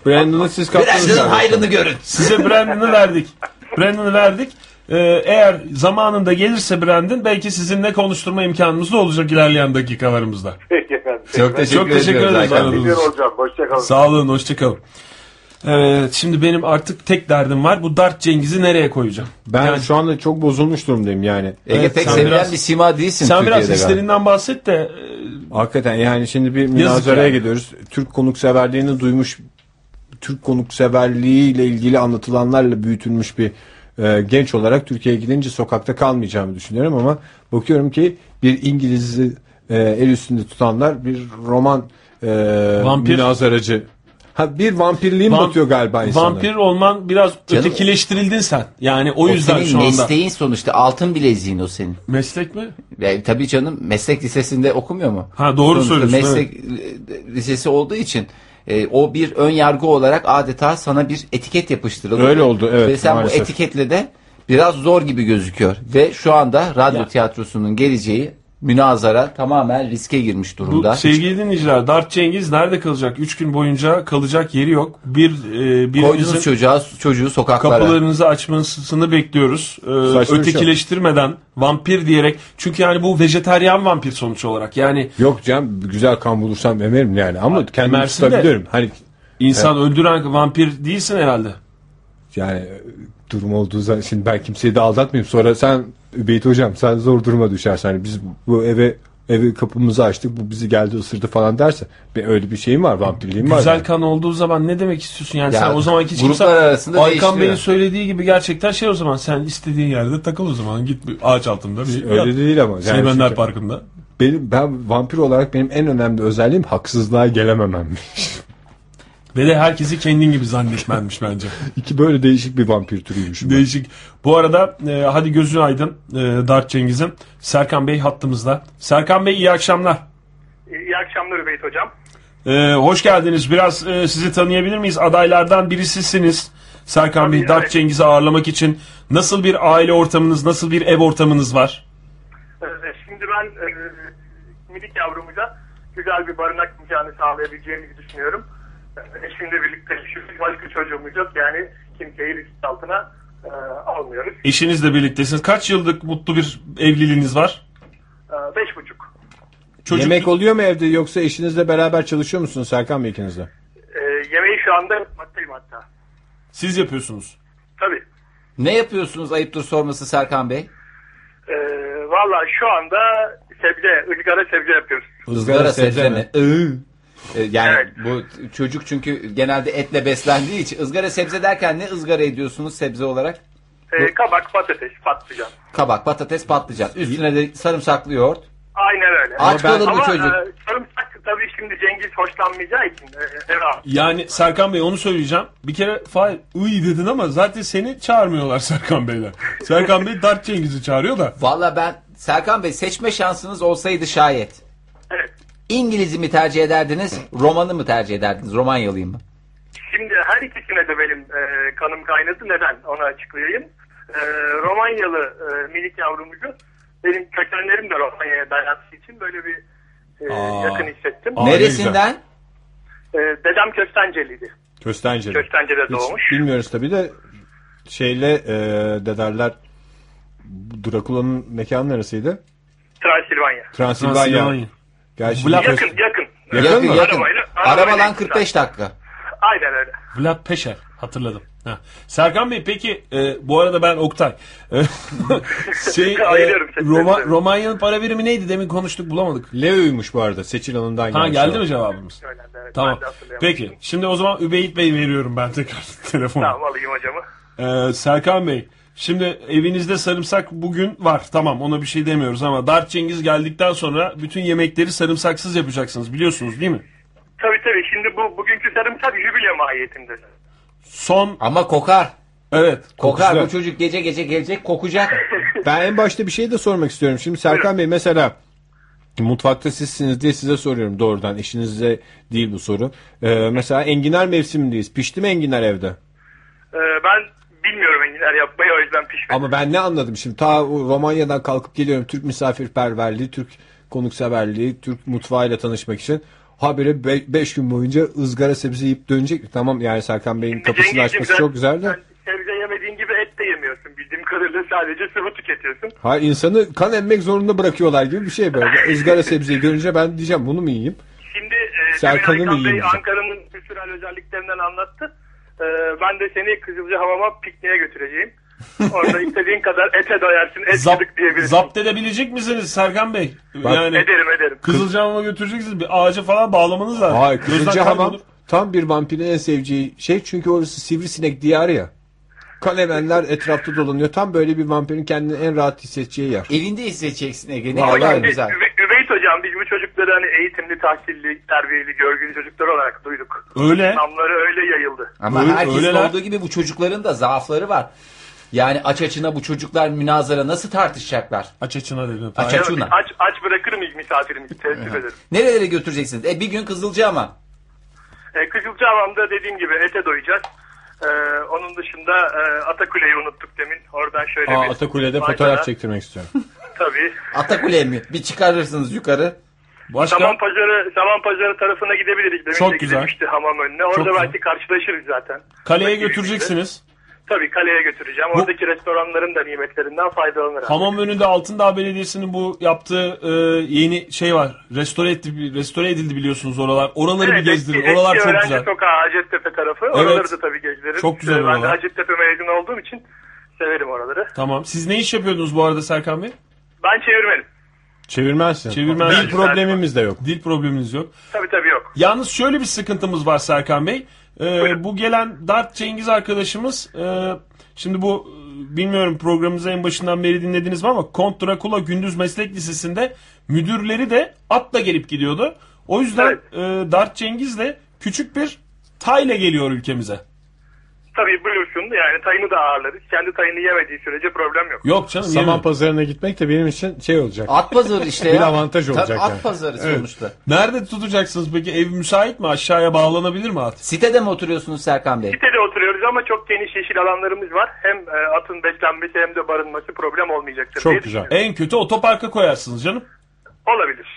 Speaker 1: Brandon'ı siz kaptınız.
Speaker 11: Brandon'ın
Speaker 1: galiba.
Speaker 11: hayrını görün.
Speaker 3: size Brandon'ı verdik. Brandon'ı verdik. E, eğer zamanında gelirse Brandon belki sizinle konuşturma imkanımız da olacak ilerleyen dakikalarımızda.
Speaker 12: Peki efendim.
Speaker 13: Çok teşekkür,
Speaker 3: Çok teşekkür
Speaker 13: ediyoruz
Speaker 3: ederiz
Speaker 13: Aykan Bey.
Speaker 3: aradığınız
Speaker 12: Teşekkür
Speaker 3: için.
Speaker 12: olacağım. Hoşçakalın.
Speaker 3: Sağ olun, hoşçakalın. Evet, şimdi benim artık tek derdim var. Bu Dart Cengiz'i nereye koyacağım?
Speaker 1: Ben şu anda çok bozulmuş durumdayım yani.
Speaker 11: Ege pek
Speaker 3: sen
Speaker 11: sevilen
Speaker 3: biraz-
Speaker 11: bir sima değilsin
Speaker 3: Sen biraz
Speaker 11: Türkiye'de. galiba.
Speaker 3: hislerinden bahset de e,
Speaker 1: Hakikaten yani şimdi bir münazaraya gidiyoruz. Türk konukseverliğini duymuş, Türk konukseverliğiyle ilgili anlatılanlarla büyütülmüş bir e, genç olarak Türkiye'ye gidince sokakta kalmayacağımı düşünüyorum ama bakıyorum ki bir İngiliz'i e, el üstünde tutanlar bir roman e,
Speaker 3: Vampir.
Speaker 1: münazaracı. Ha, bir vampirliğin
Speaker 3: Vamp-
Speaker 1: batıyor galiba insanlar.
Speaker 3: Vampir olman biraz
Speaker 2: Canım-
Speaker 3: ötekileştirildin sen. Yani o,
Speaker 2: O
Speaker 3: yüzden
Speaker 2: senin
Speaker 3: şu anda.
Speaker 2: mesleğin sonuçta altın bileziğin o senin.
Speaker 3: Meslek mi?
Speaker 2: Yani tabii canım meslek lisesinde okumuyor mu?
Speaker 3: Ha, doğru söylüyorsun,
Speaker 2: Meslek e, lisesi olduğu için e, o bir ön yargı olarak adeta sana bir etiket yapıştırıldı.
Speaker 1: Öyle oldu, evet,
Speaker 2: Ve sen
Speaker 1: maalesef.
Speaker 2: bu etiketle de biraz zor gibi gözüküyor. Ve şu anda radyo
Speaker 3: Ya.
Speaker 2: tiyatrosunun geleceği münazara tamamen riske girmiş
Speaker 3: Bu şey
Speaker 2: durumda.
Speaker 3: sevgili dinleyiciler Dart Cengiz nerede kalacak? 3 gün boyunca kalacak yeri yok. Bir e,
Speaker 2: Koydunuz
Speaker 3: birinizin
Speaker 2: çocuğa, çocuğu sokaklara.
Speaker 3: kapılarınızı açmasını bekliyoruz. Ee,
Speaker 1: Saçma bir şey.
Speaker 3: ötekileştirmeden vampir diyerek. Çünkü yani bu vejeteryan vampir sonuç olarak. Yani
Speaker 1: Yok canım güzel kan bulursam emerim yani ama kendimi
Speaker 3: emersin de.
Speaker 1: tutabiliyorum. Hani
Speaker 3: insan öldüren vampir değilsin herhalde.
Speaker 1: yani e, durum olduğu zaman şimdi ben kimseyi de aldatmayayım. Sonra sen Beyt hocam sen zor duruma düşersen hani biz bu eve evi kapımızı açtık bu bizi geldi ısırdı falan derse bir öyle bir şeyim var vampirliğim var.
Speaker 3: Güzel
Speaker 1: yani.
Speaker 3: kan olduğu zaman ne demek istiyorsun? Yani
Speaker 2: Ya,
Speaker 3: sen o zamanki hiç
Speaker 2: gruplar
Speaker 3: kimse...
Speaker 2: arasında
Speaker 3: Aykan
Speaker 2: değiştiriyor.
Speaker 3: Bey'in söylediği gibi gerçekten şey o zaman sen istediğin yerde takıl o zaman git bir ağaç altında bir
Speaker 1: öyle
Speaker 3: yat.
Speaker 1: değil ama. Yani
Speaker 3: Seymenler
Speaker 1: çünkü
Speaker 3: Parkı'nda.
Speaker 1: benim, ben vampir olarak benim en önemli özelliğim haksızlığa gelememem.
Speaker 3: Ve de herkesi kendin gibi zannetmenmiş bence.
Speaker 1: İki böyle değişik bir vampir türüymüşüm. ben.
Speaker 3: Değişik. Bu arada e, hadi gözün aydın e, Dart Cengiz'in. Serkan Bey hattımızda. Serkan Bey iyi akşamlar.
Speaker 14: İyi akşamlar Übeyt Hocam.
Speaker 3: E, hoş geldiniz. Biraz e, sizi tanıyabilir miyiz? Adaylardan birisisiniz. Serkan Bey,
Speaker 14: Tabii,
Speaker 3: Dart
Speaker 14: evet.
Speaker 3: Cengiz'i ağırlamak için nasıl bir aile ortamınız, nasıl bir ev ortamınız var?
Speaker 14: Ee, Şimdi ben e, minik yavrumuza güzel bir barınak imkanı sağlayabileceğimizi düşünüyorum. E, Eşimle birlikte yaşıyoruz. Başka çocuğumuz yok. Yani kimseyi risk altına e, almıyoruz.
Speaker 3: Eşinizle birliktesiniz. Kaç yıllık mutlu bir evliliğiniz var?
Speaker 14: E, beş buçuk.
Speaker 3: Çocuk...
Speaker 1: Yemek oluyor mu evde yoksa eşinizle beraber çalışıyor musunuz Serkan Bey ikiniz de?
Speaker 14: E, yemeği şu anda yapmaktayım hatta.
Speaker 3: Siz yapıyorsunuz.
Speaker 14: Tabii.
Speaker 2: Ne yapıyorsunuz ayıptır sorması Serkan Bey?
Speaker 14: E, Valla şu anda sebze, ızgara sebze yapıyoruz.
Speaker 2: Izgara sebze mi? Iı. Ee, Yani
Speaker 14: Evet.
Speaker 2: bu çocuk çünkü genelde etle beslendiği için ızgara sebze derken ne ızgara ediyorsunuz sebze olarak?
Speaker 14: E, kabak, patates, patlıcan.
Speaker 2: Kabak, patates, patlıcan. Üstüne de sarımsaklı yoğurt.
Speaker 14: Aynen öyle.
Speaker 2: Aç kalır mı çocuk?
Speaker 14: e, sarımsak tabii şimdi Cengiz hoşlanmayacağı için. E, herhalde.
Speaker 3: Yani Serkan Bey onu söyleyeceğim. Bir kere Fahir iyi dedin ama zaten seni çağırmıyorlar Serkan Bey'le. Serkan Bey Dart Cengiz'i çağırıyor da.
Speaker 2: Valla ben Serkan Bey seçme şansınız olsaydı şayet.
Speaker 14: Evet.
Speaker 2: İngiliz'i mi tercih ederdiniz, romanı mı tercih ederdiniz? Romanyalıyım mı?
Speaker 14: Şimdi her ikisine de benim e, kanım kaynadı. Neden? Onu açıklayayım. E, Romanyalı e, minik yavrumucu. Benim kökenlerim de Romanya'ya dayandığı için böyle bir e, yakın hissettim.
Speaker 2: Neresinden?
Speaker 14: E, dedem Köstenceliydi.
Speaker 1: Köstenceli.
Speaker 14: Köstence'de
Speaker 1: Hiç
Speaker 14: doğmuş.
Speaker 1: bilmiyoruz tabii de şeyle e, de derler Drakula'nın mekanı neresiydi?
Speaker 14: Transilvanya.
Speaker 1: Transilvanya. Gerçi
Speaker 3: Vlad-
Speaker 14: Yakın, yakın.
Speaker 1: Yakın
Speaker 2: Yakın,
Speaker 1: mı?
Speaker 2: yakın.
Speaker 14: Arabayla- arabayla
Speaker 2: Arabadan
Speaker 14: gittim
Speaker 2: 45 dakika.
Speaker 14: Aynen öyle.
Speaker 3: Vlad Peşer hatırladım. Ha. Serkan Bey peki e, bu arada ben Oktay. E, şey, e,
Speaker 14: Ayırıyorum seni.
Speaker 3: Roma, Romanya'nın para birimi neydi demin konuştuk bulamadık.
Speaker 1: Leo'ymuş bu arada. Seçil Hanım'dan
Speaker 3: Ha
Speaker 1: gelmiş
Speaker 3: geldi
Speaker 1: olan.
Speaker 3: mi cevabımız?
Speaker 14: Öyle, evet. şey Ben de
Speaker 3: Tamam.
Speaker 14: hatırlayamadım.
Speaker 3: Peki şimdi o zaman Übeyit Bey veriyorum ben tekrar telefonu.
Speaker 14: Tamam alayım hocamı.
Speaker 3: Ee, Serkan Bey, şimdi evinizde sarımsak bugün var. Tamam ona bir şey demiyoruz ama Dart Cengiz geldikten sonra bütün yemekleri sarımsaksız yapacaksınız biliyorsunuz değil mi?
Speaker 14: Tabii tabii. Şimdi bu bugünkü sarımsak jübile mahiyetinde. E,
Speaker 3: Son
Speaker 2: Ama kokar.
Speaker 3: evet.
Speaker 2: Kokar.
Speaker 1: Kokusu-
Speaker 2: Bu çocuk gece gece gelecek kokacak.
Speaker 1: Ben en başta bir şey de sormak istiyorum. Şimdi Serkan Bey mesela mutfakta sizsiniz diye size soruyorum doğrudan. Eşinize değil bu soru. E, mesela enginar mevsimindeyiz. Pişti mi enginar evde?
Speaker 14: E, ben bilmiyorum enginar yapmayı o yüzden pişmedim.
Speaker 1: Ama ben ne anladım şimdi ta o Romanya'dan kalkıp geliyorum Türk misafirperverliği, Türk konukseverliği, Türk mutfağıyla tanışmak için. Habire 5 gün boyunca ızgara sebze yiyip dönecek mi? Tamam yani Serkan Bey'in kapısını
Speaker 14: Cengizciğim,
Speaker 1: açması
Speaker 14: sen-
Speaker 1: çok güzel de.
Speaker 14: sen sebze yemediğin gibi et de yemiyorsun. Bildiğim kadarıyla sadece sıvı tüketiyorsun.
Speaker 1: Ha insanı kan emmek zorunda bırakıyorlar gibi bir şey böyle. Izgara sebzeyi görünce ben diyeceğim bunu mu yiyeyim?
Speaker 14: Şimdi e,
Speaker 1: Serkan'ı
Speaker 14: Demin
Speaker 1: mı
Speaker 14: Aykan Bey
Speaker 1: yiyeceğim?
Speaker 14: Ankara'nın kültürel özelliklerinden anlattı. E, ben de seni Kızılca Hamam'a pikniğe götüreceğim. Orada istediğin kadar ete doyarsın, et
Speaker 3: Zap,
Speaker 14: yedik diyebilirsin.
Speaker 3: zapt edebilecek misiniz Serkan Bey? yani
Speaker 14: Ederim ederim.
Speaker 3: Kızılcahamam'a götüreceksiniz. Bir ağaca falan bağlamanız lazım.
Speaker 1: Hayır
Speaker 3: Gözden
Speaker 1: Kızılcahamam
Speaker 3: kaybolur.
Speaker 1: tam bir vampirin en seveceği şey çünkü orası sivrisinek diyarı ya. Kalemenler etrafta dolanıyor. Tam böyle bir vampirin kendini en rahat hissedeceği yer.
Speaker 11: Evinde hissedeceksin Ege. Ne
Speaker 1: Vallahi
Speaker 11: kadar
Speaker 14: Şimdi
Speaker 11: güzel.
Speaker 14: Üve- Üveyt hocam biz bu çocukları hani eğitimli, tahsilli, terbiyeli, görgülü çocuklar olarak duyduk.
Speaker 3: Öyle.
Speaker 14: Namları öyle yayıldı.
Speaker 11: Ama
Speaker 3: Öyle-
Speaker 11: herkesin
Speaker 3: öyleler-
Speaker 11: olduğu gibi bu çocukların da zaafları var. Yani aç açına bu çocuklar münazara nasıl tartışacaklar?
Speaker 3: Aç açına dedim.
Speaker 11: Aç
Speaker 14: Evet,
Speaker 11: açına.
Speaker 14: aç, aç bırakır mıyız misafirimizi? Teessüf ederim.
Speaker 11: Nerelere götüreceksiniz? E bir gün Kızılcahamam.
Speaker 14: E, Kızılcahamam'da dediğim gibi ete doyacağız. E, onun dışında e, Atakule'yi unuttuk demin. Oradan şöyle
Speaker 1: Aa,
Speaker 14: bir...
Speaker 1: Atakule'de
Speaker 14: Vay
Speaker 1: fotoğraf
Speaker 14: be.
Speaker 1: çektirmek istiyorum.
Speaker 14: Tabii.
Speaker 11: Atakule mi? Bir çıkarırsınız yukarı.
Speaker 3: Başka?
Speaker 14: Saman Pazarı, Saman Pazarı tarafına gidebiliriz. Demin
Speaker 3: Çok
Speaker 14: de
Speaker 3: güzel.
Speaker 14: gidilmişti hamam önüne. Orada
Speaker 3: Çok güzel.
Speaker 14: belki karşılaşırız zaten.
Speaker 3: Kaleye
Speaker 14: Bakayım
Speaker 3: götüreceksiniz.
Speaker 14: şimdi. Tabii kaleye götüreceğim.
Speaker 3: Bu-
Speaker 14: Oradaki restoranların da nimetlerinden faydalanırım.
Speaker 3: Hamam önünde Altındağ Belediyesi'nin bu yaptığı e, yeni şey var. Restore etti, restore edildi biliyorsunuz oralar. Oraları bir gezdirin. Oralar çok
Speaker 14: öğrenci
Speaker 3: güzel.
Speaker 14: sokağı Hacettepe tarafı. Oraları da tabii gezdiririm.
Speaker 3: Çok güzel
Speaker 14: Ee, Ben de
Speaker 3: oralar.
Speaker 14: Hacettepe mezunu olduğum için severim oraları.
Speaker 3: Tamam. Siz ne iş yapıyordunuz bu arada Serkan Bey?
Speaker 14: Ben çevirmenim.
Speaker 1: Çevirmezsin.
Speaker 3: Çevirmen-
Speaker 1: Bir problemimiz de yok.
Speaker 3: Dil probleminiz yok.
Speaker 14: Tabii tabii yok.
Speaker 3: Yalnız şöyle bir sıkıntımız var Serkan Bey. Ee, bu gelen Dart Cengiz arkadaşımız e, şimdi bu e, bilmiyorum programımızı en başından beri dinlediniz mi ama Kont Drakula Gündüz Meslek Lisesi'nde müdürleri de atla gelip gidiyordu. O yüzden e, Dart Cengiz de küçük bir tayla geliyor ülkemize.
Speaker 14: Tabii buyursun yani tayını da ağırlarız. Kendi tayını yemediği sürece problem yok.
Speaker 3: Yok canım
Speaker 1: Saman
Speaker 3: yemiyorum.
Speaker 1: pazarına gitmek de benim için şey olacak.
Speaker 11: At pazarı işte ya.
Speaker 1: Bir avantaj olacak
Speaker 11: Tabii, At
Speaker 1: yani.
Speaker 11: pazarı sonuçta.
Speaker 3: Nerede tutacaksınız peki? Ev müsait mi? Aşağıya bağlanabilir mi at?
Speaker 11: Sitede mi oturuyorsunuz Serkan Bey?
Speaker 14: Sitede oturuyoruz ama çok geniş yeşil alanlarımız var. Hem e, atın beslenmesi hem de barınması problem olmayacaktır. diye
Speaker 1: Çok güzel.
Speaker 14: düşünüyorum.
Speaker 3: En kötü otoparka koyarsınız canım.
Speaker 14: Olabilir.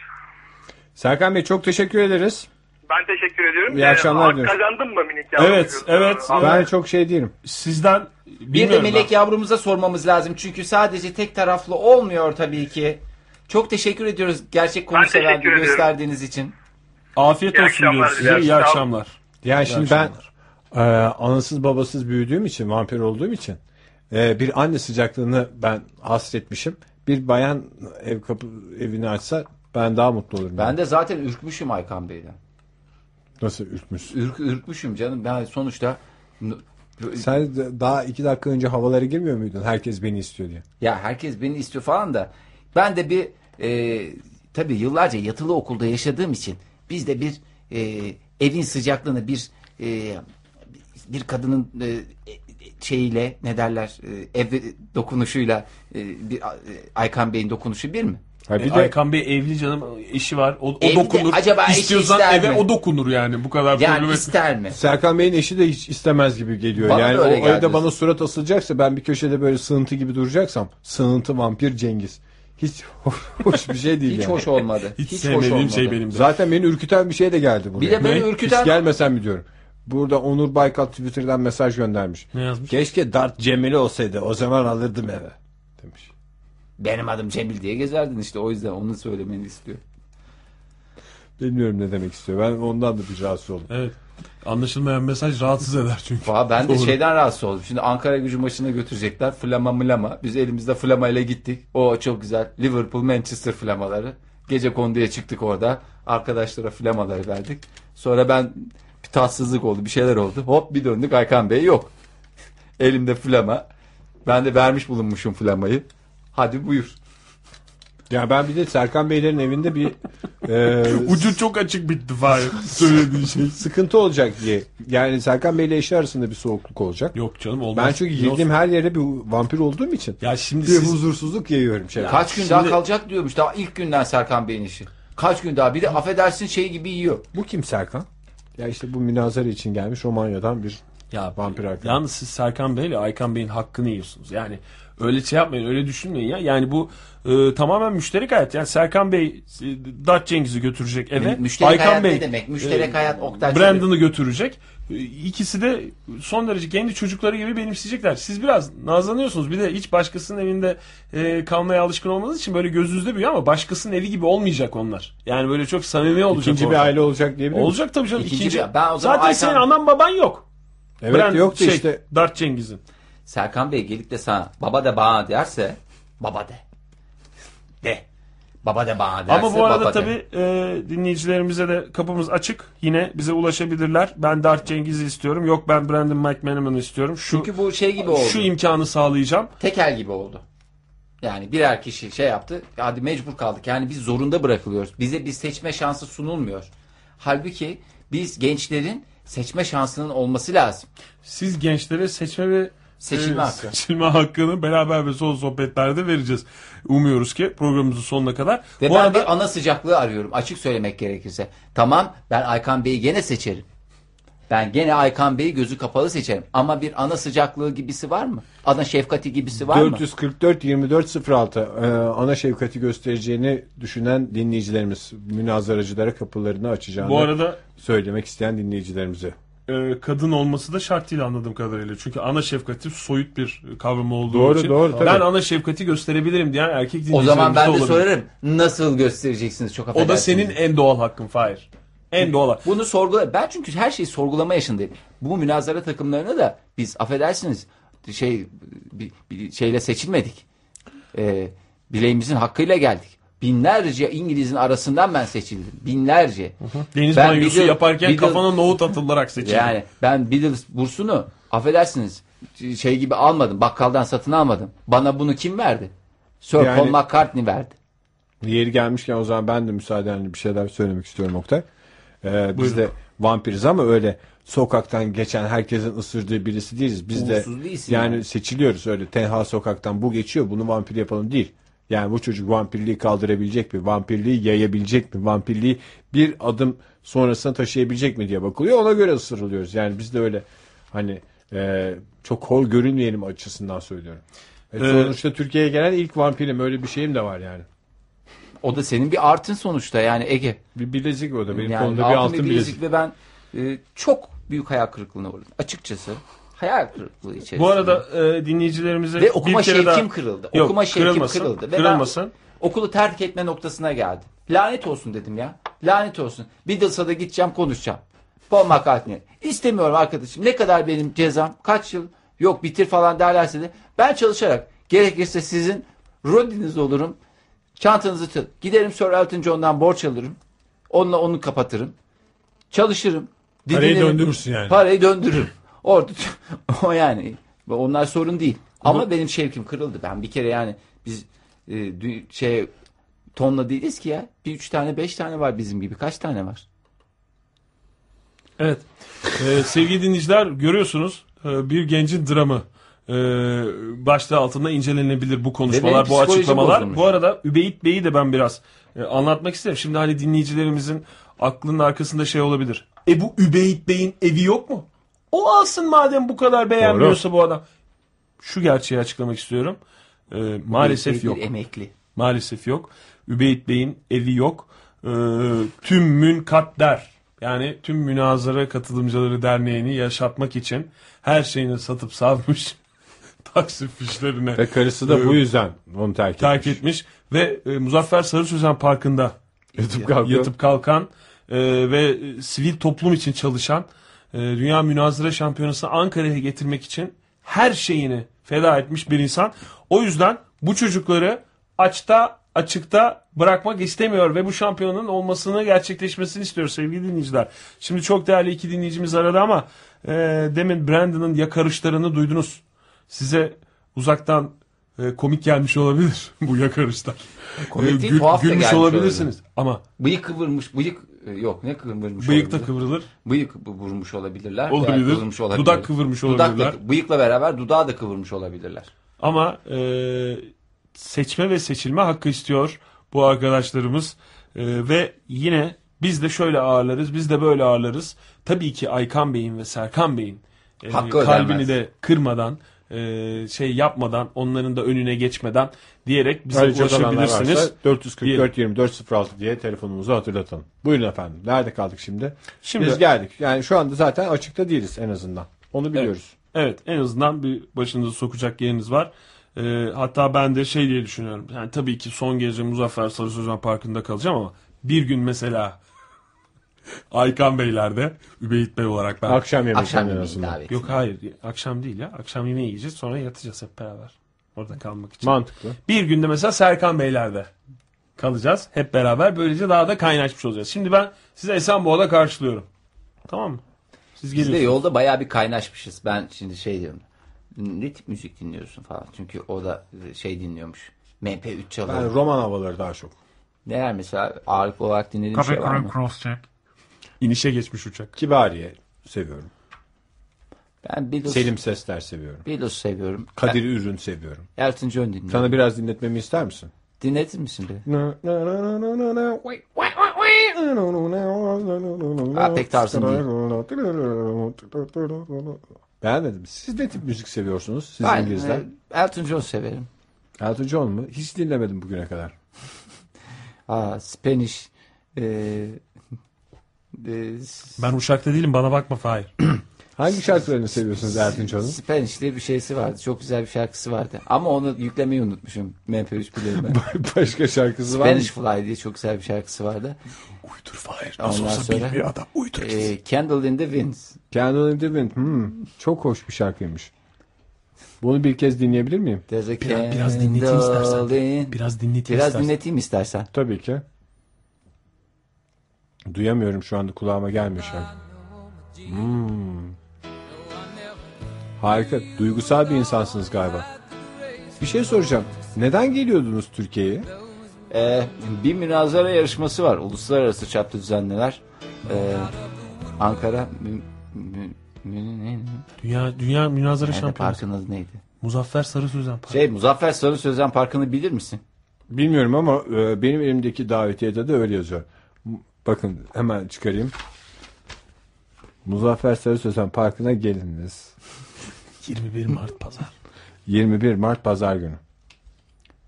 Speaker 1: Serkan Bey çok teşekkür ederiz.
Speaker 14: Ben teşekkür ediyorum.
Speaker 1: İyi akşamlar
Speaker 14: hak
Speaker 1: diliyorum.
Speaker 14: Kazandın mı minik
Speaker 3: Evet, evet.
Speaker 14: Ee,
Speaker 1: Ben çok şey değilim.
Speaker 3: Sizden
Speaker 11: Bir de
Speaker 3: bilmiyorum ben.
Speaker 11: Melek yavrumuza sormamız lazım. Çünkü sadece tek taraflı olmuyor tabii ki. Çok teşekkür ediyoruz gerçek
Speaker 14: teşekkür
Speaker 11: konukseverliği
Speaker 14: ediyorum.
Speaker 11: gösterdiğiniz için.
Speaker 3: Afiyet
Speaker 14: İyi
Speaker 3: olsun diyoruz
Speaker 14: akşamlar
Speaker 3: size.
Speaker 14: diler.
Speaker 3: İyi
Speaker 14: Sağ olun.
Speaker 3: akşamlar.
Speaker 1: Yani şimdi ben e, anasız babasız büyüdüğüm için, vampir olduğum için e, bir anne sıcaklığını ben hasretmişim. Bir bayan ev kapı evini açsa ben daha mutlu olurum.
Speaker 11: Ben de zaten ürkmüşüm Aykan Bey'den.
Speaker 1: Nasıl ürkmüş?
Speaker 11: Ürk, ürkmüşüm canım. Ben sonuçta
Speaker 1: Sen de daha iki dakika önce havalara girmiyor muydun? Herkes beni istiyor diye.
Speaker 11: Ya herkes beni istiyor falan da ben de bir e, tabii yıllarca yatılı okulda yaşadığım için biz de bir e, evin sıcaklığını bir e, bir kadının e, e, şeyiyle ne derler e, ev dokunuşuyla e, bir a- e, Aykan Bey'in dokunuşu bir mi?
Speaker 1: Ha, bir
Speaker 3: E,
Speaker 1: de
Speaker 3: Aykan Bey evli canım eşi var. O, o
Speaker 11: Evli de
Speaker 3: dokunur.
Speaker 11: acaba eşi
Speaker 3: İstiyorsan
Speaker 11: ister
Speaker 3: eve
Speaker 11: mi?
Speaker 3: o dokunur yani. Bu kadar
Speaker 11: Yani
Speaker 3: problem etmiyor.
Speaker 11: ister mi?
Speaker 1: Serkan Bey'in eşi de hiç istemez gibi geliyor.
Speaker 11: Bana
Speaker 1: yani
Speaker 11: da
Speaker 1: o
Speaker 11: öyle geldi.
Speaker 1: evde bana surat asılacaksa ben bir köşede böyle sığıntı gibi duracaksam sığıntı vampir Cengiz. Hiç hoş bir şey değil
Speaker 11: Hiç
Speaker 1: yani.
Speaker 11: hoş olmadı.
Speaker 3: Hiç,
Speaker 11: Hiç hoş
Speaker 3: sevmediğim
Speaker 11: olmadı.
Speaker 3: şey benim de.
Speaker 1: Zaten beni ürküten bir şey de geldi buraya.
Speaker 11: Bir de böyle
Speaker 3: Ne?
Speaker 11: ürküten
Speaker 1: Hiç gelmesem mi diyorum. Burada Onur Baykal Twitter'dan mesaj göndermiş.
Speaker 3: Ne yazmış?
Speaker 1: Keşke Dart Cemil olsaydı o zaman alırdım eve demiş.
Speaker 11: benim adım Cemil diye gezerdin işte o yüzden onu söylemeni istiyor.
Speaker 1: Bilmiyorum ne demek istiyor. Ben ondan da bir rahatsız oldum.
Speaker 3: Evet. Anlaşılmayan mesaj rahatsız eder çünkü.
Speaker 11: Valla ben de
Speaker 3: Doğru.
Speaker 11: şeyden rahatsız oldum. Şimdi Ankara gücü maçına götürecekler. Flama mlama. Biz elimizde flama ile gittik. O çok güzel. Liverpool, Manchester flamaları. Gece konduya çıktık orada. Arkadaşlara flamaları verdik. Sonra ben bir tatsızlık oldu. Bir şeyler oldu. Hop bir döndük. Aykan Bey yok. Elimde flama. Ben de vermiş bulunmuşum flamayı. Hadi buyur.
Speaker 1: Ya ben bir de Serkan Beylerin evinde bir e,
Speaker 3: Ucu çok açık bitti Fahir. Söylediğin şey.
Speaker 1: sıkıntı olacak diye. Yani Serkan Bey ile eşi arasında bir soğukluk olacak.
Speaker 3: Yok canım olmaz.
Speaker 1: Ben çünkü
Speaker 3: Ne
Speaker 1: girdiğim
Speaker 3: olsun?
Speaker 1: her yere bir vampir olduğum için
Speaker 3: Ya şimdi
Speaker 1: bir
Speaker 3: siz
Speaker 1: huzursuzluk yayıyorum. Şey.
Speaker 11: Kaç gün
Speaker 3: şimdi-
Speaker 11: daha kalacak diyormuş. Daha ilk günden Serkan Bey'in işi. Kaç gün daha. Bir de affedersin şey gibi yiyor.
Speaker 1: Bu kim Serkan? Ya işte bu münazara için gelmiş Romanya'dan bir
Speaker 3: ya
Speaker 1: vampir arkadaş.
Speaker 3: Yalnız siz Serkan Bey ile Aykan Bey'in hakkını yiyorsunuz. Yani öyle şey yapmayın, öyle düşünmeyin ya. Yani bu e, tamamen müşterek hayat. Yani Serkan Bey e, Dart Cengiz'i götürecek eve.
Speaker 11: Müşterek
Speaker 3: Aykan
Speaker 11: hayat
Speaker 3: Bey
Speaker 11: ne demek? Müşterek
Speaker 3: e,
Speaker 11: hayat Oktay.
Speaker 3: Brandon'ı götürecek. E, İkisi de son derece kendi çocukları gibi benimseyecekler. Siz biraz nazlanıyorsunuz. Bir de hiç başkasının evinde e, kalmaya alışkın olmanız için böyle gözünüzde büyüyor ama başkasının evi gibi olmayacak onlar. Yani böyle çok samimi olacak.
Speaker 1: İkinci bir
Speaker 3: ortam.
Speaker 1: aile olacak diyebilir miyim?
Speaker 3: Olacak tabii canım.
Speaker 11: İkinci
Speaker 3: İkinci,
Speaker 11: bir- ben o zaman
Speaker 3: Zaten
Speaker 11: Aykan-
Speaker 3: senin anan baban yok.
Speaker 1: Evet
Speaker 3: Brand-
Speaker 1: yok da
Speaker 3: şey,
Speaker 1: işte
Speaker 3: Dart Cengiz'in.
Speaker 2: Serkan Bey gelip de sana baba de bana derse baba de. De. Baba de bana derse
Speaker 3: Ama bu arada
Speaker 2: baba de.
Speaker 3: tabii e, dinleyicilerimize de kapımız açık. Yine bize ulaşabilirler. Ben Dark Cengiz'i istiyorum. Yok ben Brandon McManaman'ı istiyorum. Şu
Speaker 2: Çünkü bu şey gibi oldu.
Speaker 3: şu imkanı sağlayacağım.
Speaker 2: tekel gibi oldu. Yani birer kişi şey yaptı. Hadi mecbur kaldık. Yani biz zorunda bırakılıyoruz. Bize bir seçme şansı sunulmuyor. Halbuki biz gençlerin seçme şansının olması lazım.
Speaker 3: Siz gençlere seçme ve
Speaker 2: Seçilme
Speaker 3: e,
Speaker 2: hakkı.
Speaker 3: seçilme hakkını beraber ve son sohbetlerde vereceğiz. Umuyoruz ki programımızın sonuna kadar.
Speaker 2: Ve
Speaker 3: bu
Speaker 2: ben
Speaker 3: arada
Speaker 2: bir ana sıcaklığı arıyorum. Açık söylemek gerekirse. Tamam ben Aykan Bey'i gene seçerim. Ben gene Aykan Bey'i gözü kapalı seçerim. Ama bir ana sıcaklığı gibisi var mı? Ana şefkati gibisi var mı?
Speaker 1: 444 24 06 ee, ana şefkati göstereceğini düşünen dinleyicilerimiz münazaracılara kapılarını açacağını
Speaker 3: bu arada
Speaker 1: söylemek isteyen dinleyicilerimize.
Speaker 3: e, kadın olması da şart değil anladığım kadarıyla. Çünkü ana şefkati soyut bir kavram olduğu
Speaker 1: Doğru,
Speaker 3: için.
Speaker 1: doğru, tabii.
Speaker 3: Ben ana şefkati gösterebilirim diyen erkek
Speaker 2: O
Speaker 3: dinleyicilerimiz
Speaker 2: zaman
Speaker 3: de
Speaker 2: ben de
Speaker 3: olabilir.
Speaker 2: sorarım. Nasıl göstereceksiniz çok
Speaker 3: O da
Speaker 2: affedersiniz.
Speaker 3: senin en doğal hakkın Fahir. En doğal hak-
Speaker 2: Bunu sorgula. Ben çünkü her şeyi sorgulama yaşındayım. Bu münazara takımlarına da biz affedersiniz şey bir, bir şeyle seçilmedik. Ee, bileğimizin hakkıyla geldik. Binlerce İngiliz'in arasından ben seçildim. Binlerce.
Speaker 3: Deniz
Speaker 2: Ben
Speaker 3: banyosu
Speaker 2: Beatles-
Speaker 3: yaparken
Speaker 2: Beatles-
Speaker 3: kafana nohut atılarak seçildi.
Speaker 2: Yani ben Beatles bursunu affedersiniz şey gibi almadım. Bakkaldan satın almadım. Bana bunu kim verdi? Sir
Speaker 1: Yani-
Speaker 2: Paul McCartney verdi.
Speaker 1: Yeri gelmişken o zaman ben de müsaadenle bir şeyler söylemek istiyorum Oktay. Ee, biz de vampiriz ama öyle sokaktan geçen herkesin ısırdığı birisi değiliz. Biz de
Speaker 2: Uğursuz değilsin
Speaker 1: yani,
Speaker 2: yani.
Speaker 1: seçiliyoruz öyle tenha sokaktan bu geçiyor bunu vampir yapalım değil. Yani bu çocuk vampirliği kaldırabilecek mi? Vampirliği yayabilecek mi? Vampirliği bir adım sonrasına taşıyabilecek mi diye bakılıyor. Ona göre ısırılıyoruz. Yani biz de öyle hani e, çok hor görünmeyelim açısından söylüyorum. E, sonuçta Türkiye'ye gelen ilk vampirim öyle bir şeyim de var yani.
Speaker 2: O da senin bir artın sonuçta yani Ege.
Speaker 1: Bir bilezik o da benim
Speaker 2: Yani
Speaker 1: kolumda bir altın bilezik.
Speaker 2: bilezikle ben e, çok büyük hayal kırıklığına uğradım. Açıkçası hayal kırıklığı içerisinde.
Speaker 3: Bu arada e, dinleyicilerimize
Speaker 2: ve okuma
Speaker 3: bir kere
Speaker 2: şevkim
Speaker 3: daha...
Speaker 2: kırıldı.
Speaker 3: Yok,
Speaker 2: okuma şevkim
Speaker 3: kırılmasın,
Speaker 2: kırıldı. Ve
Speaker 3: kırılmasın.
Speaker 2: ben okulu terk etme noktasına geldi. Lanet olsun dedim ya. Lanet olsun. Beatles'a da gideceğim konuşacağım. Paul McCartney. İstemiyorum arkadaşım. Ne kadar benim cezam? Kaç yıl? Yok bitir falan derlerse de ben çalışarak gerekirse sizin rodiniz olurum. Çantanızı tut. Giderim Sir Elton John'dan borç alırım. Onunla onu kapatırım. Çalışırım.
Speaker 1: Parayı
Speaker 2: didinirim.
Speaker 1: döndürürsün yani.
Speaker 2: Parayı döndürürüm. Orada o yani onlar sorun değil. Ama benim şevkim kırıldı. Ben bir kere yani biz e, dü- şey tonla değiliz ki ya. Bir üç tane beş tane var bizim gibi. Kaç tane var?
Speaker 3: Evet. E, sevgili dinleyiciler görüyorsunuz e, bir gencin dramı. E, başlığı altında incelenebilir bu
Speaker 2: Ve benim
Speaker 3: konuşmalar, bu
Speaker 2: psikoloji
Speaker 3: açıklamalar.
Speaker 2: bozulmuş.
Speaker 3: Bu arada Übeyit Bey'i de ben biraz e, anlatmak isterim. Şimdi hani dinleyicilerimizin aklının arkasında şey olabilir. E bu Übeyit Bey'in evi yok mu? O alsın madem bu kadar beğenmiyorsa bu adam. Şu gerçeği açıklamak istiyorum. E, maalesef
Speaker 2: Bir
Speaker 3: yok.
Speaker 2: emekli.
Speaker 3: Maalesef yok. Übeyt Bey'in evi yok. Ee, tüm münkat der. Yani tüm münazara katılımcıları derneğini yaşatmak için her şeyini satıp savmış. Taksi fişlerine
Speaker 1: Ve karısı da bu
Speaker 3: Ee,
Speaker 1: yüzden onu terk etmiş.
Speaker 3: terk etmiş. Ve e, Muzaffer Sarı Sözen Parkı'nda
Speaker 1: Yatıp kalkıyor.
Speaker 3: yatıp kalkan e, ve sivil toplum için çalışan e, Dünya Münazara Şampiyonası Ankara'ya getirmek için her şeyini feda etmiş bir insan. O yüzden bu çocukları açta açıkta bırakmak istemiyor ve bu şampiyonun olmasını gerçekleşmesini istiyor sevgili dinleyiciler. Şimdi çok değerli iki dinleyicimiz aradı ama e, demin Brandon'ın yakarışlarını duydunuz. Size uzaktan e, komik gelmiş olabilir bu yakarışlar.
Speaker 2: Komik
Speaker 3: E,
Speaker 2: değil, tuhaf da
Speaker 3: gülmüş
Speaker 2: gelmiş
Speaker 3: olabilirsiniz ama
Speaker 2: Bıyık kıvırmış. Bıyık e, yok ne kıvırmış
Speaker 3: Bıyık da
Speaker 2: olabilir?
Speaker 3: kıvrılır.
Speaker 2: Bıyık bu- vurmuş olabilirler. veya
Speaker 3: Olabilir.
Speaker 2: kıvırmış olabilir.
Speaker 3: Dudak kıvırmış
Speaker 2: Dudak da-
Speaker 3: olabilirler.
Speaker 2: bıyıkla beraber dudağı da kıvırmış olabilirler.
Speaker 3: Ama e, seçme ve seçilme hakkı istiyor bu arkadaşlarımız. E, ve yine biz de şöyle ağırlarız, biz de böyle ağırlarız. Tabii ki Aykan Bey'in ve Serkan Bey'in e,
Speaker 2: Hakkı
Speaker 3: kalbini
Speaker 2: ödenmez.
Speaker 3: de kırmadan, e, şey yapmadan, onların da önüne geçmeden diyerek bize
Speaker 1: Ayrıca olanlar
Speaker 3: ulaşabilirsiniz.
Speaker 1: varsa 444 24 06 diye telefonumuzu hatırlatalım. Buyurun efendim. Nerede kaldık şimdi?
Speaker 3: Şimdi-
Speaker 1: Biz geldik. Yani şu anda zaten açıkta değiliz en azından. Onu biliyoruz.
Speaker 3: Evet en azından bir başınızı sokacak yeriniz var. Ee, hatta ben de şey diye düşünüyorum. Yani tabii ki son gece Muzaffer Sarı Sözen Parkı'nda kalacağım ama bir gün mesela Aykan Beyler'de Übeyit Bey olarak ben.
Speaker 1: Akşam yemeği
Speaker 11: Akşam
Speaker 1: en
Speaker 11: yemeği
Speaker 1: azından.
Speaker 11: davet.
Speaker 3: Yok hayır akşam değil ya. Akşam yemeği yiyeceğiz sonra yatacağız hep beraber. Orada kalmak için.
Speaker 1: Mantıklı.
Speaker 3: Bir günde mesela Serkan Beyler'de kalacağız hep beraber. Böylece daha da kaynaşmış olacağız. Şimdi ben sizi Esenboğa'da karşılıyorum. Tamam mı? Siz
Speaker 11: Biz de
Speaker 3: geliyorsunuz.
Speaker 11: yolda bayağı bir kaynaşmışız. Ben şimdi şey diyorum. Ne tip müzik dinliyorsun falan. Çünkü o da şey dinliyormuş. MP3 çalıyor.
Speaker 1: Yani roman havaları daha çok.
Speaker 11: Neler mesela ağırlıklı olarak dinlediğin şey var mı?
Speaker 3: İnişe geçmiş uçak.
Speaker 1: Kibariye seviyorum.
Speaker 11: Ben Beatles,
Speaker 1: Selim Sesler seviyorum.
Speaker 11: Beatles seviyorum.
Speaker 1: Kadir Ürün seviyorum.
Speaker 11: Ben Elton John dinliyorum.
Speaker 1: Sana biraz dinletmemi ister misin?
Speaker 11: Dinletir misin beni? Aa, pek tarzım
Speaker 1: Beğenmedim. Siz ne tip müzik seviyorsunuz? Siz
Speaker 11: Ben
Speaker 1: İngilizler.
Speaker 11: e, Elton John severim.
Speaker 1: Elton John mu? Hiç dinlemedim bugüne kadar.
Speaker 11: Aa, Spanish. E, e, s-
Speaker 3: Ben uçakta değilim bana bakma Fahir.
Speaker 1: Hangi şarkılarını seviyorsunuz Elton John'un?
Speaker 11: Spanish diye bir şeysi vardı. Çok güzel bir şarkısı vardı. Ama onu yüklemeyi unutmuşum. MP3 player'ıma.
Speaker 1: Başka şarkısı var mı?
Speaker 11: Spanish Fly diye çok güzel bir şarkısı vardı.
Speaker 3: Uydur Fahir.
Speaker 11: Ondan
Speaker 3: Nasıl olsa
Speaker 11: sonra-
Speaker 3: bilmiyor adam. Uydur.
Speaker 11: E, Candle in the Wind.
Speaker 1: Candle in the Wind. Hmm, çok hoş bir şarkıymış. Bunu bir kez dinleyebilir miyim?
Speaker 11: There's a
Speaker 3: Biraz, biraz dinleteyim istersen.
Speaker 11: candle in-
Speaker 3: Ee, Biraz dinleteyim
Speaker 11: Biraz
Speaker 3: istersen.
Speaker 11: dinleteyim istersen.
Speaker 1: Tabii ki. Duyamıyorum şu anda kulağıma gelmiyor şarkı. Hmm. Harika. Duygusal bir insansınız galiba. Bir şey soracağım. Neden geliyordunuz Türkiye'ye?
Speaker 11: Ee, bir münazara yarışması var. Uluslararası çapta düzenliler. Ee, Ankara mü, mü, mü, ne, ne?
Speaker 3: Dünya, dünya münazara
Speaker 11: Nerede
Speaker 3: şampiyonu.
Speaker 11: parkın adı neydi?
Speaker 3: Muzaffer Sarı Sözen Parkı.
Speaker 11: Şey Muzaffer Sarı Sözen Parkı'nı bilir misin?
Speaker 1: Bilmiyorum ama e, benim elimdeki davetiyede de öyle yazıyor. M- Bakın hemen çıkarayım. Muzaffer Sarı Sözen Parkı'na geliniz.
Speaker 3: 21 Mart Pazar.
Speaker 1: 21 Mart Pazar günü.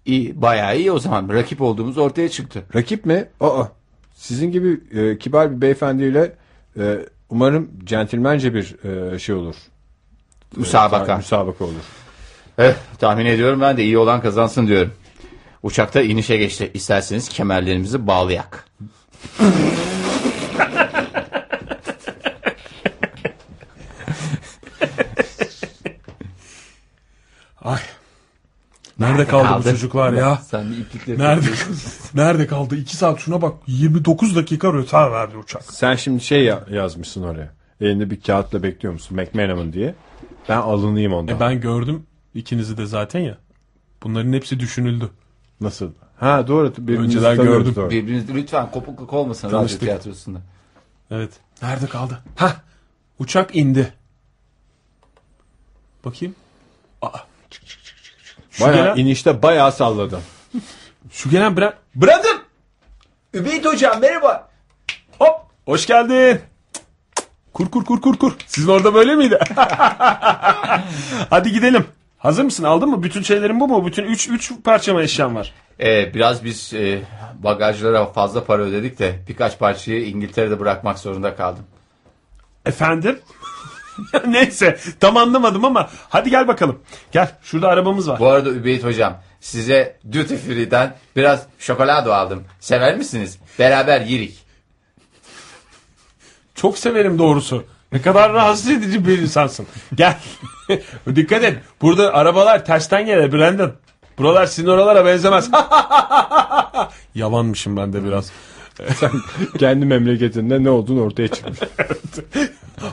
Speaker 11: İyi, bayağı iyi o zaman. Rakip olduğumuz ortaya çıktı.
Speaker 1: Rakip mi? Aa. Sizin gibi e, kibar bir beyefendiyle e, umarım centilmence bir e, şey olur.
Speaker 11: Müsabaka.
Speaker 1: Müsabaka olur.
Speaker 11: Eh, tahmin ediyorum ben de iyi olan kazansın diyorum. Uçakta inişe geçti. İsterseniz kemerlerimizi bağlayak.
Speaker 3: Ay. Nerede kaldı,
Speaker 11: kaldı?
Speaker 3: bu çocuklar ya?
Speaker 11: Sen bir iplikle
Speaker 3: Nerede nerede kaldı? 2 saat şuna bak. 29 dakika rötar verdi uçak.
Speaker 1: Sen şimdi şey ya- yazmışsın oraya. Elinde bir kağıtla bekliyor musun? McManaman diye. Ben alınayım ondan.
Speaker 3: E ben gördüm ikinizi de zaten ya. Bunların hepsi düşünüldü.
Speaker 1: Nasıl? Ha doğru. Birbirimizi
Speaker 3: Önceden
Speaker 1: tanıyoruz,
Speaker 3: gördüm.
Speaker 1: doğru.
Speaker 11: Birbiriniz lütfen kopukluk olmasın radyo
Speaker 3: Tanıştık.
Speaker 11: tiyatrosunda.
Speaker 3: Evet. Nerede kaldı? Ha. Uçak indi. Bakayım. Aa. Çık, çık, çık, çık, çık. Şu
Speaker 1: Bayağı
Speaker 3: gelen,
Speaker 1: inişte bayağı salladı.
Speaker 3: şu gelen bırak.
Speaker 11: Bırakın! Übeyt hocam merhaba.
Speaker 3: Hop. Hoş geldin. Kur kur kur kur kur. Sizin orada böyle miydi? Hadi gidelim. Hazır mısın? Aldın mı? Bütün şeylerin bu mu? Bütün 3 3 parçama eşyan var.
Speaker 11: Ee, biraz biz e, bagajlara fazla para ödedik de birkaç parçayı İngiltere'de bırakmak zorunda kaldım.
Speaker 3: Efendim? Neyse tam anlamadım ama hadi gel bakalım. Gel şurada arabamız var.
Speaker 11: Bu arada Übeyt hocam size Duty Free'den biraz şokolado aldım. Sever misiniz? Beraber yirik.
Speaker 3: Çok severim doğrusu. Ne kadar rahatsız edici bir insansın. Gel. Dikkat et. Burada arabalar tersten gelir Brandon. Buralar sizin oralara benzemez. Yalanmışım ben de biraz.
Speaker 1: Kendi memleketinde ne olduğunu ortaya çıkmış.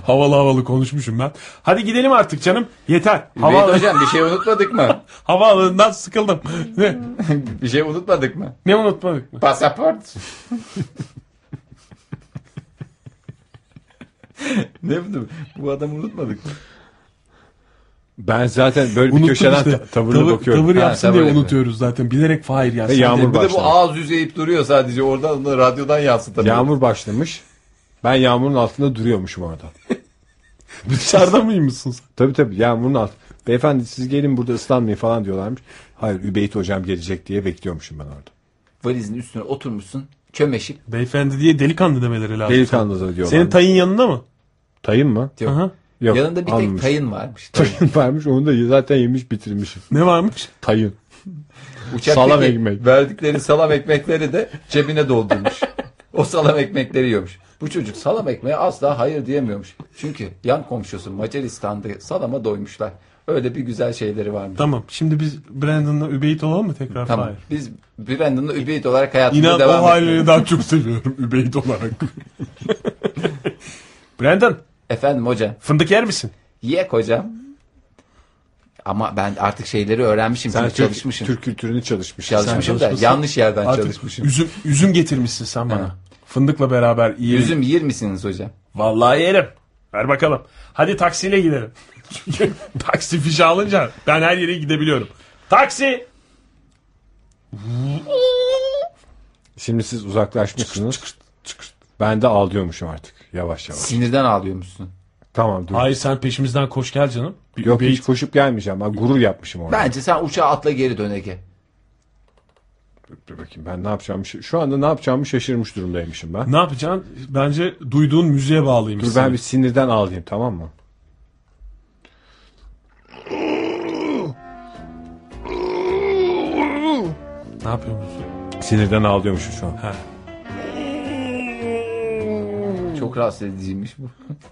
Speaker 3: Havalı havalı konuşmuşum ben. Hadi gidelim artık canım. Yeter.
Speaker 11: Übeyt
Speaker 3: Hava,
Speaker 11: hocam bir şey unutmadık mı?
Speaker 3: havaalanından sıkıldım. ne,
Speaker 11: bir şey unutmadık mı?
Speaker 3: ne unutmadık mı?
Speaker 11: Pasaport. ne bileyim bu adamı unutmadık mı?
Speaker 1: Ben zaten böyle bir
Speaker 3: Unuttum
Speaker 1: köşeden
Speaker 3: işte.
Speaker 1: ta- tavırla
Speaker 3: Tavır-
Speaker 1: bakıyorum.
Speaker 3: Tavır
Speaker 11: Ha,
Speaker 3: yapsın
Speaker 11: tavır
Speaker 3: diye
Speaker 11: yapıyor.
Speaker 3: unutuyoruz zaten. Bilerek Fahir
Speaker 1: Ve
Speaker 3: yapsın.
Speaker 1: yağmur
Speaker 11: Bir de bu
Speaker 1: başlamış.
Speaker 11: ağız yüzeyip duruyor sadece. Oradan da radyodan yansıtamıyor.
Speaker 1: Yağmur başlamış. Ben yağmurun altında duruyormuşum orada.
Speaker 3: Dışarıda mıymışsın sen?
Speaker 1: Tabii tabii yağmurun alt. Beyefendi siz gelin burada ıslanmayın falan diyorlarmış. Hayır Übeyt hocam gelecek diye bekliyormuşum ben orada.
Speaker 11: Valizin üstüne oturmuşsun. Çömeşip.
Speaker 3: Beyefendi diye delikanlı demeleri lazım.
Speaker 1: Delikanlı da diyorlar.
Speaker 3: Senin tayın yanında mı?
Speaker 1: tayın mı?
Speaker 11: Yok.
Speaker 3: Aha.
Speaker 1: Yok.
Speaker 11: Yanında bir tek
Speaker 1: almamış.
Speaker 11: tayın varmış.
Speaker 1: Tayın varmış onu da zaten yemiş bitirmiş.
Speaker 3: Ne varmış?
Speaker 1: Tayın.
Speaker 11: Uçaktaki
Speaker 1: Salam ekmek.
Speaker 11: verdikleri salam ekmekleri de cebine doldurmuş. o salam ekmekleri yiyormuş. Bu çocuk salam ekmeğe asla hayır diyemiyormuş. Çünkü yan komşusu Macaristan'da salama doymuşlar. Öyle bir güzel şeyleri varmış.
Speaker 3: Tamam. Şimdi biz Brandon'la Übeyit olalım mı tekrar?
Speaker 11: Tamam.
Speaker 3: Hayır.
Speaker 11: Biz Brandon'la Übeyit olarak hayatımıza
Speaker 3: İnan
Speaker 11: devam
Speaker 3: o
Speaker 11: ediyoruz.
Speaker 3: halini daha çok seviyorum Übeyit olarak. Brandon
Speaker 11: Efendim hocam.
Speaker 3: fındık yer misin?
Speaker 11: Yek hocam. Ama ben artık şeyleri öğrenmişim.
Speaker 1: Sen
Speaker 11: çünkü
Speaker 1: Türk,
Speaker 11: çalışmışım.
Speaker 1: Türk kültürünü çalışmışsın.
Speaker 11: çalışmışım da
Speaker 3: çalışmışsın.
Speaker 11: yanlış yerden
Speaker 3: Artık
Speaker 11: çalışmışım.
Speaker 3: Üzüm, üzüm getirmişsin sen bana.
Speaker 11: Ha.
Speaker 3: Fındıkla beraber yiyelim.
Speaker 11: Üzüm yer misiniz hocam?
Speaker 3: Vallahi yerim. Ver bakalım. Hadi taksiyle gidelim. Çünkü taksi fişi alınca ben her yere gidebiliyorum. Taksi!
Speaker 1: Şimdi siz uzaklaşmışsınız. Ben de ağlıyormuşum artık yavaş yavaş.
Speaker 11: Sinirden ağlıyormuşsun.
Speaker 1: Tamam dur.
Speaker 3: Hayır sen peşimizden koş gel canım. Bir
Speaker 1: Yok
Speaker 3: Übeyit-
Speaker 1: hiç koşup gelmeyeceğim. Ben gurur yapmışım orada.
Speaker 11: Bence sen uçağa atla geri dön Ege.
Speaker 1: Dur bakayım ben ne yapacağımı şa- şu anda ne yapacağımı şaşırmış durumdaymışım ben.
Speaker 3: Ne yapacaksın? Bence duyduğun müziğe
Speaker 1: Dur
Speaker 3: bağlıymışsın.
Speaker 1: ben bir sinirden ağlayayım tamam mı?
Speaker 3: Ne yapıyorsun?
Speaker 1: Sinirden ağlıyormuşum şu an.
Speaker 11: Çok rahatsız ediciymiş bu.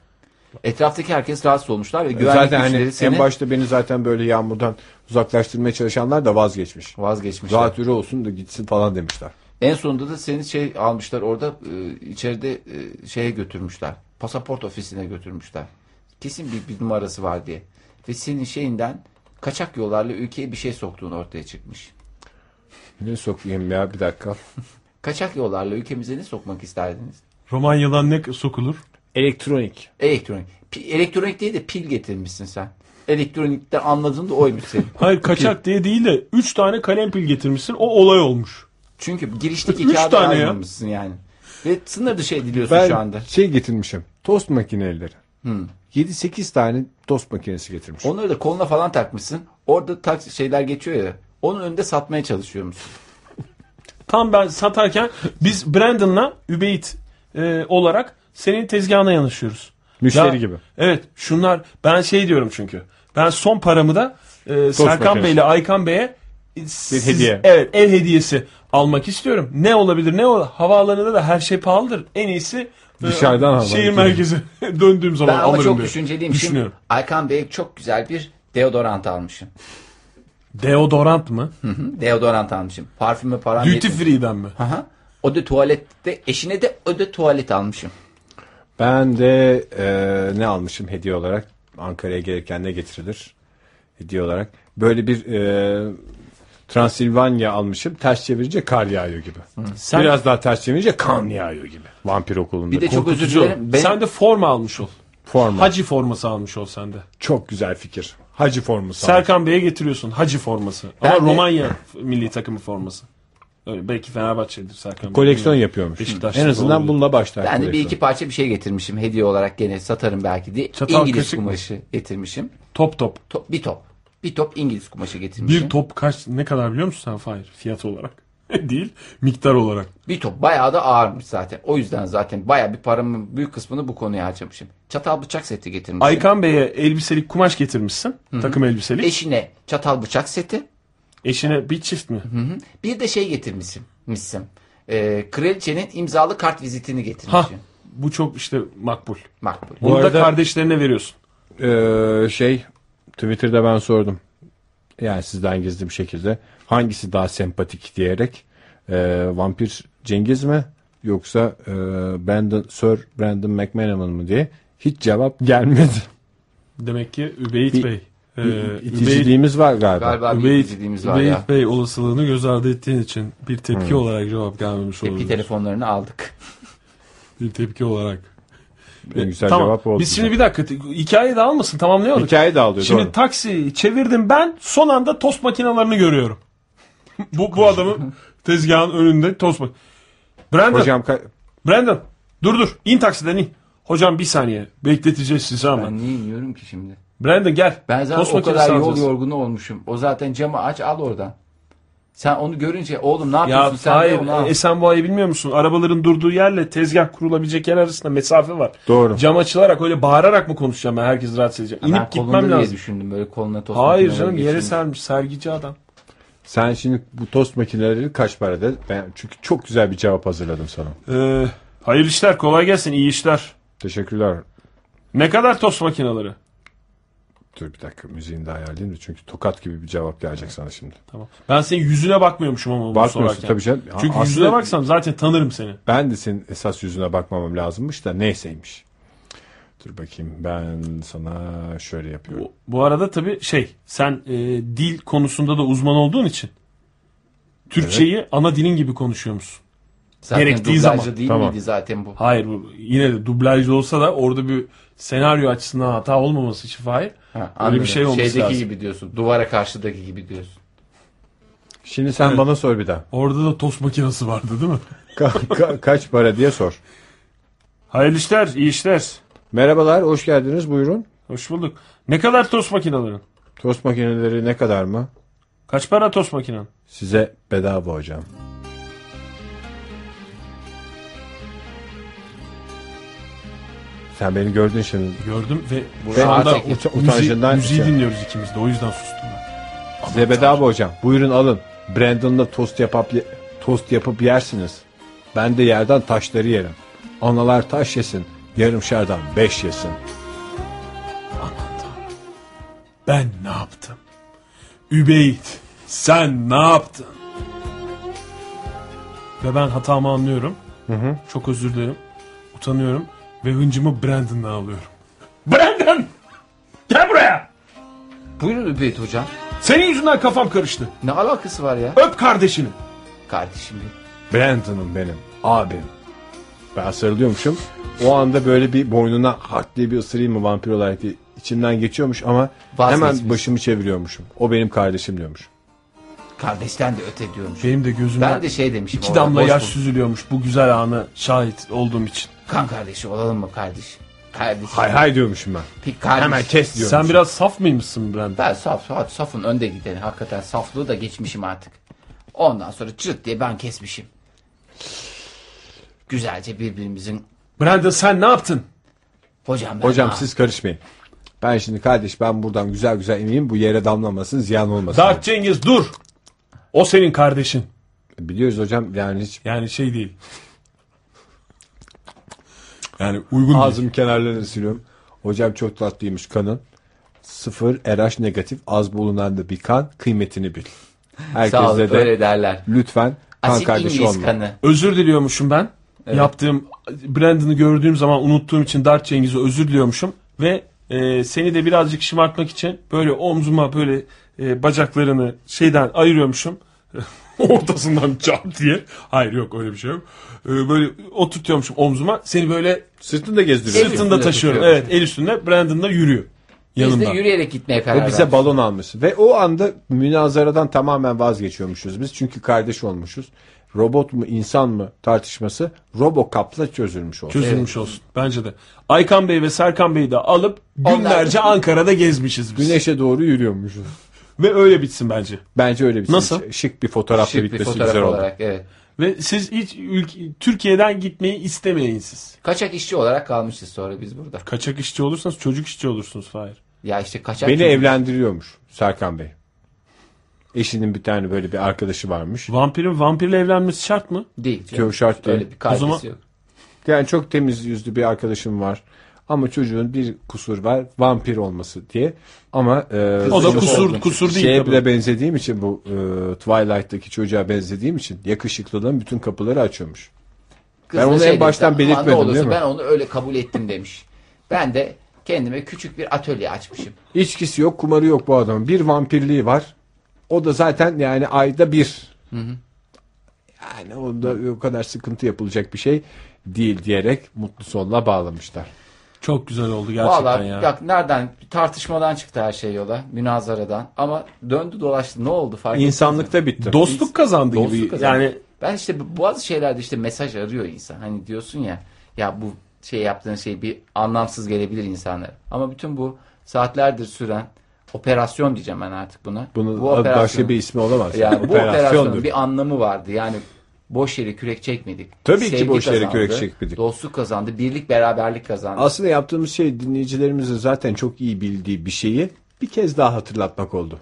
Speaker 11: Etraftaki herkes rahatsız olmuşlar ve güvenlik
Speaker 1: Zaten hani
Speaker 11: güçleri seni
Speaker 1: en başta beni zaten böyle yağmurdan uzaklaştırmaya çalışanlar da vazgeçmiş.
Speaker 11: vazgeçmişler.
Speaker 1: Rahat yürü olsun da gitsin falan demişler.
Speaker 11: En sonunda da seni şey almışlar orada e, içeride e, şeye götürmüşler. Pasaport ofisine götürmüşler. Kesin bir, bir numarası var diye. Ve senin şeyinden kaçak yollarla ülkeye bir şey soktuğun ortaya çıkmış.
Speaker 1: Ne sokayım ya bir dakika.
Speaker 11: Kaçak yollarla ülkemize ne sokmak isterdiniz?
Speaker 3: Romanyadan ne sokulur?
Speaker 1: Elektronik.
Speaker 11: Elektronik. Pi- elektronik değil de pil getirmişsin sen. Elektronikte anladığın da oymuş senin.
Speaker 3: Hayır kaçak diye değil de 3 tane kalem pil getirmişsin o olay olmuş.
Speaker 11: Çünkü girişteki
Speaker 3: Üç
Speaker 11: kağıdı
Speaker 3: tane ya.
Speaker 11: ayırmamışsın yani. Ve sınır dışı ediliyorsun şu
Speaker 1: Ben
Speaker 11: anda.
Speaker 1: şey getirmişim. Tost makineleri.
Speaker 11: Hmm.
Speaker 1: 7-8 tane tost makinesi getirmişim.
Speaker 11: Onları da koluna falan takmışsın. Orada tak şeyler geçiyor ya. Onun önünde satmaya çalışıyor musun?
Speaker 3: Tam ben satarken biz Brandon'la Übeyit e, olarak senin tezgahına yanaşıyoruz.
Speaker 1: Müşteri
Speaker 3: Ya,
Speaker 1: gibi.
Speaker 3: Evet şunlar ben şey diyorum çünkü. Ben son paramı da e,
Speaker 1: makinesi.
Speaker 3: Serkan Bey ile Aykan Bey'e e, siz-
Speaker 1: hediye.
Speaker 3: Evet el hediyesi almak istiyorum. Ne olabilir ne olabilir. Havaalanında da her şey pahalıdır. En iyisi e,
Speaker 1: Dışarıdan havaalanı.
Speaker 3: Şehir merkezi döndüğüm zaman
Speaker 11: Ben ama
Speaker 3: alırım
Speaker 11: çok
Speaker 3: diyor.
Speaker 11: düşünceliyim. Şimdi
Speaker 3: Düşünüyorum.
Speaker 11: şey, Aykan Bey çok güzel bir deodorant almışım.
Speaker 3: Deodorant mı?
Speaker 11: Hı, Deodorant almışım. Parfüme param
Speaker 3: Duty
Speaker 11: yetmiyor.
Speaker 3: free'den mi?
Speaker 11: Aha. O da tuvalette eşine de o da tuvalet almışım.
Speaker 1: Ben de e, ne almışım hediye olarak? Ankara'ya gelirken ne getirilir? Hediye olarak. Böyle bir e, Transilvanya almışım. Ters çevirince kar yağıyor gibi.
Speaker 11: Hmm.
Speaker 3: Sen-
Speaker 1: Biraz daha ters çevirince kan yağıyor gibi. Vampir okulunda.
Speaker 11: Bir de çok özür
Speaker 3: Kutucu.
Speaker 11: dilerim. Benim,
Speaker 3: Sen de forma almış ol.
Speaker 1: Forma.
Speaker 3: Hacı forması almış ol sende.
Speaker 1: Çok güzel fikir. Hacı formu sağ.
Speaker 3: Serkan Bey'e getiriyorsun hacı forması.
Speaker 11: Ben
Speaker 3: Ama
Speaker 11: de-
Speaker 3: Romanya f- milli takımı forması. Öyle belki Fenerbahçe'dir Serkan Bey.
Speaker 1: Koleksiyon
Speaker 3: Bilmiyorum.
Speaker 1: yapıyormuş.
Speaker 3: Beşiktaşlı
Speaker 1: En azından
Speaker 3: olabilir.
Speaker 1: bununla başlar.
Speaker 11: ben de bir
Speaker 1: koleksiyon.
Speaker 11: iki parça bir şey getirmişim hediye olarak gene satarım belki diye.
Speaker 3: Çatal
Speaker 11: İngiliz
Speaker 3: kaşık mı?
Speaker 11: kumaşı getirmişim.
Speaker 3: Top top.
Speaker 11: Top, bir top. Bir top İngiliz kumaşı getirmişim.
Speaker 3: Bir top kaç ne kadar biliyor musun sen Fahir? Fiyat olarak. Değil miktar olarak.
Speaker 11: Bir top bayağı da ağırmış zaten. O yüzden zaten bayağı bir paramın büyük kısmını bu konuya harcamışım. Çatal bıçak seti getirmişim.
Speaker 3: Aykan Bey'e elbiselik kumaş getirmişsin. Takım elbiselik.
Speaker 11: Eşine çatal bıçak seti.
Speaker 3: Eşine bir çift mi?
Speaker 11: Bir de şey getirmişim. Misim. Ee, kraliçenin imzalı kart vizitini
Speaker 3: Hah.
Speaker 11: getirmişim.
Speaker 3: Bu çok işte makbul.
Speaker 11: Makbul.
Speaker 3: Bunu da
Speaker 1: arada-
Speaker 3: kardeşlerine veriyorsun.
Speaker 1: Ee, şey Twitter'da ben sordum. Yani sizden gizli bir şekilde. Hangisi daha sempatik diyerek e, Vampir Cengiz mi yoksa e, Brandon, Sir Brandon McManaman mı diye hiç cevap gelmedi.
Speaker 3: Demek ki Übeyit
Speaker 1: Bir-
Speaker 3: Bey. Ee, Übeyit
Speaker 1: İticiliğimiz var galiba.
Speaker 11: Galiba bir
Speaker 3: Übeyit,
Speaker 11: izlediğimiz var
Speaker 3: Übeyit
Speaker 11: ya.
Speaker 3: Bey olasılığını göz ardı ettiğin için bir tepki olarak cevap gelmemiş olabilir.
Speaker 11: Tepi telefonlarını aldık.
Speaker 3: Bir tepki olarak.
Speaker 1: En güzel
Speaker 3: tamam.
Speaker 1: cevap oldu.
Speaker 3: Biz şimdi bir dakika te- hikayeyi de almasın tamamlayalım.
Speaker 1: Hikaye de alıyor
Speaker 3: Şimdi
Speaker 1: doğru.
Speaker 3: taksi çevirdim ben son anda tost makinelerini görüyorum. bu bu adamın tezgahın önünde tost mak. Brandon,
Speaker 1: Hocam ka-
Speaker 3: Brandon dur dur in taksiden in. Hocam bir saniye bekleteceğiz sizi ama.
Speaker 11: Ben niye iniyorum ki şimdi?
Speaker 3: Brandon gel.
Speaker 11: Ben zaten
Speaker 3: tost
Speaker 11: o
Speaker 3: makinesi
Speaker 11: kadar yol
Speaker 3: alacağız.
Speaker 11: yorgunu olmuşum. O zaten camı aç al oradan. Sen onu görünce oğlum ne
Speaker 3: Ya
Speaker 11: yapıyorsun sen de
Speaker 3: hayır
Speaker 11: onu al.
Speaker 3: e, Esenboğa'yı bilmiyor musun? Arabaların durduğu yerle tezgah kurulabilecek yer arasında mesafe var.
Speaker 1: Doğru.
Speaker 3: Cam açılarak öyle bağırarak mı konuşacağım ben herkes rahatsız edecek.
Speaker 11: Ben
Speaker 3: İnip
Speaker 11: kolunda
Speaker 3: gitmem
Speaker 11: diye
Speaker 3: lazım.
Speaker 11: düşündüm böyle koluna tost
Speaker 3: Hayır
Speaker 11: makineleri
Speaker 3: canım yere
Speaker 11: geçirmiş.
Speaker 3: sermiş sergici adam.
Speaker 1: sen şimdi bu tost makineleri kaç para dedi? Ben çünkü çok güzel bir cevap hazırladım sana.
Speaker 3: Ee, Hayırlı işler kolay gelsin iyi işler.
Speaker 1: Teşekkürler.
Speaker 3: Ne kadar tost makineleri?
Speaker 1: Dur bir dakika müziğini de ayarlayayım da çünkü tokat gibi bir cevap gelecek sana şimdi.
Speaker 3: Tamam. Ben senin yüzüne bakmıyormuşum ama bunu
Speaker 1: Bakmıyorsun
Speaker 3: sorarken.
Speaker 1: tabii canım.
Speaker 3: Çünkü
Speaker 1: Aslında
Speaker 3: yüzüne baksam zaten tanırım seni.
Speaker 1: Ben de senin esas yüzüne bakmamam lazımmış da neyseymiş. Dur bakayım ben sana şöyle yapıyorum.
Speaker 3: Bu, bu arada tabii şey sen e, dil konusunda da uzman olduğun için Türkçeyi ana dilin gibi konuşuyor musun?
Speaker 11: Zaten
Speaker 3: Gerektiği
Speaker 11: dublajlı
Speaker 3: zaman.
Speaker 11: değil
Speaker 1: Tamam.
Speaker 11: miydi zaten bu?
Speaker 3: Hayır bu yine de dublajlı olsa da orada bir senaryo açısından hata olmaması için hayır.
Speaker 11: Ha,
Speaker 3: Öyle bir
Speaker 11: anladım.
Speaker 3: şey olması
Speaker 11: Şeydeki
Speaker 3: lazım.
Speaker 11: gibi diyorsun. Duvara karşıdaki gibi diyorsun.
Speaker 1: Şimdi sen
Speaker 3: Evet.
Speaker 1: bana sor bir daha.
Speaker 3: Orada da tost makinesi vardı değil mi?
Speaker 1: Ka- ka- kaç para diye sor.
Speaker 3: Hayırlı işler, iyi işler.
Speaker 1: Merhabalar hoş geldiniz buyurun.
Speaker 3: Hoş bulduk. Ne kadar tost makinelerin?
Speaker 1: Tost makineleri ne kadar mı?
Speaker 3: Kaç para tost makinen?
Speaker 1: Size bedava hocam. Sen beni gördün şimdi.
Speaker 3: Gördüm ve
Speaker 1: Ve
Speaker 3: şu anda
Speaker 1: artık
Speaker 3: ut-
Speaker 1: ut- utancından-
Speaker 3: müziği, müziği
Speaker 1: şey-
Speaker 3: dinliyoruz ikimiz de o yüzden sustum ben.
Speaker 1: Size bedava hocam. Buyurun alın. Brandon'la tost yapıp tost yapıp yersiniz. Ben de yerden taşları yerim. Analar taş yesin. Yarımşardan beş yesin.
Speaker 3: Ben ne yaptım? Übeyd sen ne yaptın? Ve ben hatamı anlıyorum. Çok özür dilerim. Utanıyorum ve hıncımı Brandon'dan alıyorum. Brandon! Gel buraya!
Speaker 11: Buyurun Übeyt hocam.
Speaker 3: Senin yüzünden kafam karıştı.
Speaker 11: Ne alakası var ya?
Speaker 3: Öp kardeşini.
Speaker 11: Kardeşim benim.
Speaker 1: Brandon'ım benim. Abim. Ben sarılıyormuşum. O anda böyle bir boynuna hak diye bir ısırayım mı vampir olarak diye içimden geçiyormuş ama
Speaker 11: Vazgeçmiş.
Speaker 1: hemen başımı çeviriyormuşum. O benim kardeşim diyormuş.
Speaker 11: Kardeşten de öte diyormuş.
Speaker 3: Benim de gözümden
Speaker 11: Ben de şey demişim.
Speaker 3: iki
Speaker 11: orada,
Speaker 3: damla
Speaker 11: boş
Speaker 3: yaş
Speaker 11: bul-
Speaker 3: süzülüyormuş bu güzel ana şahit olduğum için.
Speaker 11: Kan kardeşi olalım mı kardeş? Kardeş.
Speaker 1: Hay hay diyormuşum ben.
Speaker 11: Bir kardeş.
Speaker 1: Hemen kes diyormuşum.
Speaker 3: Sen biraz saf mıymışsın Brandon?
Speaker 11: Ben saf, saf, safın önde gideni. Hakikaten saflığı da geçmişim artık. Ondan sonra çıt diye ben kesmişim. Güzelce birbirimizin...
Speaker 3: Brandon sen ne yaptın?
Speaker 11: Hocam ben
Speaker 1: Hocam
Speaker 11: ne
Speaker 1: siz karışmayın. Ben şimdi kardeş ben buradan güzel güzel ineyim bu yere damlamasın ziyan olmasın.
Speaker 3: Dark Cengiz dur. O senin kardeşin.
Speaker 1: Biliyoruz hocam yani hiç
Speaker 3: Yani şey değil. Yani uygun değil.
Speaker 1: ağzım kenarlarını siliyorum. Hocam çok tatlıymış kanın. Sıfır RH negatif az bulunan da bir kan kıymetini bil.
Speaker 11: Sağ olun
Speaker 1: Herkese de
Speaker 11: öyle derler.
Speaker 1: lütfen kan
Speaker 11: Asil
Speaker 1: kardeşi
Speaker 11: İngiliz
Speaker 1: olma.
Speaker 11: kanı.
Speaker 3: Özür diliyormuşum ben. Yaptığım Brandon'ı gördüğüm zaman unuttuğum için Dark Cengiz'e özür diliyormuşum ve e, seni de birazcık şımartmak için böyle omzuma böyle e, bacaklarını şeyden ayırıyormuşum. Ortasından çat diye. Hayır yok öyle bir şey yok. E, böyle oturtuyormuşum omzuma. Seni böyle
Speaker 1: Sırtını da gezdiriyor.
Speaker 3: sırtında taşıyorum.
Speaker 11: tutuyormuş.
Speaker 3: Evet el üstünde Brandon da yürüyor.
Speaker 11: Biz de
Speaker 3: Yanımda.
Speaker 11: yürüyerek gitmeye karar
Speaker 1: Ve
Speaker 11: verdik.
Speaker 1: bize balon almış. Ve o anda münazaradan tamamen vazgeçiyormuşuz biz. Çünkü kardeş olmuşuz. Robot mu insan mı tartışması Robocop'la çözülmüş oldu.
Speaker 3: Çözülmüş olsun. Bence de. Aykan Bey ve Serkan Bey'i de alıp
Speaker 11: Onlar-
Speaker 3: günlerce Ankara'da gezmişiz biz.
Speaker 1: Güneşe doğru yürüyormuşuz.
Speaker 3: Ve öyle bitsin bence.
Speaker 1: Bence öyle bir şey.
Speaker 3: Nasıl?
Speaker 1: Şık bir fotoğrafla
Speaker 11: Şık bir
Speaker 1: bitmesi
Speaker 11: fotoğraf
Speaker 1: güzel oldu.
Speaker 11: olarak. Evet.
Speaker 3: Ve siz hiç ülk- Türkiye'den gitmeyi istemeyin siz.
Speaker 11: Kaçak işçi olarak kalmışız sonra biz burada.
Speaker 3: Kaçak işçi olursanız çocuk işçi olursunuz Fahir.
Speaker 11: Ya işte kaçak
Speaker 1: Beni
Speaker 11: çocuk.
Speaker 1: evlendiriyormuş Serkan Bey. Eşinin bir tane böyle bir arkadaşı varmış.
Speaker 3: Vampirin vampirle evlenmesi şart mı?
Speaker 11: değil.
Speaker 1: Yok, şart değil.
Speaker 11: Öyle bir kardeşi
Speaker 3: O zaman-
Speaker 11: yok.
Speaker 1: Yani çok temiz yüzlü bir arkadaşım var. Ama çocuğun bir kusur var. Vampir olması diye. Ama e,
Speaker 3: O da
Speaker 1: çocuk-
Speaker 3: kusur kusur değil
Speaker 1: Şeye
Speaker 3: tabii.
Speaker 1: Şey bile benzediğim için bu e, Twilight'taki çocuğa benzediğim için yakışıklılığın bütün kapıları açıyormuş.
Speaker 11: Kız
Speaker 1: Ben
Speaker 11: da
Speaker 1: onu en
Speaker 11: demiş,
Speaker 1: baştan
Speaker 11: "Aman şey ne
Speaker 1: belirtmedim,
Speaker 11: olursa
Speaker 1: değil mi?"
Speaker 11: Ben onu öyle kabul ettim demiş. Ben de kendime küçük bir atölye açmışım.
Speaker 1: İçkisi yok, kumarı yok bu adamın. Bir vampirliği var. O da zaten yani ayda bir. Yani onda o kadar sıkıntı yapılacak bir şey değil diyerek mutlu sonla bağlamışlar.
Speaker 3: Çok güzel oldu gerçekten
Speaker 11: Vallahi
Speaker 3: ya.
Speaker 11: bak nereden tartışmadan çıktı her şey yola, münazaradan ama döndü dolaştı ne oldu fark ettiniz mi?
Speaker 1: İnsanlıkta bitti.
Speaker 3: Dostluk kazandı
Speaker 11: Dostluk
Speaker 3: gibi.
Speaker 11: kazandı.
Speaker 3: Yani
Speaker 11: Ben işte bu- bazı şeylerde işte mesaj arıyor insan. Hani diyorsun ya ya bu şey yaptığın şey bir anlamsız gelebilir insanlara. Ama bütün bu saatlerdir süren operasyon diyeceğim ben artık buna.
Speaker 1: Bunun
Speaker 11: bu
Speaker 1: başka
Speaker 11: operasyonun-
Speaker 1: bir ismi olamaz.
Speaker 11: Yani bu
Speaker 1: Operasyondur.
Speaker 11: operasyonun bir anlamı vardı. Yani boş yere kürek çekmedik.
Speaker 1: Tabii ki boş yere kürek çekmedik.
Speaker 11: Dostluk kazandı, birlik beraberlik kazandı.
Speaker 1: Aslında yaptığımız şey dinleyicilerimizin zaten çok iyi bildiği bir şeyi bir kez daha hatırlatmak oldu.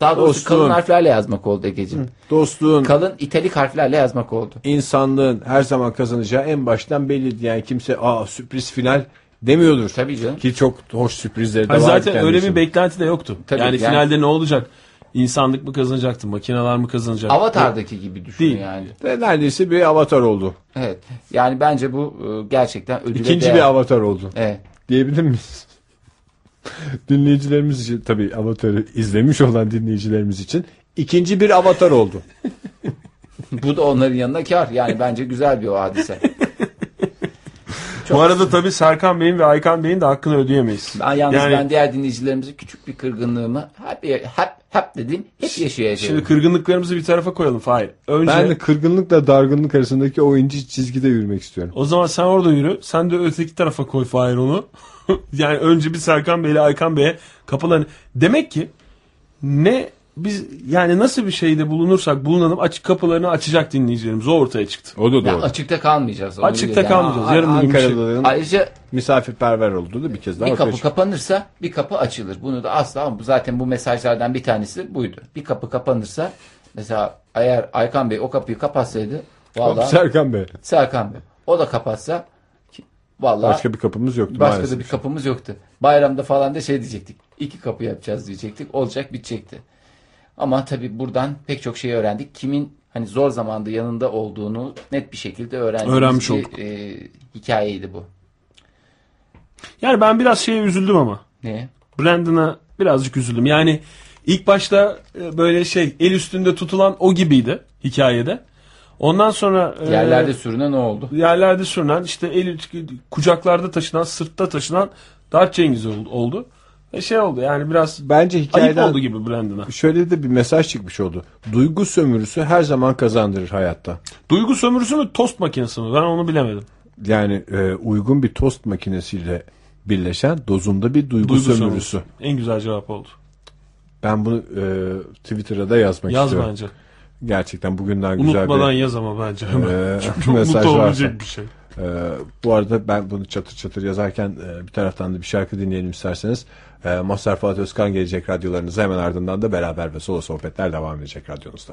Speaker 11: Daha doğrusu
Speaker 1: Dostum.
Speaker 11: kalın harflerle yazmak oldu Ege'ciğim.
Speaker 1: Dostluğun,
Speaker 11: Kalın italik harflerle yazmak oldu.
Speaker 1: insanlığın her zaman kazanacağı en baştan belli. Yani kimse aa sürpriz final demiyordur.
Speaker 11: Tabii canım.
Speaker 1: Ki çok hoş sürprizleri de
Speaker 3: Hayır,
Speaker 1: var.
Speaker 3: Hani zaten
Speaker 1: kendi
Speaker 3: öyle bir
Speaker 1: içinde.
Speaker 3: beklenti de yoktu.
Speaker 11: Tabii,
Speaker 3: yani,
Speaker 11: yani-
Speaker 3: finalde ne olacak? İnsanlık mı kazanacaktı? Makineler mi kazanacak?
Speaker 11: Avatar'daki gibi düşün
Speaker 3: Değil.
Speaker 11: yani.
Speaker 1: Ve Neredeyse bir avatar oldu.
Speaker 11: Evet. Yani bence bu e, gerçekten ödüle
Speaker 1: İkinci
Speaker 11: değer.
Speaker 1: bir avatar oldu.
Speaker 11: Evet.
Speaker 1: diyebilir miyiz? dinleyicilerimiz için tabii Avatar'ı izlemiş olan dinleyicilerimiz için ikinci bir Avatar oldu.
Speaker 11: Bu da onların yanına kar. Yani bence güzel bir o hadise.
Speaker 3: Bu arada tabii Serkan Bey'in ve Aykan Bey'in de hakkını ödeyemeyiz.
Speaker 11: Ben yalnız
Speaker 3: Yani-
Speaker 11: ben diğer dinleyicilerimize küçük bir kırgınlığımı hep hep hep dedim. Hep yaşayacağım.
Speaker 3: Şimdi kırgınlıklarımızı bir tarafa koyalım Fahir. Önce
Speaker 1: Ben de kırgınlıkla dargınlık arasındaki o ince çizgide yürümek istiyorum.
Speaker 3: o zaman sen orada yürü. Sen de öteki tarafa koy Fahir onu. yani önce bir Serkan Bey ile Aykan Bey'e kapılarını. Demek ki ne biz yani nasıl bir şeyde bulunursak bulunalım açık kapılarını açacak dinleyicilerimiz o ortaya çıktı.
Speaker 1: O da
Speaker 11: Ya açıkta kalmayacağız. onu
Speaker 3: Açıkta
Speaker 11: biliyorum.
Speaker 3: kalmayacağız. Yarın bir gün bir şey-
Speaker 1: Ankara'nın
Speaker 11: Ayrıca
Speaker 1: misafirperver olduğu da bir kez daha
Speaker 11: bir
Speaker 1: ortaya
Speaker 11: kapı
Speaker 1: çıktı.
Speaker 11: kapanırsa bir kapı açılır. Bunu da asla bu zaten bu mesajlardan bir tanesi buydu. Bir kapı kapanırsa mesela eğer Aykan Bey o kapıyı kapatsaydı vallahi
Speaker 1: Serkan Bey.
Speaker 11: Serkan Bey o da kapatsa ki- vallahi
Speaker 1: Başka bir kapımız yoktu
Speaker 11: Başka
Speaker 1: maalesef.
Speaker 11: da bir kapımız yoktu. Bayramda falan da şey diyecektik. İki kapı yapacağız diyecektik. Olacak bitecekti. Ama tabii buradan pek çok şey öğrendik. Kimin hani zor zamanda yanında olduğunu net bir şekilde öğrendik.
Speaker 3: Öğrenmiş
Speaker 11: bir e, hikayeydi bu.
Speaker 3: Yani ben biraz şeye üzüldüm ama.
Speaker 11: Ne?
Speaker 3: Brandon'a birazcık üzüldüm. Yani ilk başta e, böyle şey el üstünde tutulan o gibiydi hikayede. Ondan sonra e,
Speaker 11: Yerlerde sürüne ne oldu?
Speaker 3: yerlerde sürünen işte el kucaklarda taşınan sırtta taşınan Dart Cengiz ol- oldu. Ve şey oldu yani biraz
Speaker 1: Bence
Speaker 3: ayıp
Speaker 1: hikayeden
Speaker 3: oldu gibi Brandon'a.
Speaker 1: şöyle de bir mesaj çıkmış oldu. Duygu sömürüsü her zaman kazandırır hayatta.
Speaker 3: Duygu sömürüsü mü tost makinesi mi ben onu bilemedim.
Speaker 1: Yani e, uygun bir tost makinesiyle birleşen dozunda bir duygu,
Speaker 3: Duygu
Speaker 1: sömürüsü.
Speaker 3: sömürüsü. En güzel cevap oldu.
Speaker 1: Ben bunu e, Twitter'a da yazmak
Speaker 3: Yaz
Speaker 1: istiyorum.
Speaker 3: bence.
Speaker 1: Gerçekten bugünden güzel
Speaker 3: Unutmadan
Speaker 1: bir
Speaker 3: yaz ama bence hemen.
Speaker 1: e,
Speaker 3: Çünkü
Speaker 1: mesaj
Speaker 3: unut
Speaker 1: varsa.
Speaker 3: olabilecek bir şey.
Speaker 1: E, bu arada ben bunu çatır çatır yazarken e, bir taraftan da bir şarkı dinleyelim isterseniz. E, Mazhar Fuat Özkan gelecek radyolarınıza hemen ardından da beraber ve solo sohbetler devam edecek radyonuzda.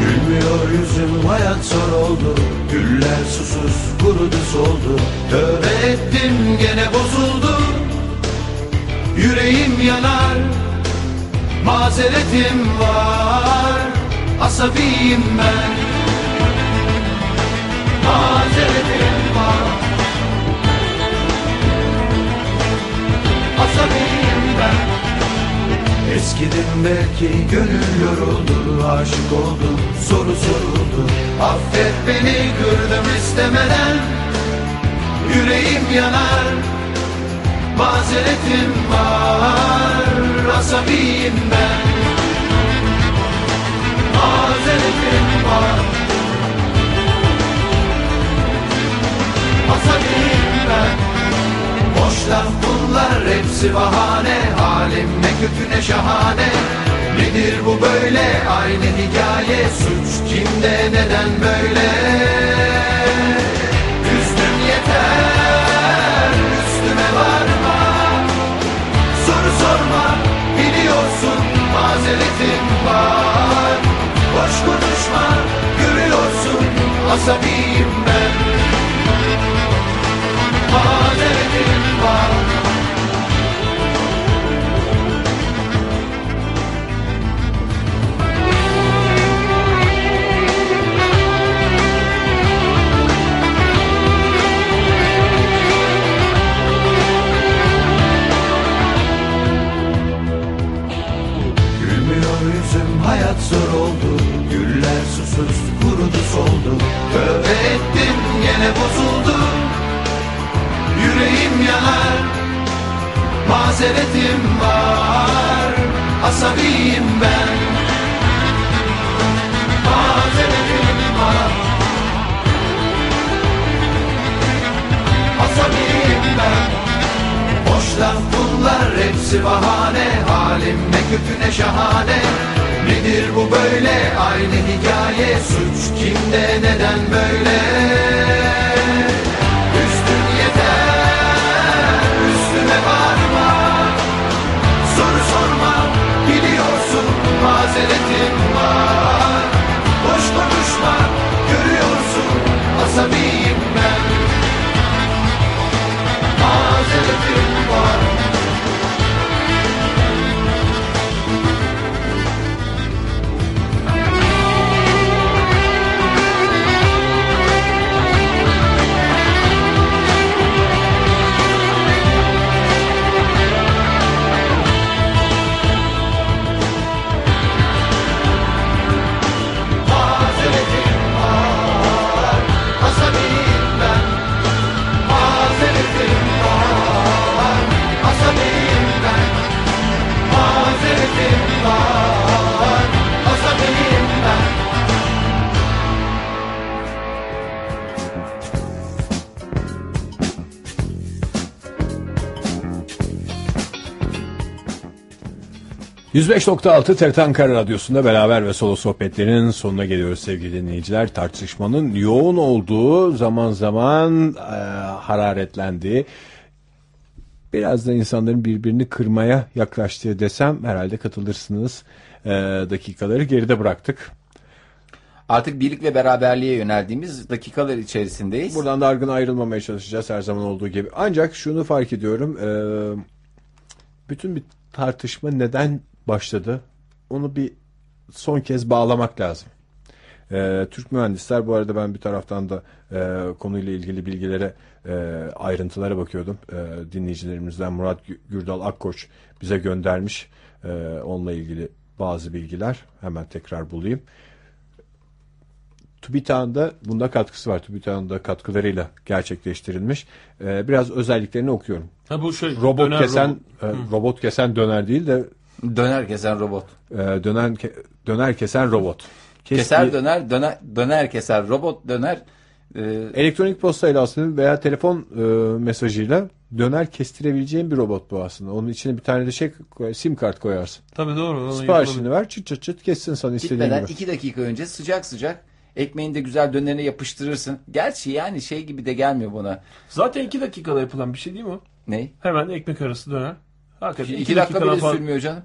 Speaker 15: Gülmüyor yüzüm hayat zor oldu Güller susuz kurudu soldu Tövbe ettim gene bozuldu Yüreğim yanar Mazeretim var Asabiyim ben Mazeretim var Asabiyim ben Eskiden belki gönül yoruldu, aşık oldum, soru soruldu. Affet beni kırdım istemeden, yüreğim yanar. Mazeretim var, asabiyim ben. Mazeretim var, asabiyim ben. Boş laf bunlar hepsi bahane Halim ne kötü ne şahane Nedir bu böyle aynı hikaye Suç kimde neden böyle Üstüm yeter üstüme varma Soru sorma biliyorsun mazeretim var Boş konuşma görüyorsun asabiyim ben Mazeretim var Gülmüyor yüzüm hayat zor oldu Güller susuz kurudu soldu Tövbe ettim gene bozuldu Yüreğim yanar Mazeretim var Asabiyim ben Mazeretim var Asabiyim hepsi bahane Halim ne kötü ne şahane Nedir bu böyle aynı hikaye Suç kimde neden böyle Üstün yeter üstüme varma Soru sorma biliyorsun mazeretim var Boş konuşma görüyorsun asabiyim ben Mazeretim var Mazeretim var asabiyim ben Mazeretim var asabiyim ben Mazeretim var asabiyim ben
Speaker 1: %5.6 TRT Ankara Radyosu'nda beraber ve solo sohbetlerinin sonuna geliyoruz sevgili dinleyiciler. Tartışmanın yoğun olduğu zaman zaman e, hararetlendiği, biraz da insanların birbirini kırmaya yaklaştığı desem herhalde katılırsınız. E, dakikaları geride bıraktık.
Speaker 11: Artık birlik ve beraberliğe yöneldiğimiz dakikalar içerisindeyiz.
Speaker 1: Buradan da argın ayrılmamaya çalışacağız her zaman olduğu gibi. Ancak şunu fark ediyorum. e, bütün bir tartışma neden başladı? Onu bir son kez bağlamak lazım. E, Türk mühendisler bu arada ben bir taraftan da e, konuyla ilgili bilgilere e, ayrıntılara bakıyordum. E, dinleyicilerimizden Murat Gü- Gürdal Akkoç bize göndermiş. E, onunla ilgili bazı bilgiler. Hemen tekrar bulayım. TÜBİTAK'ın da bunda katkısı var. TÜBİTAK'ın da katkılarıyla gerçekleştirilmiş. Ee, biraz özelliklerini okuyorum.
Speaker 3: Ha bu şey
Speaker 1: Robot
Speaker 3: döner
Speaker 1: kesen
Speaker 3: robot.
Speaker 1: e, robot kesen döner değil de
Speaker 11: Döner kesen robot.
Speaker 1: e, dönen ke- döner kesen robot. Kes-
Speaker 11: Keser döner, döner, döner keser, robot döner. Ee,
Speaker 1: Elektronik postayla aslında veya telefon e, mesajıyla döner kestirebileceğin bir robot bu aslında. Onun içine bir tane de şey koy- sim kart koyarsın.
Speaker 3: Tabii doğru. onu yapılabilir.
Speaker 1: Siparişini ver çıt çıt çıt kessin sana istediğin
Speaker 11: Bitmeden
Speaker 1: gibi.
Speaker 11: iki dakika önce sıcak sıcak ekmeğini de güzel dönerine yapıştırırsın. Gerçi yani şey gibi de gelmiyor bana.
Speaker 3: Zaten iki dakikada yapılan bir şey değil mi o?
Speaker 11: Ne?
Speaker 3: Hemen ekmek arası döner. Hakikaten
Speaker 11: İki,
Speaker 3: iki
Speaker 11: dakika
Speaker 3: dakikadan
Speaker 11: bile
Speaker 3: falan-
Speaker 11: sürmüyor canım.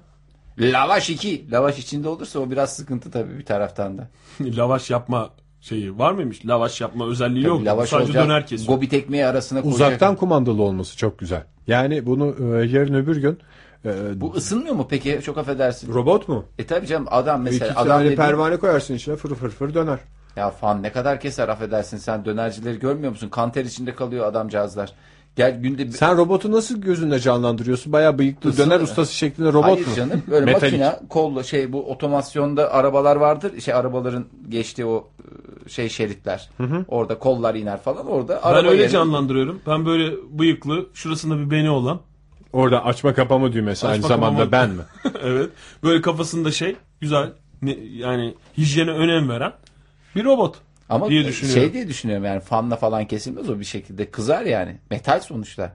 Speaker 11: Lavaş iki. Lavaş içinde olursa o biraz sıkıntı tabii bir taraftan da.
Speaker 3: Lavaş yapma şeyi var mıymış? Lavaş yapma özelliği
Speaker 11: Tabii
Speaker 3: yok.
Speaker 11: lavaş
Speaker 3: Sadece
Speaker 11: olacak.
Speaker 3: döner kesiyor.
Speaker 11: Gobit ekmeği arasına koyacak.
Speaker 1: Uzaktan kumandalı olması çok güzel. Yani bunu e, yarın öbür gün e,
Speaker 11: Bu ısınmıyor mu peki? Çok affedersin.
Speaker 1: robot mu?
Speaker 11: E tabii canım adam mesela.
Speaker 1: İki
Speaker 11: adam
Speaker 1: tane
Speaker 11: dediğin-
Speaker 1: pervane koyarsın içine fır fır fır döner.
Speaker 11: Ya fan ne kadar keser affedersin sen dönercileri görmüyor musun? Kanter içinde kalıyor adamcağızlar. Gel günde bir-
Speaker 1: Sen robotu nasıl gözünde canlandırıyorsun? Bayağı bıyıklı
Speaker 11: Isınır.
Speaker 1: döner ustası şeklinde robot
Speaker 11: Hayır
Speaker 1: mu?
Speaker 11: canım böyle
Speaker 1: Metalik.
Speaker 11: makine kolla şey bu otomasyonda arabalar vardır. Şey arabaların geçtiği o e, şey şeritler. Orada kollar iner falan orada
Speaker 3: Ben
Speaker 11: araba
Speaker 3: öyle
Speaker 11: yerine-
Speaker 3: canlandırıyorum. Ben böyle bıyıklı, şurasında bir beni olan.
Speaker 1: Orada açma kapama düğmesi aynı
Speaker 3: Açma
Speaker 1: zamanda
Speaker 3: kapama.
Speaker 1: ben mi?
Speaker 3: evet. Böyle kafasında şey güzel. ne- yani hijyene önem veren bir robot.
Speaker 11: Ama
Speaker 3: diye düşünüyorum.
Speaker 11: şey diye düşünüyorum yani fanla falan kesilmez o bir şekilde kızar yani. Metal sonuçta.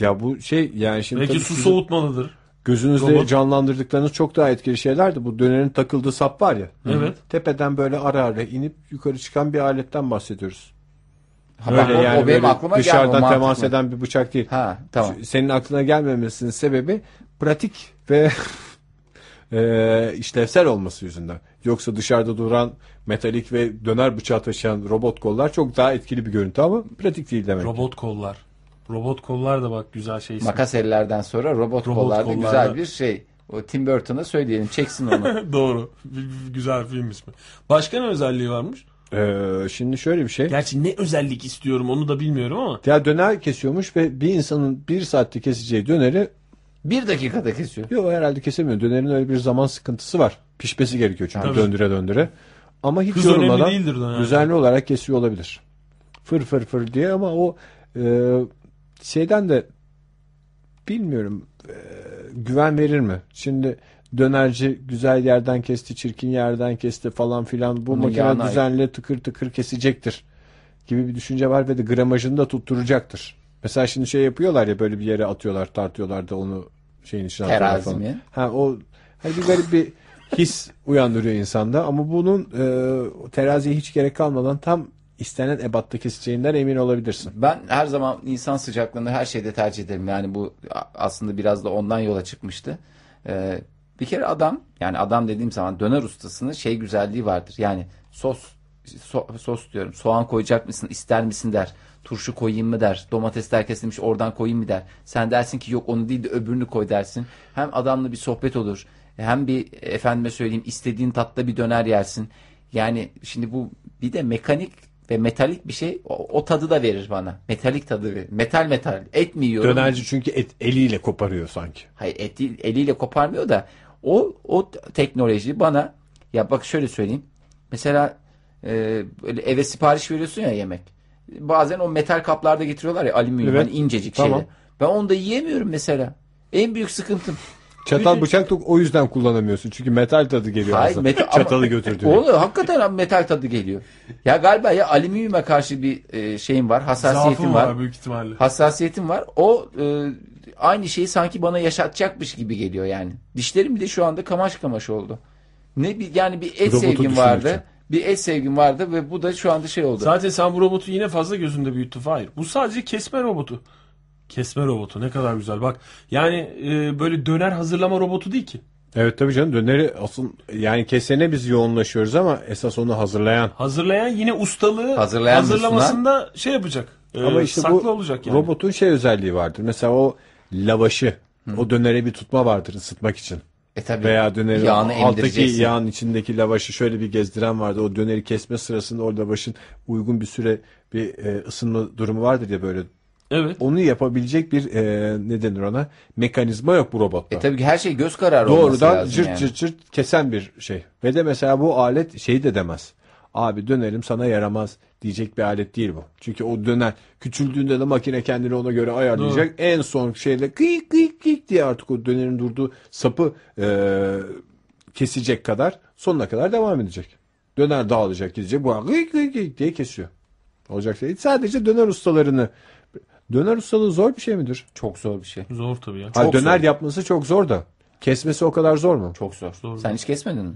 Speaker 1: Ya bu şey yani şimdi
Speaker 3: Belki
Speaker 1: tabii
Speaker 3: su
Speaker 1: sizin
Speaker 3: soğutmalıdır.
Speaker 1: gözünüzde
Speaker 3: robot.
Speaker 1: canlandırdıklarınız çok daha etkili şeylerdi. Bu dönerin takıldığı sap var ya.
Speaker 3: Evet.
Speaker 1: Tepeden böyle ara ara inip yukarı çıkan bir aletten bahsediyoruz.
Speaker 11: Ha,
Speaker 1: Böyle
Speaker 11: bak, o-
Speaker 1: yani
Speaker 11: o benim
Speaker 1: böyle
Speaker 11: aklıma gelmiyor,
Speaker 1: dışarıdan
Speaker 11: mantıklı.
Speaker 1: temas eden bir bıçak değil.
Speaker 11: Ha tamam.
Speaker 1: Senin aklına gelmemesinin sebebi pratik ve eee, işlevsel olması yüzünden. Yoksa dışarıda duran metalik ve döner bıçağı taşıyan robot kollar çok daha etkili bir görüntü ama pratik değil demek.
Speaker 3: Robot kollar. Robot kollar da bak güzel şey.
Speaker 11: Makas ellerden sonra robot,
Speaker 3: Robot
Speaker 11: kollarda,
Speaker 3: kollarda.
Speaker 11: güzel bir şey. O Tim Burton'a söyleyelim çeksin onu.
Speaker 3: Doğru. Bir- bir- Güzel film ismi. Başka ne özelliği varmış?
Speaker 1: Eee, şimdi şöyle bir şey.
Speaker 3: Gerçi ne özellik istiyorum onu da bilmiyorum ama.
Speaker 1: Ya döner kesiyormuş ve bir insanın bir saatte keseceği döneri
Speaker 11: bir dakikada kesiyor.
Speaker 1: yok herhalde kesemiyor. Dönerin öyle bir zaman sıkıntısı var. Pişmesi gerekiyor çünkü
Speaker 3: Tabii.
Speaker 1: döndüre döndüre. Ama hiç
Speaker 3: Hız
Speaker 1: yorulmadan
Speaker 3: önemli değildir döner.
Speaker 1: düzenli olarak kesiyor olabilir. Fır fır fır diye ama o e, şeyden de bilmiyorum e, güven verir mi? Şimdi dönerci güzel yerden kesti, çirkin yerden kesti falan filan. Bu
Speaker 11: Bunun
Speaker 1: makine
Speaker 11: yağına-
Speaker 1: düzenli tıkır tıkır kesecektir gibi bir düşünce var ve de gramajını da tutturacaktır. Mesela şimdi şey yapıyorlar ya böyle bir yere atıyorlar tartıyorlar da onu şeyin içine atıyorlar
Speaker 11: Terazi
Speaker 1: falan.
Speaker 11: mi?
Speaker 1: Ha o hani bir garip bir his uyandırıyor insanda ama bunun e, teraziye hiç gerek kalmadan tam istenen ebatta keseceğinden emin olabilirsin.
Speaker 11: Ben her zaman insan sıcaklığını her şeyde tercih ederim. Yani bu a- aslında biraz da ondan yola çıkmıştı. Ee, bir kere adam yani adam dediğim zaman döner ustasının şey güzelliği vardır. Yani sos so- sos diyorum soğan koyacak mısın ister misin der. Turşu koyayım mı der. Domatesler kesilmiş oradan koyayım mı der. Sen dersin ki yok onu değil de öbürünü koy dersin. Hem adamla bir sohbet olur. Hem bir efendime söyleyeyim istediğin tatta bir döner yersin. Yani şimdi bu bir de mekanik ve metalik bir şey o, o tadı da verir bana. Metalik tadı verir. Metal metal. Et mi yiyorum?
Speaker 1: Dönerci çünkü et, eliyle koparıyor sanki.
Speaker 11: Hayır et değil, eliyle koparmıyor da o o teknoloji bana ya bak şöyle söyleyeyim. Mesela e, böyle eve sipariş veriyorsun ya yemek. Bazen o metal kaplarda getiriyorlar ya alüminyum
Speaker 1: Evet.
Speaker 11: hani incecik
Speaker 1: Tamam.
Speaker 11: şeyle. Ben onu da yiyemiyorum mesela. En büyük sıkıntım.
Speaker 1: Çatal bıçak da o yüzden kullanamıyorsun. Çünkü metal tadı geliyor
Speaker 11: Hayır,
Speaker 1: ağzına.
Speaker 11: metal- ama-
Speaker 1: Çatalı götürdüğün.
Speaker 11: Oğlum hakikaten abi metal tadı geliyor. Ya galiba ya alüminyuma karşı bir e, şeyim var, hassasiyetim
Speaker 3: Zaafım
Speaker 11: var.
Speaker 3: var büyük ihtimalle.
Speaker 11: hassasiyetim var. O e, aynı şeyi sanki bana yaşatacakmış gibi geliyor yani. Dişlerim bile şu anda kamaş kamaş oldu. Ne bir yani bir et
Speaker 1: Robotu
Speaker 11: sevgim
Speaker 1: düşündükçe.
Speaker 11: vardı. Bir et sevgim vardı ve bu da şu anda şey oldu.
Speaker 3: Zaten sen bu robotu yine fazla gözünde büyüttün. Hayır. Bu sadece kesme robotu. Kesme robotu ne kadar güzel bak. Yani e, böyle döner hazırlama robotu değil ki.
Speaker 1: Evet tabii canım döneri asıl yani kesene biz yoğunlaşıyoruz ama esas onu hazırlayan.
Speaker 3: Hazırlayan yine ustalığı
Speaker 11: Hazırlayan
Speaker 3: hazırlamasında şey yapacak. E,
Speaker 1: Ama işte
Speaker 3: saklı
Speaker 1: bu
Speaker 3: olacak yani.
Speaker 1: robotun şey özelliği vardır. Mesela o lavaşı o dönere bir tutma vardır ısıtmak için.
Speaker 11: E tabii.
Speaker 1: Veya dönerin
Speaker 11: Yağını
Speaker 1: alttaki
Speaker 11: emdireceksin.
Speaker 1: yağın içindeki lavaşı şöyle bir gezdiren vardı. O döneri kesme sırasında o lavaşın uygun bir süre bir e, ısınma durumu vardır ya böyle.
Speaker 3: Evet.
Speaker 1: Onu yapabilecek bir e, ne denir ona mekanizma yok bu robotta.
Speaker 11: E tabii ki her şey göz kararı olması
Speaker 1: Doğrudan
Speaker 11: lazım
Speaker 1: cırt
Speaker 11: yani.
Speaker 1: cırt cırt kesen bir şey. Ve de mesela bu alet şey de demez. Abi dönelim sana yaramaz diyecek bir alet değil bu. Çünkü o döner küçüldüğünde de makine kendini ona göre ayarlayacak. En son şeyle kıyık kıyık kıyık diye artık o dönerin durduğu sapı eee, kesecek kadar sonuna kadar devam edecek. Döner dağılacak gidecek. Bu kıyık kıyık kıyık diye kesiyor. Olacak şey. değil. Sadece döner ustalarını Döner ustalığı zor bir şey midir?
Speaker 11: Çok zor bir şey.
Speaker 3: Zor tabii ya.
Speaker 1: Ha,
Speaker 11: Çok
Speaker 1: döner
Speaker 11: zor.
Speaker 1: yapması çok zor da. Kesmesi o kadar zor mu?
Speaker 11: Çok zor. Sen hiç kesmedin mi?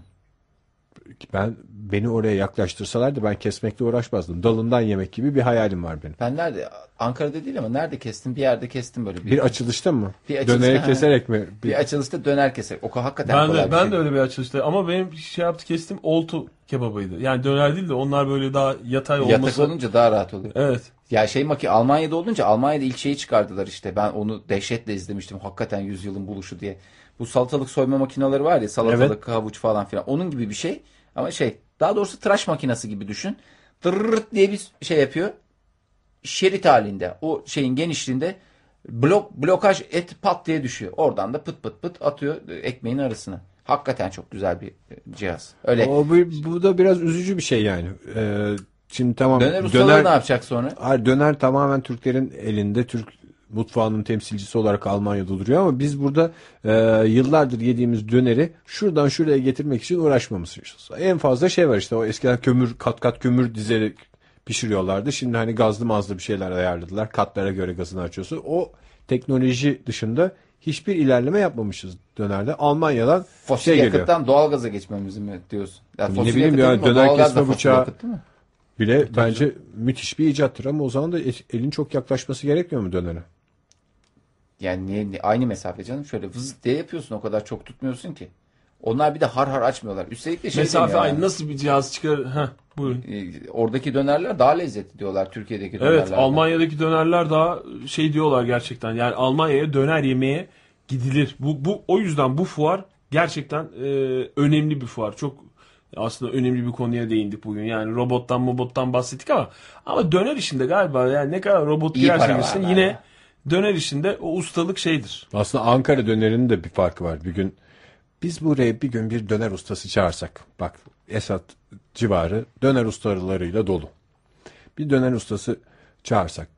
Speaker 1: Ben beni oraya yaklaştırsalardı ben kesmekle uğraşmazdım. Dalından yemek gibi bir hayalim var benim.
Speaker 11: Ben nerede? Ankara'da değil ama nerede kestim? Bir yerde kestim böyle. Bir,
Speaker 1: Bir
Speaker 11: bir,
Speaker 1: açılışta mı?
Speaker 11: Bir açılışta,
Speaker 1: Döneri
Speaker 11: ha.
Speaker 1: keserek mi? Bir-
Speaker 11: açılışta döner keser. O hakikaten
Speaker 3: Ben
Speaker 11: kolay
Speaker 3: de,
Speaker 11: bir
Speaker 3: ben
Speaker 11: şey.
Speaker 3: de öyle bir açılışta ama benim şey yaptı kestim oltu kebabıydı. Yani döner değil de onlar böyle daha yatay
Speaker 11: Yatak
Speaker 3: olması.
Speaker 11: olunca daha rahat oluyor.
Speaker 3: Evet.
Speaker 11: Ya şey maki Almanya'da olunca Almanya'da ilk şeyi çıkardılar işte. Ben onu dehşetle izlemiştim. Hakikaten yüzyılın buluşu diye. Bu salatalık soyma makineleri var ya salatalık, havuç falan filan. Onun gibi bir şey. Ama şey daha doğrusu tıraş makinesi gibi düşün. Dırırt diye bir şey yapıyor. Şerit halinde o şeyin genişliğinde blok blokaj et pat diye düşüyor. Oradan da pıt pıt pıt atıyor ekmeğin arasına. Hakikaten çok güzel bir e, cihaz. Öyle.
Speaker 1: O bu, bu da biraz üzücü bir şey yani. Ee, şimdi tamam
Speaker 11: döner
Speaker 1: döner
Speaker 11: ustaları ne yapacak sonra?
Speaker 1: Hayır, döner tamamen Türklerin elinde. Türk mutfağının temsilcisi olarak Almanya'da duruyor ama biz burada e, yıllardır yediğimiz döneri şuradan şuraya getirmek için uğraşmamışız. En fazla şey var işte o eskiden kömür kat kat kömür dizerek pişiriyorlardı. Şimdi hani gazlı mazlı bir şeyler ayarladılar. Katlara göre gazını açıyorsun. O teknoloji dışında hiçbir ilerleme yapmamışız dönerde. Almanya'dan
Speaker 11: Fosil
Speaker 1: şey geliyor.
Speaker 11: yakıttan doğalgaza geçmemizi mi diyorsun? Ya fosil
Speaker 1: bileyim
Speaker 11: yakıt
Speaker 1: ya,
Speaker 11: değil mi?
Speaker 1: döner
Speaker 11: Doğalgaz da
Speaker 1: kesme
Speaker 11: fosil
Speaker 1: bıçağı-
Speaker 11: yakıt değil mi?
Speaker 1: Bile bence müthiş bir icattır ama o zaman da el- elin çok yaklaşması gerekmiyor mu dönere?
Speaker 11: Yani niye, niye- aynı mesafe canım şöyle vız diye yapıyorsun o kadar çok tutmuyorsun ki. Onlar bir de har har açmıyorlar. Üstelik de şey
Speaker 3: Mesafe
Speaker 11: deniyor
Speaker 3: aynı.
Speaker 11: yani,
Speaker 3: Nasıl bir cihaz çıkar? Heh, buyurun.
Speaker 11: e, Oradaki dönerler daha lezzetli diyorlar Türkiye'deki dönerler.
Speaker 3: Evet Almanya'daki dönerler daha şey diyorlar gerçekten. Yani Almanya'ya döner yemeye gidilir. Bu, bu o yüzden bu fuar gerçekten e, önemli bir fuar. Çok aslında önemli bir konuya değindik bugün. Yani robottan robottan bahsettik ama ama döner işinde galiba yani ne kadar robot
Speaker 11: İyi
Speaker 3: girerse
Speaker 11: para
Speaker 3: girsin
Speaker 11: var
Speaker 3: yine
Speaker 11: yani.
Speaker 3: döner işinde o ustalık şeydir.
Speaker 1: Aslında Ankara dönerinin de bir farkı var. Bir gün biz buraya bir gün bir döner ustası çağırsak. Bak Esat civarı döner ustalarıyla dolu. Bir döner ustası çağırsak.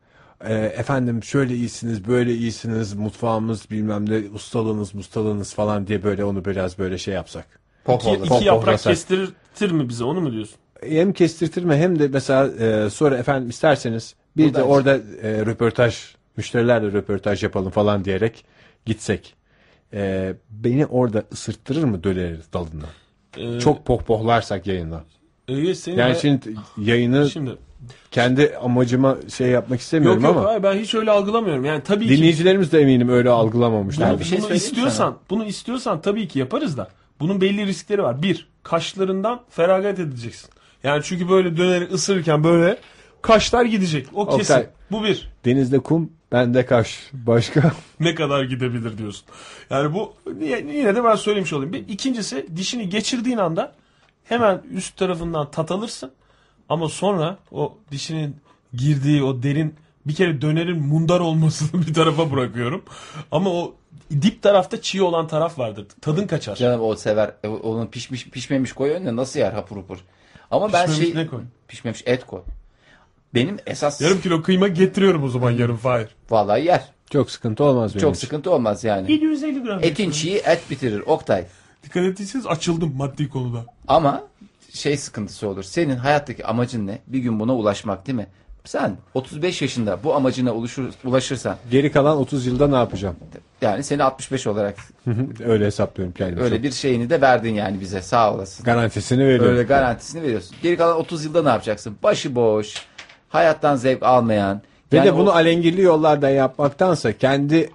Speaker 1: "Ee, efendim şöyle iyisiniz, böyle iyisiniz, mutfağımız bilmem ne ustalığınız, mustalığınız falan diye böyle onu biraz böyle şey yapsak.
Speaker 11: Pop
Speaker 3: İki,
Speaker 11: olur.
Speaker 3: iki
Speaker 1: Pop
Speaker 3: yaprak
Speaker 1: olmasa.
Speaker 3: kestirtir mi bize onu mu diyorsun?
Speaker 1: hem kestirtirme hem de mesela e, sonra efendim isterseniz bir de
Speaker 11: Buradan
Speaker 1: orada e, röportaj müşterilerle röportaj yapalım falan diyerek gitsek. Ee, beni orada ısırttırır mı döneriz dalına? Çok pohpohlarsak yayında.
Speaker 3: Ee, E, senin
Speaker 1: Yani
Speaker 3: hay-
Speaker 1: şimdi yayını
Speaker 3: şimdi
Speaker 1: kendi amacıma şey yapmak istemiyorum
Speaker 3: Yok yok
Speaker 1: ama
Speaker 3: hayır, ben hiç öyle algılamıyorum. Yani tabii ki
Speaker 1: dinleyicilerimiz de eminim öyle algılamamışlar.
Speaker 3: bunu istiyorsan, bunu istiyorsan tabii ki yaparız da bunun belli riskleri var. Bir, kaşlarından feragat edeceksin. Yani çünkü böyle döneri ısırırken böyle kaşlar gidecek. O kesin.
Speaker 1: Oktay.
Speaker 3: Bu bir.
Speaker 1: Denizde kum, bende kaş. Başka?
Speaker 3: Ne kadar gidebilir diyorsun. Yani bu y- yine de ben söylemiş olayım. Bir, ikincisi dişini geçirdiğin anda hemen üst tarafından tat alırsın. Ama sonra o dişinin girdiği o derin bir kere dönerin mundar olmasını bir tarafa bırakıyorum. Ama o dip tarafta çiğ olan taraf vardır. Tadın kaçar.
Speaker 11: Canım o sever. E, Onun pişmiş pişmemiş koy önüne nasıl yer hapur hapur. Ama ben
Speaker 3: Pişmemiş
Speaker 11: şey
Speaker 3: ne koy?
Speaker 11: pişmemiş et koy. Benim esas
Speaker 3: Yarım kilo kıyma getiriyorum o zaman yarım Fahir.
Speaker 11: vallahi yer.
Speaker 1: Çok sıkıntı olmaz benim
Speaker 11: Çok
Speaker 1: için.
Speaker 11: sıkıntı olmaz yani.
Speaker 3: 750 gram.
Speaker 11: Etin çiği et bitirir Oktay.
Speaker 3: E, Dikkat ettiyseniz açıldım maddi konuda.
Speaker 11: Ama şey sıkıntısı olur. Senin hayattaki amacın ne? Bir gün buna ulaşmak değil mi? Sen 35 yaşında bu amacına ulaşır, ulaşırsan
Speaker 1: Geri kalan 30 yılda ne yapacağım?
Speaker 11: yani seni 65 olarak
Speaker 1: Öyle hesaplıyorum kendimi.
Speaker 11: öyle
Speaker 1: Çok
Speaker 11: bir şeyini de verdin yani bize sağ olasın.
Speaker 1: Garantisini veriyorum.
Speaker 11: Öyle garantisini veriyorsun. Geri kalan 30 yılda ne yapacaksın? Başıboş, hayattan zevk almayan.
Speaker 1: Ve
Speaker 11: Yani
Speaker 1: de bunu
Speaker 11: o-
Speaker 1: alengirli yollardan yapmaktansa kendi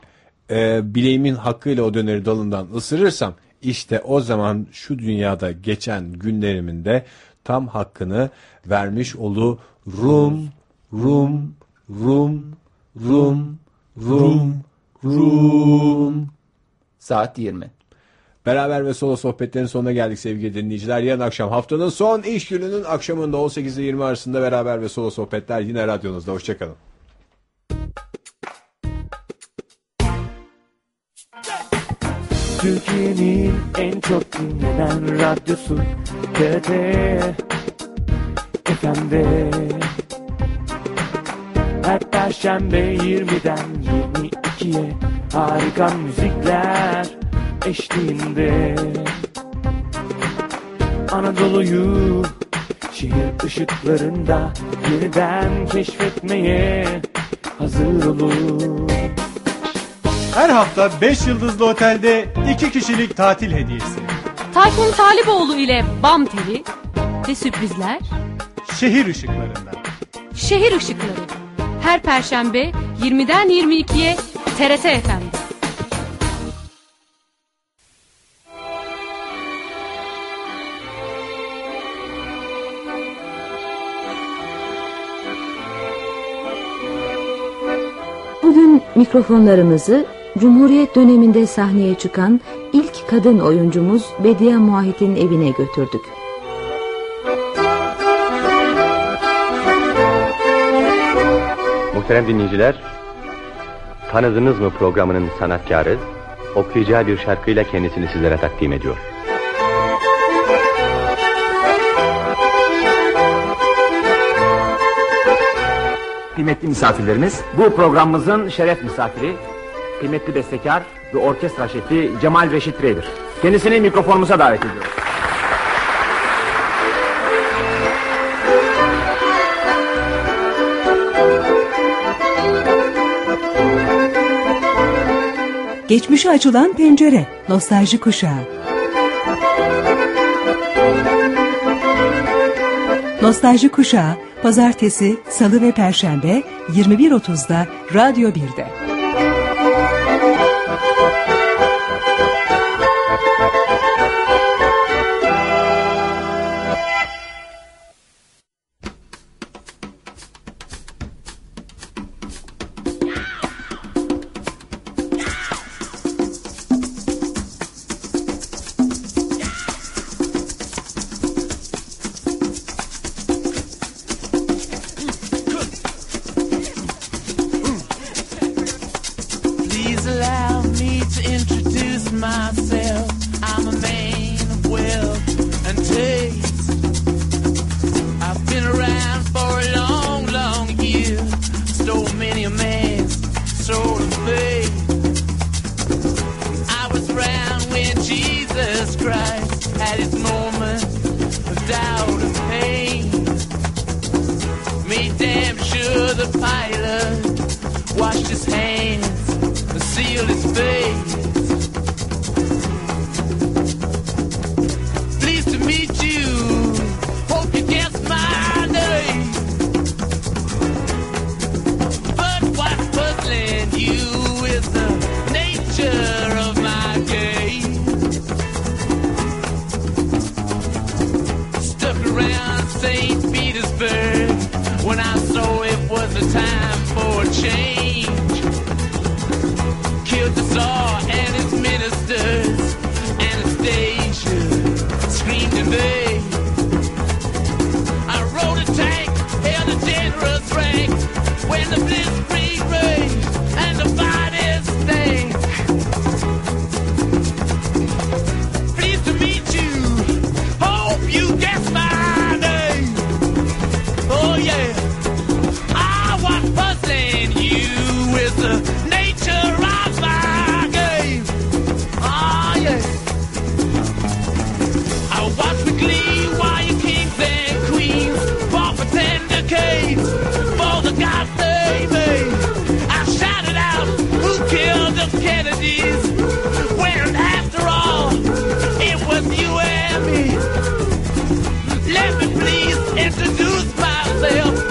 Speaker 1: e, bileğimin hakkıyla o döneri dalından ısırırsam işte o zaman şu dünyada geçen günlerimin de tam hakkını vermiş olurum. Rum, rum, rum, rum, rum, rum.
Speaker 11: saat 20.
Speaker 1: Beraber ve solo sohbetlerin sonuna geldik sevgili dinleyiciler. Yarın akşam haftanın son iş gününün akşamında 18 ile 20 arasında beraber ve solo sohbetler yine radyonuzda. Hoşçakalın.
Speaker 16: Türkiye'nin en çok dinlenen radyosu TRT FM'de Her perşembe 20'den 22'ye Harika müzikler eşliğinde Anadolu'yu şehir ışıklarında Yeniden keşfetmeye hazır olun
Speaker 17: Her hafta 5 yıldızlı otelde 2 kişilik tatil hediyesi.
Speaker 6: Tayfun Taliboğlu ile Bam Teli ve sürprizler
Speaker 17: Şehir ışıklarında.
Speaker 6: şehir ışıkları. Her perşembe 20'den 22'ye TRT FM'de.
Speaker 18: Bugün mikrofonlarımızı Cumhuriyet döneminde sahneye çıkan ilk kadın oyuncumuz Bediye Muahit'in evine götürdük.
Speaker 19: Muhterem dinleyiciler, Tanıdınız mı programının sanatkarı, okuyacağı bir şarkıyla kendisini sizlere takdim ediyor.
Speaker 12: Kıymetli misafirlerimiz, bu programımızın şeref misafiri, kıymetli bestekar ve orkestra şefi Cemal Reşit Reydir. Kendisini mikrofonumuza davet ediyoruz.
Speaker 20: Geçmişe açılan pencere, nostalji kuşağı. Nostalji kuşağı, pazartesi, salı ve perşembe 21.30'da Radyo 1'de.
Speaker 15: Please allow me to introduce myself. I'm a man of wealth and taste. I've been around for a long, long year. Stole many a man's soul and faith. I was around when Jesus Christ had his moment of doubt and pain. Made damn sure the pilot washed his hands and seal his face. Pleased to meet you. Hope you guess my name. But what's puzzling you is the nature of my game. Stuck around St. Petersburg when I saw it was the time for a change. Killed the Tsar and his ministers. Anastasia screamed in vain. I rode a tank, held a generous rank. When the blitzkrieg raged and the bodies stank. Pleased to meet you. Hope you guess my name. Oh yeah. I was puzzling you with the nature of my game. Ah yeah. I watched with glee while you kings and queens fought for ten decades for the God they made. I shouted out, who killed the Kennedys? When after all, it was you and me. Let me please introduce myself. Oh, Ah,